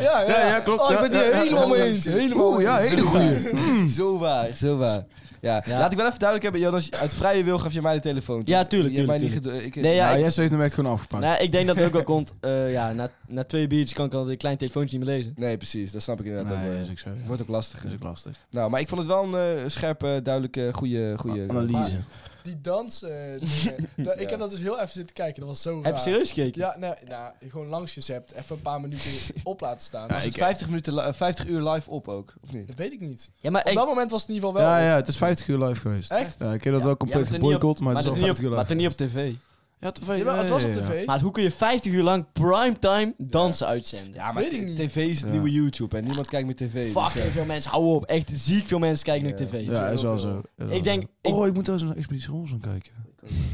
[SPEAKER 5] ja, ja.
[SPEAKER 4] Ja, ja, klopt.
[SPEAKER 5] Oh, ik
[SPEAKER 4] Ja,
[SPEAKER 5] ben het hier
[SPEAKER 4] ja, ja,
[SPEAKER 5] helemaal
[SPEAKER 4] ja.
[SPEAKER 5] mee eens. Helemaal
[SPEAKER 4] Oeh, ja,
[SPEAKER 5] mee eens.
[SPEAKER 4] hele goeie. Hmm.
[SPEAKER 2] Zo waar, zo waar. Ja.
[SPEAKER 3] Ja.
[SPEAKER 2] Laat ik wel even duidelijk hebben, Jonas, uit vrije wil gaf je mij de telefoon.
[SPEAKER 3] Ja, tuurlijk,
[SPEAKER 2] Je hebt mij
[SPEAKER 3] tuurlijk,
[SPEAKER 2] Niet gedo- ik,
[SPEAKER 3] Nee, ja,
[SPEAKER 4] nou,
[SPEAKER 3] ik-
[SPEAKER 4] Jesse heeft hem echt gewoon afgepakt.
[SPEAKER 3] Nou, ik denk dat het ook wel komt. eh, ja, na, na twee biertjes kan ik al een klein telefoontje niet meer lezen.
[SPEAKER 2] nee, precies. Dat snap ik inderdaad
[SPEAKER 4] Nee,
[SPEAKER 2] ook wel.
[SPEAKER 4] is ook zo. ja.
[SPEAKER 2] Het wordt ook lastiger.
[SPEAKER 4] Dat is ook lastig.
[SPEAKER 2] Nou, maar ik vond het wel een eh, scherpe, duidelijke, goede... goede
[SPEAKER 4] Analyse.
[SPEAKER 5] Die dans. eh,
[SPEAKER 4] <laughs>
[SPEAKER 5] dingen. Dat- Ik heb dat dus heel even zitten kijken. Dat was zo raar.
[SPEAKER 3] Heb je serieus gekeken?
[SPEAKER 5] Ja, nou, nou, gewoon langs gezept. Even een paar minuten
[SPEAKER 4] <laughs>
[SPEAKER 5] op laten staan.
[SPEAKER 4] Ja,
[SPEAKER 2] Is het
[SPEAKER 4] ik-
[SPEAKER 2] 50, minuten li- eh, 50 uur live op ook, of niet?
[SPEAKER 5] Dat weet ik niet.
[SPEAKER 3] Ja, maar
[SPEAKER 5] Op
[SPEAKER 3] ik-
[SPEAKER 5] dat moment was het in ieder geval wel.
[SPEAKER 4] Ja, ja, het is 50 uur live geweest.
[SPEAKER 5] Echt?
[SPEAKER 4] Ja, ik heb dat wel compleet
[SPEAKER 3] Ja, maar het is niet
[SPEAKER 4] geboycott, maar, het
[SPEAKER 3] maar
[SPEAKER 4] is
[SPEAKER 3] dat
[SPEAKER 4] wel
[SPEAKER 3] niet op,
[SPEAKER 4] 50 uur
[SPEAKER 3] maar
[SPEAKER 4] live.
[SPEAKER 3] dat niet op tv.
[SPEAKER 4] Ja,
[SPEAKER 5] Ja, maar het was op tv.
[SPEAKER 3] Maar hoe kun je 50 uur lang primetime dansen uitzenden?
[SPEAKER 2] Ja,
[SPEAKER 5] maar Weet ik niet.
[SPEAKER 2] tv is het nieuwe YouTube en niemand kijkt meer dus, tv.
[SPEAKER 3] Fucking
[SPEAKER 2] <laughs>
[SPEAKER 3] veel mensen, hou op. Echt ziek veel mensen kijken
[SPEAKER 2] Ja.
[SPEAKER 3] naar tv.
[SPEAKER 4] Ja, is wel zo. Is wel
[SPEAKER 3] Ik denk,
[SPEAKER 4] zo.
[SPEAKER 3] ik,
[SPEAKER 4] oh, ik moet wel eens naar Expeditie Robinson kijken.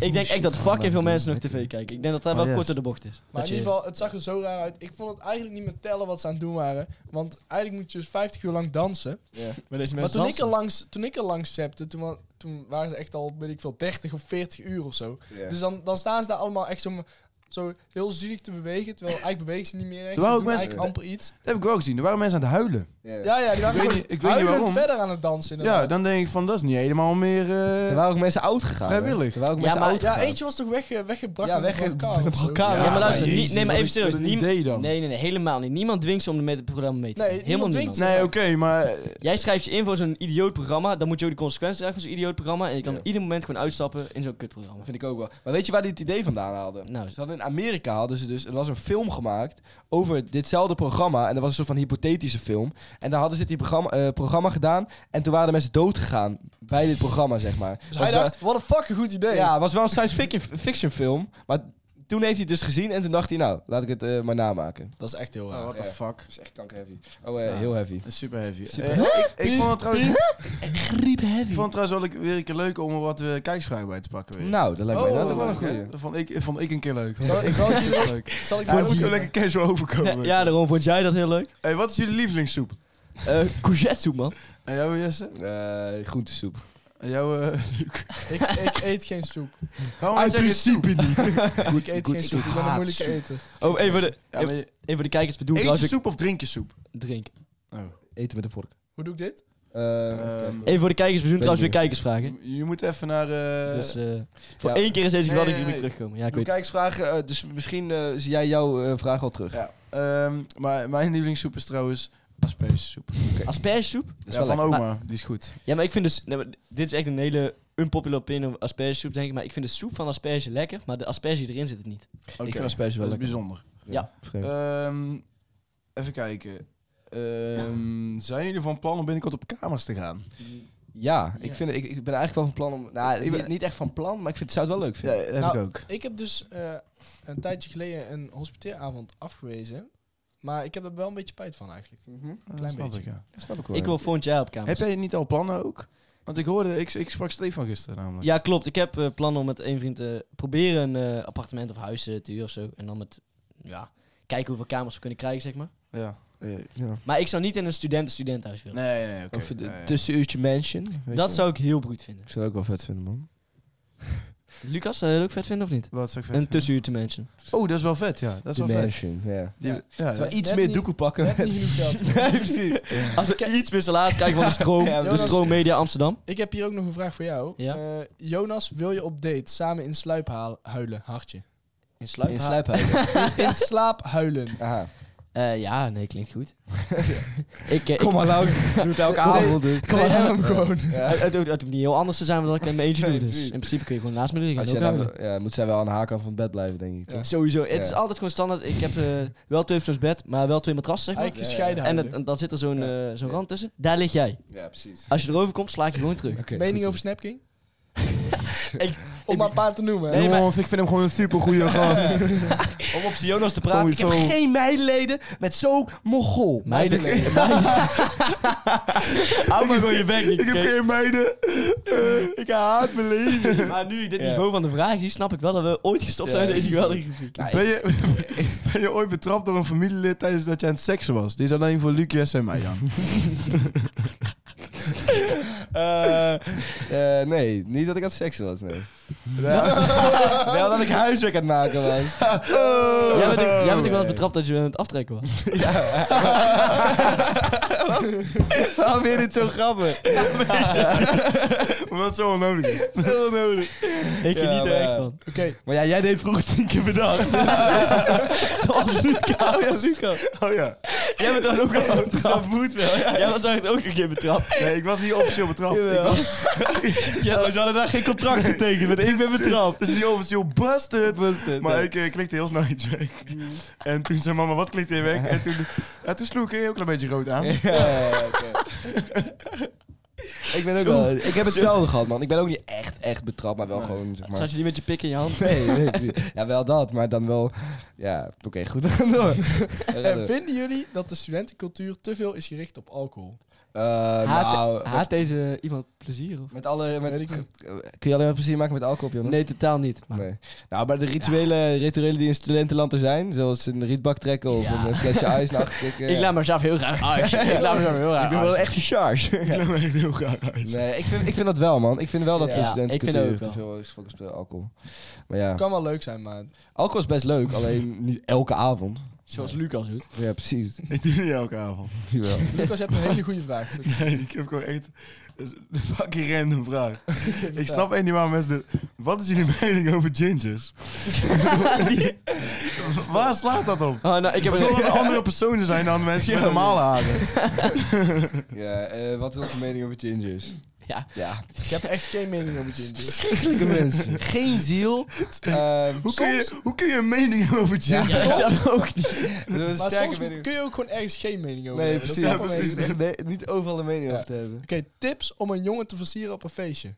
[SPEAKER 3] ik denk echt dat fucking veel
[SPEAKER 4] man.
[SPEAKER 3] mensen nog tv kijken. Ik denk dat daar
[SPEAKER 4] Oh,
[SPEAKER 3] wel
[SPEAKER 4] yes.
[SPEAKER 3] korter de bocht is.
[SPEAKER 5] Maar
[SPEAKER 3] Dat
[SPEAKER 5] in
[SPEAKER 3] je-
[SPEAKER 5] ieder geval, het zag er zo raar uit. Ik vond het eigenlijk niet meer tellen wat ze aan het doen waren. Want eigenlijk moet je dus 50 uur lang dansen.
[SPEAKER 3] Maar deze
[SPEAKER 5] Maar
[SPEAKER 3] mensen
[SPEAKER 5] toen ik, er
[SPEAKER 3] dansen.
[SPEAKER 5] langs, toen ik er langs zapte, toen, wa- Dus toen waren ze echt al, weet ik veel, 30 of 40 uur of zo. Dus dan, dan staan ze daar allemaal echt zo zo heel zielig te bewegen. Terwijl eigenlijk bewegen ze niet meer echt.
[SPEAKER 4] Terwijl
[SPEAKER 5] Ze
[SPEAKER 4] ook
[SPEAKER 5] doen
[SPEAKER 4] mensen-
[SPEAKER 5] eigenlijk amper iets.
[SPEAKER 4] Dat heb ik wel gezien. Er waren mensen aan het huilen.
[SPEAKER 5] Ja, ja, die waren
[SPEAKER 4] weet
[SPEAKER 5] gewoon
[SPEAKER 4] niet- ik weet niet
[SPEAKER 5] huilend
[SPEAKER 4] waarom.
[SPEAKER 5] verder aan het dansen.
[SPEAKER 4] Ja,
[SPEAKER 5] inderdaad.
[SPEAKER 4] dan denk ik van, dat is niet helemaal meer... eh,
[SPEAKER 2] Er waren ook mensen oud gegaan. hè?
[SPEAKER 4] Vrijwillig.
[SPEAKER 2] Er waren ook
[SPEAKER 3] Ja,
[SPEAKER 2] mensen
[SPEAKER 3] maar-
[SPEAKER 2] oud
[SPEAKER 5] Ja,
[SPEAKER 2] gegaan.
[SPEAKER 5] eentje was toch wegge- weggebracht
[SPEAKER 2] Ja,
[SPEAKER 5] met
[SPEAKER 2] wegge-
[SPEAKER 5] een
[SPEAKER 3] <laughs>
[SPEAKER 5] brancard of zo?
[SPEAKER 2] brancard.
[SPEAKER 3] Ja,
[SPEAKER 4] Ja,
[SPEAKER 3] maar luister,
[SPEAKER 4] maar
[SPEAKER 3] niet-
[SPEAKER 4] jezus,
[SPEAKER 3] nee, maar
[SPEAKER 4] wat
[SPEAKER 3] even
[SPEAKER 4] is dat
[SPEAKER 3] serieus.
[SPEAKER 4] een
[SPEAKER 3] Niem-
[SPEAKER 4] idee dan?
[SPEAKER 3] Nee, nee, nee, helemaal niet. Niemand dwingt ze om met het programma mee te
[SPEAKER 5] Nee,
[SPEAKER 3] doen. helemaal
[SPEAKER 5] niemand
[SPEAKER 3] niemand.
[SPEAKER 5] dwingt ze.
[SPEAKER 4] Nee, oké, maar... eh,
[SPEAKER 3] Jij schrijft je in voor zo'n idioot programma, dan moet je ook de consequenties dragen van zo'n idioot programma. En je kan op ieder moment gewoon uitstappen in zo'n kutprogramma.
[SPEAKER 2] Dat vind ik ook wel. Maar weet je waar die het idee vandaan hadden?
[SPEAKER 3] Nou,
[SPEAKER 2] Ze hadden in Amerika hadden ze dus, er was een film gemaakt over ditzelfde programma. En dat was een soort van hypothetische film. En daar hadden ze dit programma, eh, programma gedaan. En toen waren de mensen doodgegaan bij dit programma, zeg maar.
[SPEAKER 5] Dus hij dacht, what a fuck, een goed idee.
[SPEAKER 2] Ja, het was wel een science fiction, fiction film. Maar toen heeft hij het dus gezien en toen dacht hij, nou, laat ik het eh, maar namaken.
[SPEAKER 5] Dat is echt heel raar.
[SPEAKER 4] Oh, what the
[SPEAKER 2] Ja.
[SPEAKER 4] fuck.
[SPEAKER 2] Dat is echt kankerheavy. Oh, eh, heel heavy.
[SPEAKER 4] Dat is Super heavy. Eh, ik, ik vond het trouwens...
[SPEAKER 2] Griep heavy.
[SPEAKER 4] Ik vond het trouwens wel weer een keer leuk om er wat eh, kijksvragen bij te pakken weer.
[SPEAKER 2] Nou, dat lijkt mij
[SPEAKER 5] Oh,
[SPEAKER 2] dat ook wel een
[SPEAKER 4] Leuk, hè?
[SPEAKER 2] goeie.
[SPEAKER 4] Dat vond ik, vond ik een keer leuk.
[SPEAKER 5] Zal,
[SPEAKER 4] Nou. ik
[SPEAKER 5] zal ik
[SPEAKER 4] vond het
[SPEAKER 5] hier-
[SPEAKER 4] leuk.
[SPEAKER 5] zal ik
[SPEAKER 4] Hij
[SPEAKER 5] voor
[SPEAKER 4] moet gewoon lekker casual overkomen.
[SPEAKER 3] ja, daarom vond jij dat heel leuk.
[SPEAKER 4] Hey, wat is jullie lievelingssoep?
[SPEAKER 3] Eh courgette man.
[SPEAKER 4] En jouw Jesse?
[SPEAKER 2] Eh, groentesoep.
[SPEAKER 4] En jouw... eh,
[SPEAKER 5] <laughs>
[SPEAKER 4] Luc?
[SPEAKER 5] Ik, ik eet geen soep.
[SPEAKER 4] Waarom eet jij geen soep?
[SPEAKER 2] niet.
[SPEAKER 5] <laughs> Ik eet geen soep. Ik ben een
[SPEAKER 4] haat
[SPEAKER 5] moeilijke
[SPEAKER 4] soep.
[SPEAKER 5] eter.
[SPEAKER 3] Oh, even voor de,
[SPEAKER 4] Ja, maar je-
[SPEAKER 3] even voor de kijkers, we doen
[SPEAKER 4] Eet
[SPEAKER 3] trouwens
[SPEAKER 4] je
[SPEAKER 3] ook
[SPEAKER 4] soep of drink je soep?
[SPEAKER 3] drink.
[SPEAKER 2] Eten met een vork.
[SPEAKER 5] Hoe doe ik dit?
[SPEAKER 2] Eh, even
[SPEAKER 4] Ehm,
[SPEAKER 2] kijken.
[SPEAKER 3] Even voor de kijkers, we doen
[SPEAKER 2] Ben
[SPEAKER 3] trouwens weer
[SPEAKER 2] benieuwd.
[SPEAKER 3] kijkersvragen.
[SPEAKER 4] Je moet even naar... eh,
[SPEAKER 3] dus eh, voor
[SPEAKER 2] ja.
[SPEAKER 3] één keer is deze
[SPEAKER 4] Nee,
[SPEAKER 3] geval
[SPEAKER 4] nee,
[SPEAKER 3] dat jullie
[SPEAKER 4] nee.
[SPEAKER 3] terugkomen. Ja, ik
[SPEAKER 2] Doe
[SPEAKER 3] weet
[SPEAKER 2] kijkersvragen, eh, dus misschien eh, zie jij jouw eh, vraag al terug.
[SPEAKER 4] Ja. Ehm, maar mijn lievelingssoep is trouwens aspergesoep.
[SPEAKER 3] het. Aspergesoep?
[SPEAKER 2] Dat is
[SPEAKER 4] Ja,
[SPEAKER 2] wel
[SPEAKER 4] van
[SPEAKER 2] lekker.
[SPEAKER 4] oma, die is goed.
[SPEAKER 3] Ja, maar ik vind dus... nee, maar dit is echt een hele unpopular opinion over aspergesoep, denk ik. Maar ik vind de soep van asperge lekker, maar de asperge die erin zit het niet.
[SPEAKER 4] Oké,
[SPEAKER 2] Ik vind asperges wel
[SPEAKER 4] Dat is
[SPEAKER 2] lekker.
[SPEAKER 4] bijzonder.
[SPEAKER 3] Ja.
[SPEAKER 2] Vreemd.
[SPEAKER 4] Ehm, even kijken. Ehm, zijn jullie van plan om binnenkort op kamers te gaan?
[SPEAKER 2] ja, ik, vind, ik, ik ben eigenlijk wel van plan om... Nou, ik ben niet echt van plan, maar ik vind, zou het wel leuk vinden.
[SPEAKER 4] heb
[SPEAKER 5] Nou,
[SPEAKER 4] ik ook.
[SPEAKER 5] Ik heb dus eh, een tijdje geleden een hospiteeravond afgewezen. Maar ik heb er wel een beetje spijt van eigenlijk.
[SPEAKER 4] dat
[SPEAKER 5] Klein
[SPEAKER 4] snap
[SPEAKER 5] beetje.
[SPEAKER 4] ik, ja.
[SPEAKER 2] Dat snap ik wel.
[SPEAKER 3] Ik wil volgend jaar op kamers.
[SPEAKER 4] Heb jij niet al plannen ook? Want ik hoorde, ik, ik sprak Stefan gisteren namelijk.
[SPEAKER 3] Ja, klopt. Ik heb eh, plannen om met één vriend te proberen een eh, appartement of huis eh, te huren of zo. En dan met, ja, kijken hoeveel kamers we kunnen krijgen, zeg maar.
[SPEAKER 4] Ja. Nee,
[SPEAKER 2] Ja.
[SPEAKER 3] Maar ik zou niet in een studenten-studentenhuis willen.
[SPEAKER 4] nee, oké.
[SPEAKER 2] Of de
[SPEAKER 4] Ja, ja.
[SPEAKER 2] tussenuurtje mansion. weet
[SPEAKER 3] dat
[SPEAKER 2] je wel.
[SPEAKER 3] zou ik heel broed vinden.
[SPEAKER 2] Ik zou het ook wel vet vinden, man.
[SPEAKER 3] Lucas, zou je dat ook vet vinden of niet?
[SPEAKER 4] Wat zou ik
[SPEAKER 3] Een
[SPEAKER 4] vet
[SPEAKER 3] tussenuur te mensen.
[SPEAKER 4] vinden? Oh, dat is wel vet, ja. Dat is
[SPEAKER 2] De
[SPEAKER 4] wel vet.
[SPEAKER 2] mansion, ja.
[SPEAKER 4] Die-
[SPEAKER 5] Ja.
[SPEAKER 4] ja, dat-
[SPEAKER 2] Terwijl iets
[SPEAKER 5] net
[SPEAKER 2] meer
[SPEAKER 5] niet-
[SPEAKER 2] doeken pakken.
[SPEAKER 5] Net niet genoeg
[SPEAKER 2] <laughs>
[SPEAKER 5] geld.
[SPEAKER 3] Nee, precies. Als we iets meer salaris krijgen van de stroom,
[SPEAKER 2] Ja,
[SPEAKER 3] de
[SPEAKER 5] Jonas-
[SPEAKER 3] stroommedia Amsterdam.
[SPEAKER 5] Ik heb hier ook nog een vraag voor jou.
[SPEAKER 3] Ja.
[SPEAKER 5] Eh, Jonas, wil je op date samen in sluip haal- huilen? Hartje. <laughs>
[SPEAKER 3] In sluip.
[SPEAKER 2] In
[SPEAKER 3] <laughs>
[SPEAKER 2] sluiphuizen.
[SPEAKER 5] In slaap huilen.
[SPEAKER 2] Aha.
[SPEAKER 3] Eh, ja, nee, klinkt <laughs> goed. ik, eh,
[SPEAKER 2] Kom maar, Lau.
[SPEAKER 3] <laughs>
[SPEAKER 2] Doe het elke avond. dus.
[SPEAKER 5] Kom maar, hem gewoon.
[SPEAKER 3] ik- het, het, het hoeft niet heel anders te zijn dan dat ik met mijn eentje doe.
[SPEAKER 2] Nee,
[SPEAKER 3] Dus in
[SPEAKER 2] precies.
[SPEAKER 3] principe kun je gewoon naast me liggen.
[SPEAKER 2] Als
[SPEAKER 3] en
[SPEAKER 2] jij
[SPEAKER 3] ook
[SPEAKER 2] nou-
[SPEAKER 3] huilen.
[SPEAKER 2] ja, moet zij wel aan de haarkant van het bed blijven, denk ik.
[SPEAKER 5] Ja.
[SPEAKER 2] toch?
[SPEAKER 3] Sowieso. Het is
[SPEAKER 2] Ja.
[SPEAKER 3] altijd gewoon standaard. Ik heb eh, wel twee persoons bed, maar wel twee matrassen, zeg maar.
[SPEAKER 5] Eigenlijk
[SPEAKER 3] En,
[SPEAKER 5] gescheiden huilen.
[SPEAKER 3] dat- en dan zit er zo'n eh, zo'n rand tussen. Daar lig jij.
[SPEAKER 2] Ja, precies.
[SPEAKER 3] Als je erover komt, sla ik je gewoon terug.
[SPEAKER 2] Oké,
[SPEAKER 5] Mening
[SPEAKER 2] goed.
[SPEAKER 5] over
[SPEAKER 2] <laughs>
[SPEAKER 5] Snapking?
[SPEAKER 3] Ik-
[SPEAKER 5] Om maar een paar te noemen. hè.
[SPEAKER 3] Nee, maar-
[SPEAKER 4] Jongens, Oh, ik vind hem gewoon een supergoeie gast.
[SPEAKER 3] Om op Jonas te praten.
[SPEAKER 4] Sowieso.
[SPEAKER 3] Ik heb geen
[SPEAKER 2] medelijden met zo'n mogol.
[SPEAKER 3] meiden.
[SPEAKER 4] <laughs>
[SPEAKER 3] <laughs> Hou maar gewoon je bek niet.
[SPEAKER 4] ik heb geen meiden.
[SPEAKER 3] ik haat mijn leven. Maar nu ik dit niveau van de vraag zie, snap ik wel dat we ooit gestopt zijn in deze geweldige rubriek.
[SPEAKER 4] Ben je, ben je <laughs> ooit betrapt door een familielid tijdens dat je aan het seksen was? Dit is alleen voor Luc, Jesse en mij dan.
[SPEAKER 2] <laughs> Eh, nee, niet dat ik aan het seksen was, nee. <laughs> Wel dat ik huiswerk aan het maken was.
[SPEAKER 4] <laughs> Oh.
[SPEAKER 3] Jij bent, ook- jij bent ook wel eens betrapt dat je aan het aftrekken
[SPEAKER 2] <laughs> <laughs>
[SPEAKER 3] was.
[SPEAKER 2] Waarom vind je dit zo grappig?
[SPEAKER 4] Omdat het zo onnodig is.
[SPEAKER 2] Heel nodig.
[SPEAKER 3] Ik
[SPEAKER 2] Ja,
[SPEAKER 3] geniet er
[SPEAKER 2] maar-
[SPEAKER 3] echt van.
[SPEAKER 5] Oké,
[SPEAKER 2] Maar <laughs> ja, jij deed vroeger tien keer per dag.
[SPEAKER 3] Dat was Luca. Oh ja, Luca.
[SPEAKER 4] Oh ja.
[SPEAKER 3] Jij bent dan ook
[SPEAKER 2] <laughs>
[SPEAKER 3] al betrapt. Dat moet wel. Jij was eigenlijk ook nog geen betrapt.
[SPEAKER 4] Nee, ik was niet officieel betrapt. Ik was-
[SPEAKER 2] <laughs>
[SPEAKER 3] Ja, ze hadden daar geen contract getekend met ik ben betrapt.
[SPEAKER 4] Het is niet officieel busted. maar
[SPEAKER 2] nee.
[SPEAKER 4] ik eh, klikte heel snel iets weg. En toen zei mama, wat klikte je weg? En toen, ja, toen sloeg ik een heel klein beetje rood aan.
[SPEAKER 2] Ik ben ook wel... Ik heb hetzelfde gehad, man. Ik ben ook niet echt, echt betrapt, maar wel gewoon, zeg <laughs> maar...
[SPEAKER 3] Zat je die met je pik in je hand?
[SPEAKER 2] Nee, nee, nee. Ja, wel dat, maar dan wel... Ja, oké, goed, <laughs> we gaan door. We gaan
[SPEAKER 5] en
[SPEAKER 2] door.
[SPEAKER 5] <laughs> vinden jullie dat de studentencultuur te veel is gericht op alcohol?
[SPEAKER 2] Eh,
[SPEAKER 3] haat,
[SPEAKER 2] nou,
[SPEAKER 3] haat deze iemand plezier? Of?
[SPEAKER 2] met alle... Met,
[SPEAKER 5] Weet ik niet.
[SPEAKER 2] kun je alleen maar plezier maken met alcohol, Jonas?
[SPEAKER 3] Nee, totaal niet. Maar
[SPEAKER 2] Nee. Nou, maar de rituelen, rituelen die in studentenland er zijn, zoals een rietbak trekken of een eh, flesje ijs naar achter tikken,
[SPEAKER 3] Ik
[SPEAKER 2] ja.
[SPEAKER 3] laat mezelf heel graag uit. ik laat mezelf heel graag
[SPEAKER 2] Ah, Ik ben wel
[SPEAKER 3] uit.
[SPEAKER 2] echt een charge.
[SPEAKER 4] Ik ben echt heel graag uit.
[SPEAKER 2] Nee, ik vind, ik vind dat wel, man. Ik vind wel dat de
[SPEAKER 3] Ja, ik
[SPEAKER 2] studentencultuur
[SPEAKER 3] vind
[SPEAKER 2] te
[SPEAKER 3] ook wel.
[SPEAKER 2] veel is gefocust op alcohol. Maar ja,
[SPEAKER 5] kan wel leuk zijn, maar
[SPEAKER 2] alcohol is best leuk,
[SPEAKER 4] <laughs>
[SPEAKER 2] alleen niet elke avond.
[SPEAKER 3] Zoals Lucas doet.
[SPEAKER 2] Ja, precies.
[SPEAKER 4] Ik doe niet elke avond.
[SPEAKER 2] Die wel.
[SPEAKER 5] Lucas, je hebt een hele goede
[SPEAKER 2] <laughs>
[SPEAKER 5] vraag. Dus
[SPEAKER 4] <laughs>
[SPEAKER 5] ik
[SPEAKER 4] Nee, ik heb gewoon echt... Dat is een fucking random
[SPEAKER 2] <laughs>
[SPEAKER 4] vraag.
[SPEAKER 5] geef het
[SPEAKER 4] Ik
[SPEAKER 5] aan.
[SPEAKER 4] snap echt niet waarom mensen dit... Wat is jullie <laughs> mening over gingers? <laughs> Waar slaat dat op?
[SPEAKER 3] Oh, nou, ik heb
[SPEAKER 4] Zal dat er andere personen zijn dan mensen met normale haren?
[SPEAKER 2] Ja, eh, wat is onze mening over gingers?
[SPEAKER 3] Ja.
[SPEAKER 2] Ja,
[SPEAKER 5] Ik heb echt geen mening over dus. ginger.
[SPEAKER 2] verschrikkelijke mensen. Geen ziel. <laughs> Ehm,
[SPEAKER 4] Hoe kun, je, hoe kun je een mening <laughs> hebben over
[SPEAKER 2] Ja,
[SPEAKER 4] gingers?
[SPEAKER 2] soms ook <laughs> niet. een
[SPEAKER 5] Maar
[SPEAKER 2] sterke
[SPEAKER 5] soms
[SPEAKER 2] mening.
[SPEAKER 5] kun je ook gewoon ergens geen mening over
[SPEAKER 2] Nee,
[SPEAKER 5] hebben. Dat
[SPEAKER 2] precies.
[SPEAKER 5] is wel
[SPEAKER 4] precies.
[SPEAKER 5] gewoon mening.
[SPEAKER 2] Nee, niet overal een mening
[SPEAKER 5] Ja.
[SPEAKER 2] over te hebben.
[SPEAKER 5] Oké, tips om een jongen te versieren op een feestje.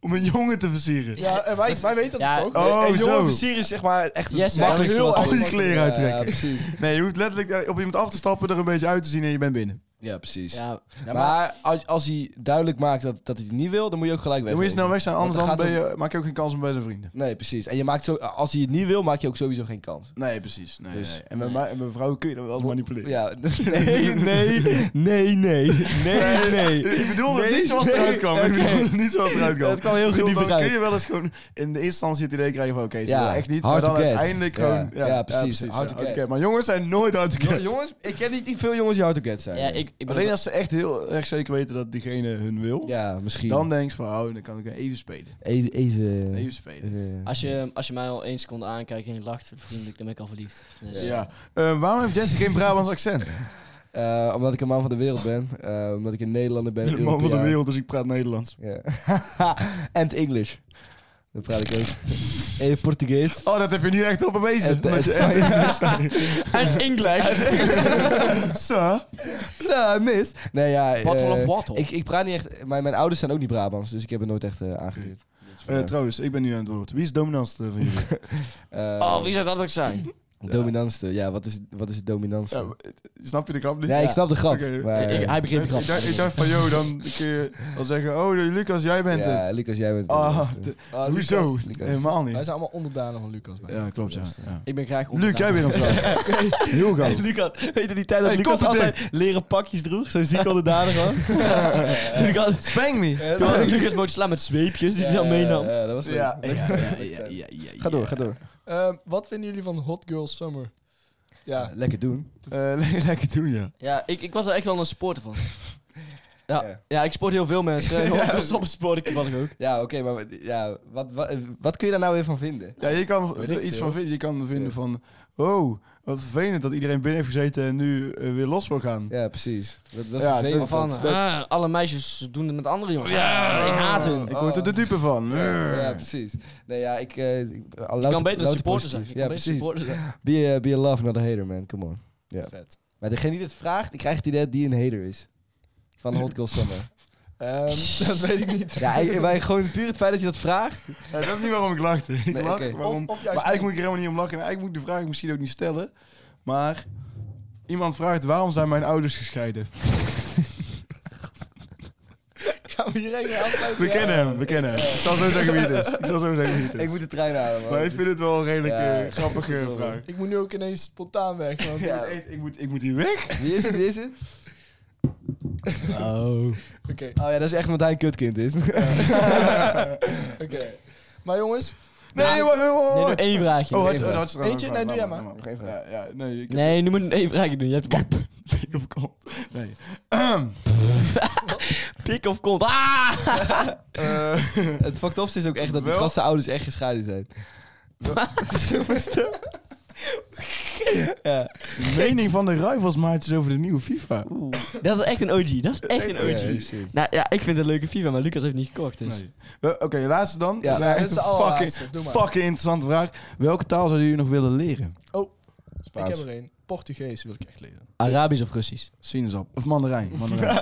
[SPEAKER 4] Om een jongen te versieren.
[SPEAKER 5] Ja, en wij, wij weten dat
[SPEAKER 3] Ja,
[SPEAKER 5] ook.
[SPEAKER 4] Oh,
[SPEAKER 2] een jongen
[SPEAKER 4] zo.
[SPEAKER 2] versier is zeg maar echt
[SPEAKER 3] Yes,
[SPEAKER 2] het makkelijkste
[SPEAKER 5] heel
[SPEAKER 2] wat er
[SPEAKER 4] Al
[SPEAKER 5] erg.
[SPEAKER 2] is.
[SPEAKER 4] die kleren uittrekken.
[SPEAKER 2] Ja, precies.
[SPEAKER 4] Nee, je hoeft letterlijk eh, op iemand af te stappen, er een beetje uit te zien en je bent binnen.
[SPEAKER 2] Ja, precies.
[SPEAKER 3] Ja,
[SPEAKER 2] maar als, als hij duidelijk maakt dat, dat hij het niet wil, dan moet je ook gelijk weg.
[SPEAKER 4] Dan moet je snel nou weg zijn,
[SPEAKER 2] Want
[SPEAKER 4] anders dan
[SPEAKER 2] dan
[SPEAKER 4] ben je, maak je ook geen kans meer bij zijn vrienden.
[SPEAKER 2] Nee, precies. En je maakt zo, als hij het niet wil, maak je ook sowieso geen kans.
[SPEAKER 4] Nee, precies. Nee,
[SPEAKER 2] Dus-
[SPEAKER 4] nee. En met mij- en met vrouwen kun je dat wel eens manipuleren.
[SPEAKER 2] Ja, <laughs> nee, nee, nee, nee, nee, nee.
[SPEAKER 4] Ik bedoel het
[SPEAKER 2] Nee,
[SPEAKER 4] niet zoals het
[SPEAKER 2] nee,
[SPEAKER 4] eruit kwam. Ik
[SPEAKER 2] oké.
[SPEAKER 4] bedoel het niet zoals het eruit kwam.
[SPEAKER 2] Dat kwam heel
[SPEAKER 4] Ik bedoel,
[SPEAKER 2] goed
[SPEAKER 4] Dan kun
[SPEAKER 2] begrijpen.
[SPEAKER 4] je wel eens gewoon in de eerste instantie het idee krijgen van oké, ze
[SPEAKER 2] Ja,
[SPEAKER 4] willen echt niet.
[SPEAKER 2] hard
[SPEAKER 4] Maar dan
[SPEAKER 2] to get.
[SPEAKER 4] uiteindelijk
[SPEAKER 2] Ja,
[SPEAKER 4] gewoon...
[SPEAKER 2] ja, precies. Hard to get.
[SPEAKER 4] Maar jongens zijn nooit hard to get.
[SPEAKER 2] Jongens, ik ken niet veel jongens die hard to get zijn.
[SPEAKER 3] ja ik, ik ben
[SPEAKER 4] Alleen als ze echt heel erg zeker weten dat diegene hun wil,
[SPEAKER 2] Ja, misschien.
[SPEAKER 4] dan denk ze van oh, dan kan ik even spelen.
[SPEAKER 2] even... even, eh,
[SPEAKER 4] Even spelen.
[SPEAKER 2] even-
[SPEAKER 3] Als je, als je mij al één seconde aankijkt en je lacht, vriendelijk, dan ben ik al verliefd. Dus, <laughs>
[SPEAKER 4] Ja. Eh, waarom heeft Jesse geen Brabants
[SPEAKER 2] <laughs>
[SPEAKER 4] accent?
[SPEAKER 2] Eh, omdat ik een man van de wereld ben. Eh, omdat ik een Nederlander ben.
[SPEAKER 4] Ik ben een man van de
[SPEAKER 2] Europeaan.
[SPEAKER 4] wereld, dus ik praat Nederlands.
[SPEAKER 2] Ja. <laughs> En het Engels. Dat praat ik ook.
[SPEAKER 4] <laughs>
[SPEAKER 2] En het Portugees.
[SPEAKER 4] Oh, dat heb je nu echt op bewezen.
[SPEAKER 2] Het-
[SPEAKER 4] Omdat
[SPEAKER 2] het-
[SPEAKER 4] je echt-
[SPEAKER 2] <laughs>
[SPEAKER 3] En Engels.
[SPEAKER 4] Zo.
[SPEAKER 2] Zo, mis. Nee, ja. eh,
[SPEAKER 3] Bottle of water.
[SPEAKER 2] ik, ik praat niet echt... Mijn, mijn ouders zijn ook niet Brabants, dus ik heb het nooit echt eh, aangeleerd. Dus,
[SPEAKER 4] Eh,
[SPEAKER 2] eh,
[SPEAKER 4] trouwens, ik ben nu aan het woord. Wie is dominantst eh, van
[SPEAKER 2] <laughs>
[SPEAKER 4] jullie?
[SPEAKER 2] eh,
[SPEAKER 3] Oh, wie zou dat ook zijn?
[SPEAKER 2] Dominantste. Ja, wat is, wat is het dominantste?
[SPEAKER 4] Ja, snap je de grap niet?
[SPEAKER 2] nee, ik snap de grap.
[SPEAKER 4] Oké.
[SPEAKER 2] maar,
[SPEAKER 3] Ik- ik- hij begint de grap.
[SPEAKER 4] Ik dacht, ik dacht van, joh, dan kun je wel zeggen, oh, Lucas, jij bent
[SPEAKER 2] ja,
[SPEAKER 4] het.
[SPEAKER 2] Lucas, jij bent het.
[SPEAKER 4] Ah,
[SPEAKER 2] dominantste.
[SPEAKER 4] d-
[SPEAKER 5] Ah, Lucas.
[SPEAKER 4] hoezo?
[SPEAKER 2] Lucas.
[SPEAKER 4] Helemaal
[SPEAKER 5] Wij
[SPEAKER 4] niet.
[SPEAKER 5] zijn allemaal onderdanen van Lucas. bij.
[SPEAKER 4] Ja, klopt, ja. ja.
[SPEAKER 3] Ik ben graag
[SPEAKER 4] Luc, jij weer een vraag.
[SPEAKER 2] Heel gauw.
[SPEAKER 3] <laughs> Lucas, weet je die tijd dat
[SPEAKER 4] Hey,
[SPEAKER 3] Lucas
[SPEAKER 4] koppeldik.
[SPEAKER 3] altijd leren pakjes droeg? Zo ziek onderdanig <laughs> was. Toen ik altijd-
[SPEAKER 4] Spank me.
[SPEAKER 3] Toen had ik Lucas moeten slaan met zweepjes die hij dan meenam.
[SPEAKER 2] Ja, dat was leuk.
[SPEAKER 4] Ja, ja, ja,
[SPEAKER 2] Ga door, ga door.
[SPEAKER 5] Ehm, wat vinden jullie van Hot Girl Summer? Ja,
[SPEAKER 2] Lekker doen.
[SPEAKER 4] Eh, le- <laughs> lekker doen, ja.
[SPEAKER 3] Ja, ik, ik was er echt wel een sporter van. Ja,
[SPEAKER 2] Ja.
[SPEAKER 3] <laughs> ja. ik sport heel veel <laughs> mensen. Ja, op een sport, ik toevallig ook.
[SPEAKER 2] Ja, oké, maar wat- ja, wat, wat, wat kun je daar nou weer van vinden?
[SPEAKER 4] Ja, je kan
[SPEAKER 2] Weet
[SPEAKER 4] er
[SPEAKER 2] ik
[SPEAKER 4] iets
[SPEAKER 2] veel.
[SPEAKER 4] van vinden. Je kan vinden
[SPEAKER 2] Ja.
[SPEAKER 4] van, oh, wat vervelend dat iedereen binnen heeft gezeten en nu eh, weer los wil gaan.
[SPEAKER 2] Ja, precies. Dat, dat is
[SPEAKER 4] Ja,
[SPEAKER 2] vervelend.
[SPEAKER 4] dat-
[SPEAKER 2] dat-
[SPEAKER 3] Van, ah, alle meisjes doen het met andere jongens. Ja, ik haat hun.
[SPEAKER 4] Ik word er de dupe van.
[SPEAKER 2] Ja, precies. Nee, ja, ik... eh, ik
[SPEAKER 3] Ik kan beter een supporter zijn. Ik
[SPEAKER 2] Ja,
[SPEAKER 3] kan beter
[SPEAKER 2] precies.
[SPEAKER 3] supporter zijn.
[SPEAKER 2] Be a, be a love, not a hater, man. Come on. Ja.
[SPEAKER 5] vet.
[SPEAKER 2] Maar degene die dit vraagt, ik krijg het idee dat die een hater is. Van Hot Girl <laughs> Summer. <laughs>
[SPEAKER 5] Ehm, dat weet ik niet.
[SPEAKER 2] ja, ik- maar gewoon puur het feit dat je dat vraagt.
[SPEAKER 4] Ja, dat is niet waarom ik lachte. Ik
[SPEAKER 2] Nee,
[SPEAKER 4] lach
[SPEAKER 2] oké.
[SPEAKER 4] waarom-
[SPEAKER 5] Of- of juist
[SPEAKER 4] maar eigenlijk moet ik er helemaal niet om lachen. En eigenlijk moet ik de vraag misschien ook niet stellen. Maar iemand vraagt waarom zijn mijn ouders gescheiden?
[SPEAKER 5] Gaan we hier echt mee afsluiten?
[SPEAKER 4] We kennen hem, we kennen hem. Ik zal zo zeggen wie het is. Ik zal zo zeggen wie het is.
[SPEAKER 2] Ik moet de trein halen, man.
[SPEAKER 4] maar
[SPEAKER 5] Oh,
[SPEAKER 4] ik vind het wel een redelijk
[SPEAKER 2] Ja,
[SPEAKER 4] eh,
[SPEAKER 5] <laughs>
[SPEAKER 4] grappige
[SPEAKER 2] goed,
[SPEAKER 4] vraag.
[SPEAKER 5] Ik moet nu ook ineens spontaan weg. Want
[SPEAKER 2] Ja.
[SPEAKER 4] Ik, ik, moet, ik moet hier weg.
[SPEAKER 2] Wie is het, wie is het?
[SPEAKER 3] Oh.
[SPEAKER 5] Oké,
[SPEAKER 2] Oh ja, dat is echt omdat hij een kutkind is.
[SPEAKER 5] oké. Maar jongens,
[SPEAKER 4] Nee,
[SPEAKER 5] Ja.
[SPEAKER 4] nee, wacht, wacht, wacht.
[SPEAKER 3] Nee, nog één vraagje.
[SPEAKER 4] Oh,
[SPEAKER 3] nog
[SPEAKER 4] had
[SPEAKER 3] één
[SPEAKER 4] je,
[SPEAKER 3] vraag.
[SPEAKER 4] oh, had je er
[SPEAKER 5] Eentje?
[SPEAKER 4] nog
[SPEAKER 5] Nee,
[SPEAKER 4] een
[SPEAKER 5] doe
[SPEAKER 4] vraag.
[SPEAKER 5] jij maar.
[SPEAKER 4] Wacht, wacht, wacht. Ja, ja, nee, ik heb
[SPEAKER 3] Nee, nu moet je nog één vraagje doen. Je hebt
[SPEAKER 4] <laughs> pik of kont. Nee. Ehm,
[SPEAKER 3] pik of kont. Ah!
[SPEAKER 4] <laughs> Eh,
[SPEAKER 2] het fucked upste is ook echt dat de
[SPEAKER 4] Wel-
[SPEAKER 2] gasten ouders echt gescheiden zijn.
[SPEAKER 4] mening van de ruivelsmaatjes over de nieuwe FIFA.
[SPEAKER 3] Dat is echt een OG. Dat is echt een
[SPEAKER 2] Ja,
[SPEAKER 3] OG.
[SPEAKER 2] precies.
[SPEAKER 3] Nou ja, ik vind het een leuke FIFA, maar Lucas heeft niet gekocht. Dus.
[SPEAKER 4] Nee. Wel, Eh, Oké, laatste dan.
[SPEAKER 2] Ja,
[SPEAKER 4] Dat is
[SPEAKER 5] ja,
[SPEAKER 4] echt
[SPEAKER 5] dit is de
[SPEAKER 4] een
[SPEAKER 5] allerlaatste.
[SPEAKER 4] fucking,
[SPEAKER 5] Doe maar.
[SPEAKER 4] fucking interessante vraag. Welke taal zouden jullie nog willen leren?
[SPEAKER 5] ik heb er één. Portugees wil ik echt leren.
[SPEAKER 3] Arabisch of Russisch?
[SPEAKER 4] Sinaasappel. Of
[SPEAKER 5] <laughs>
[SPEAKER 4] mandarijn. mandarijn.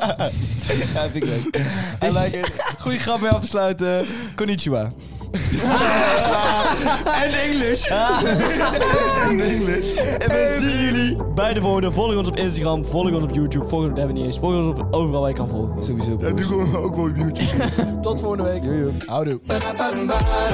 [SPEAKER 3] <laughs>
[SPEAKER 2] Ja, vind ik leuk. I like it. Goeie grap mee af te sluiten. Konnichiwa.
[SPEAKER 4] En Engels.
[SPEAKER 3] En we zien jullie bij de volgende. Volg ons op Instagram, volg ons op YouTube, volg ons op hebben we niet eens. Volg ons op overal waar je kan volgen.
[SPEAKER 2] Sowieso.
[SPEAKER 4] En nu komen we ook wel op YouTube.
[SPEAKER 5] Tot volgende week. Houdoe.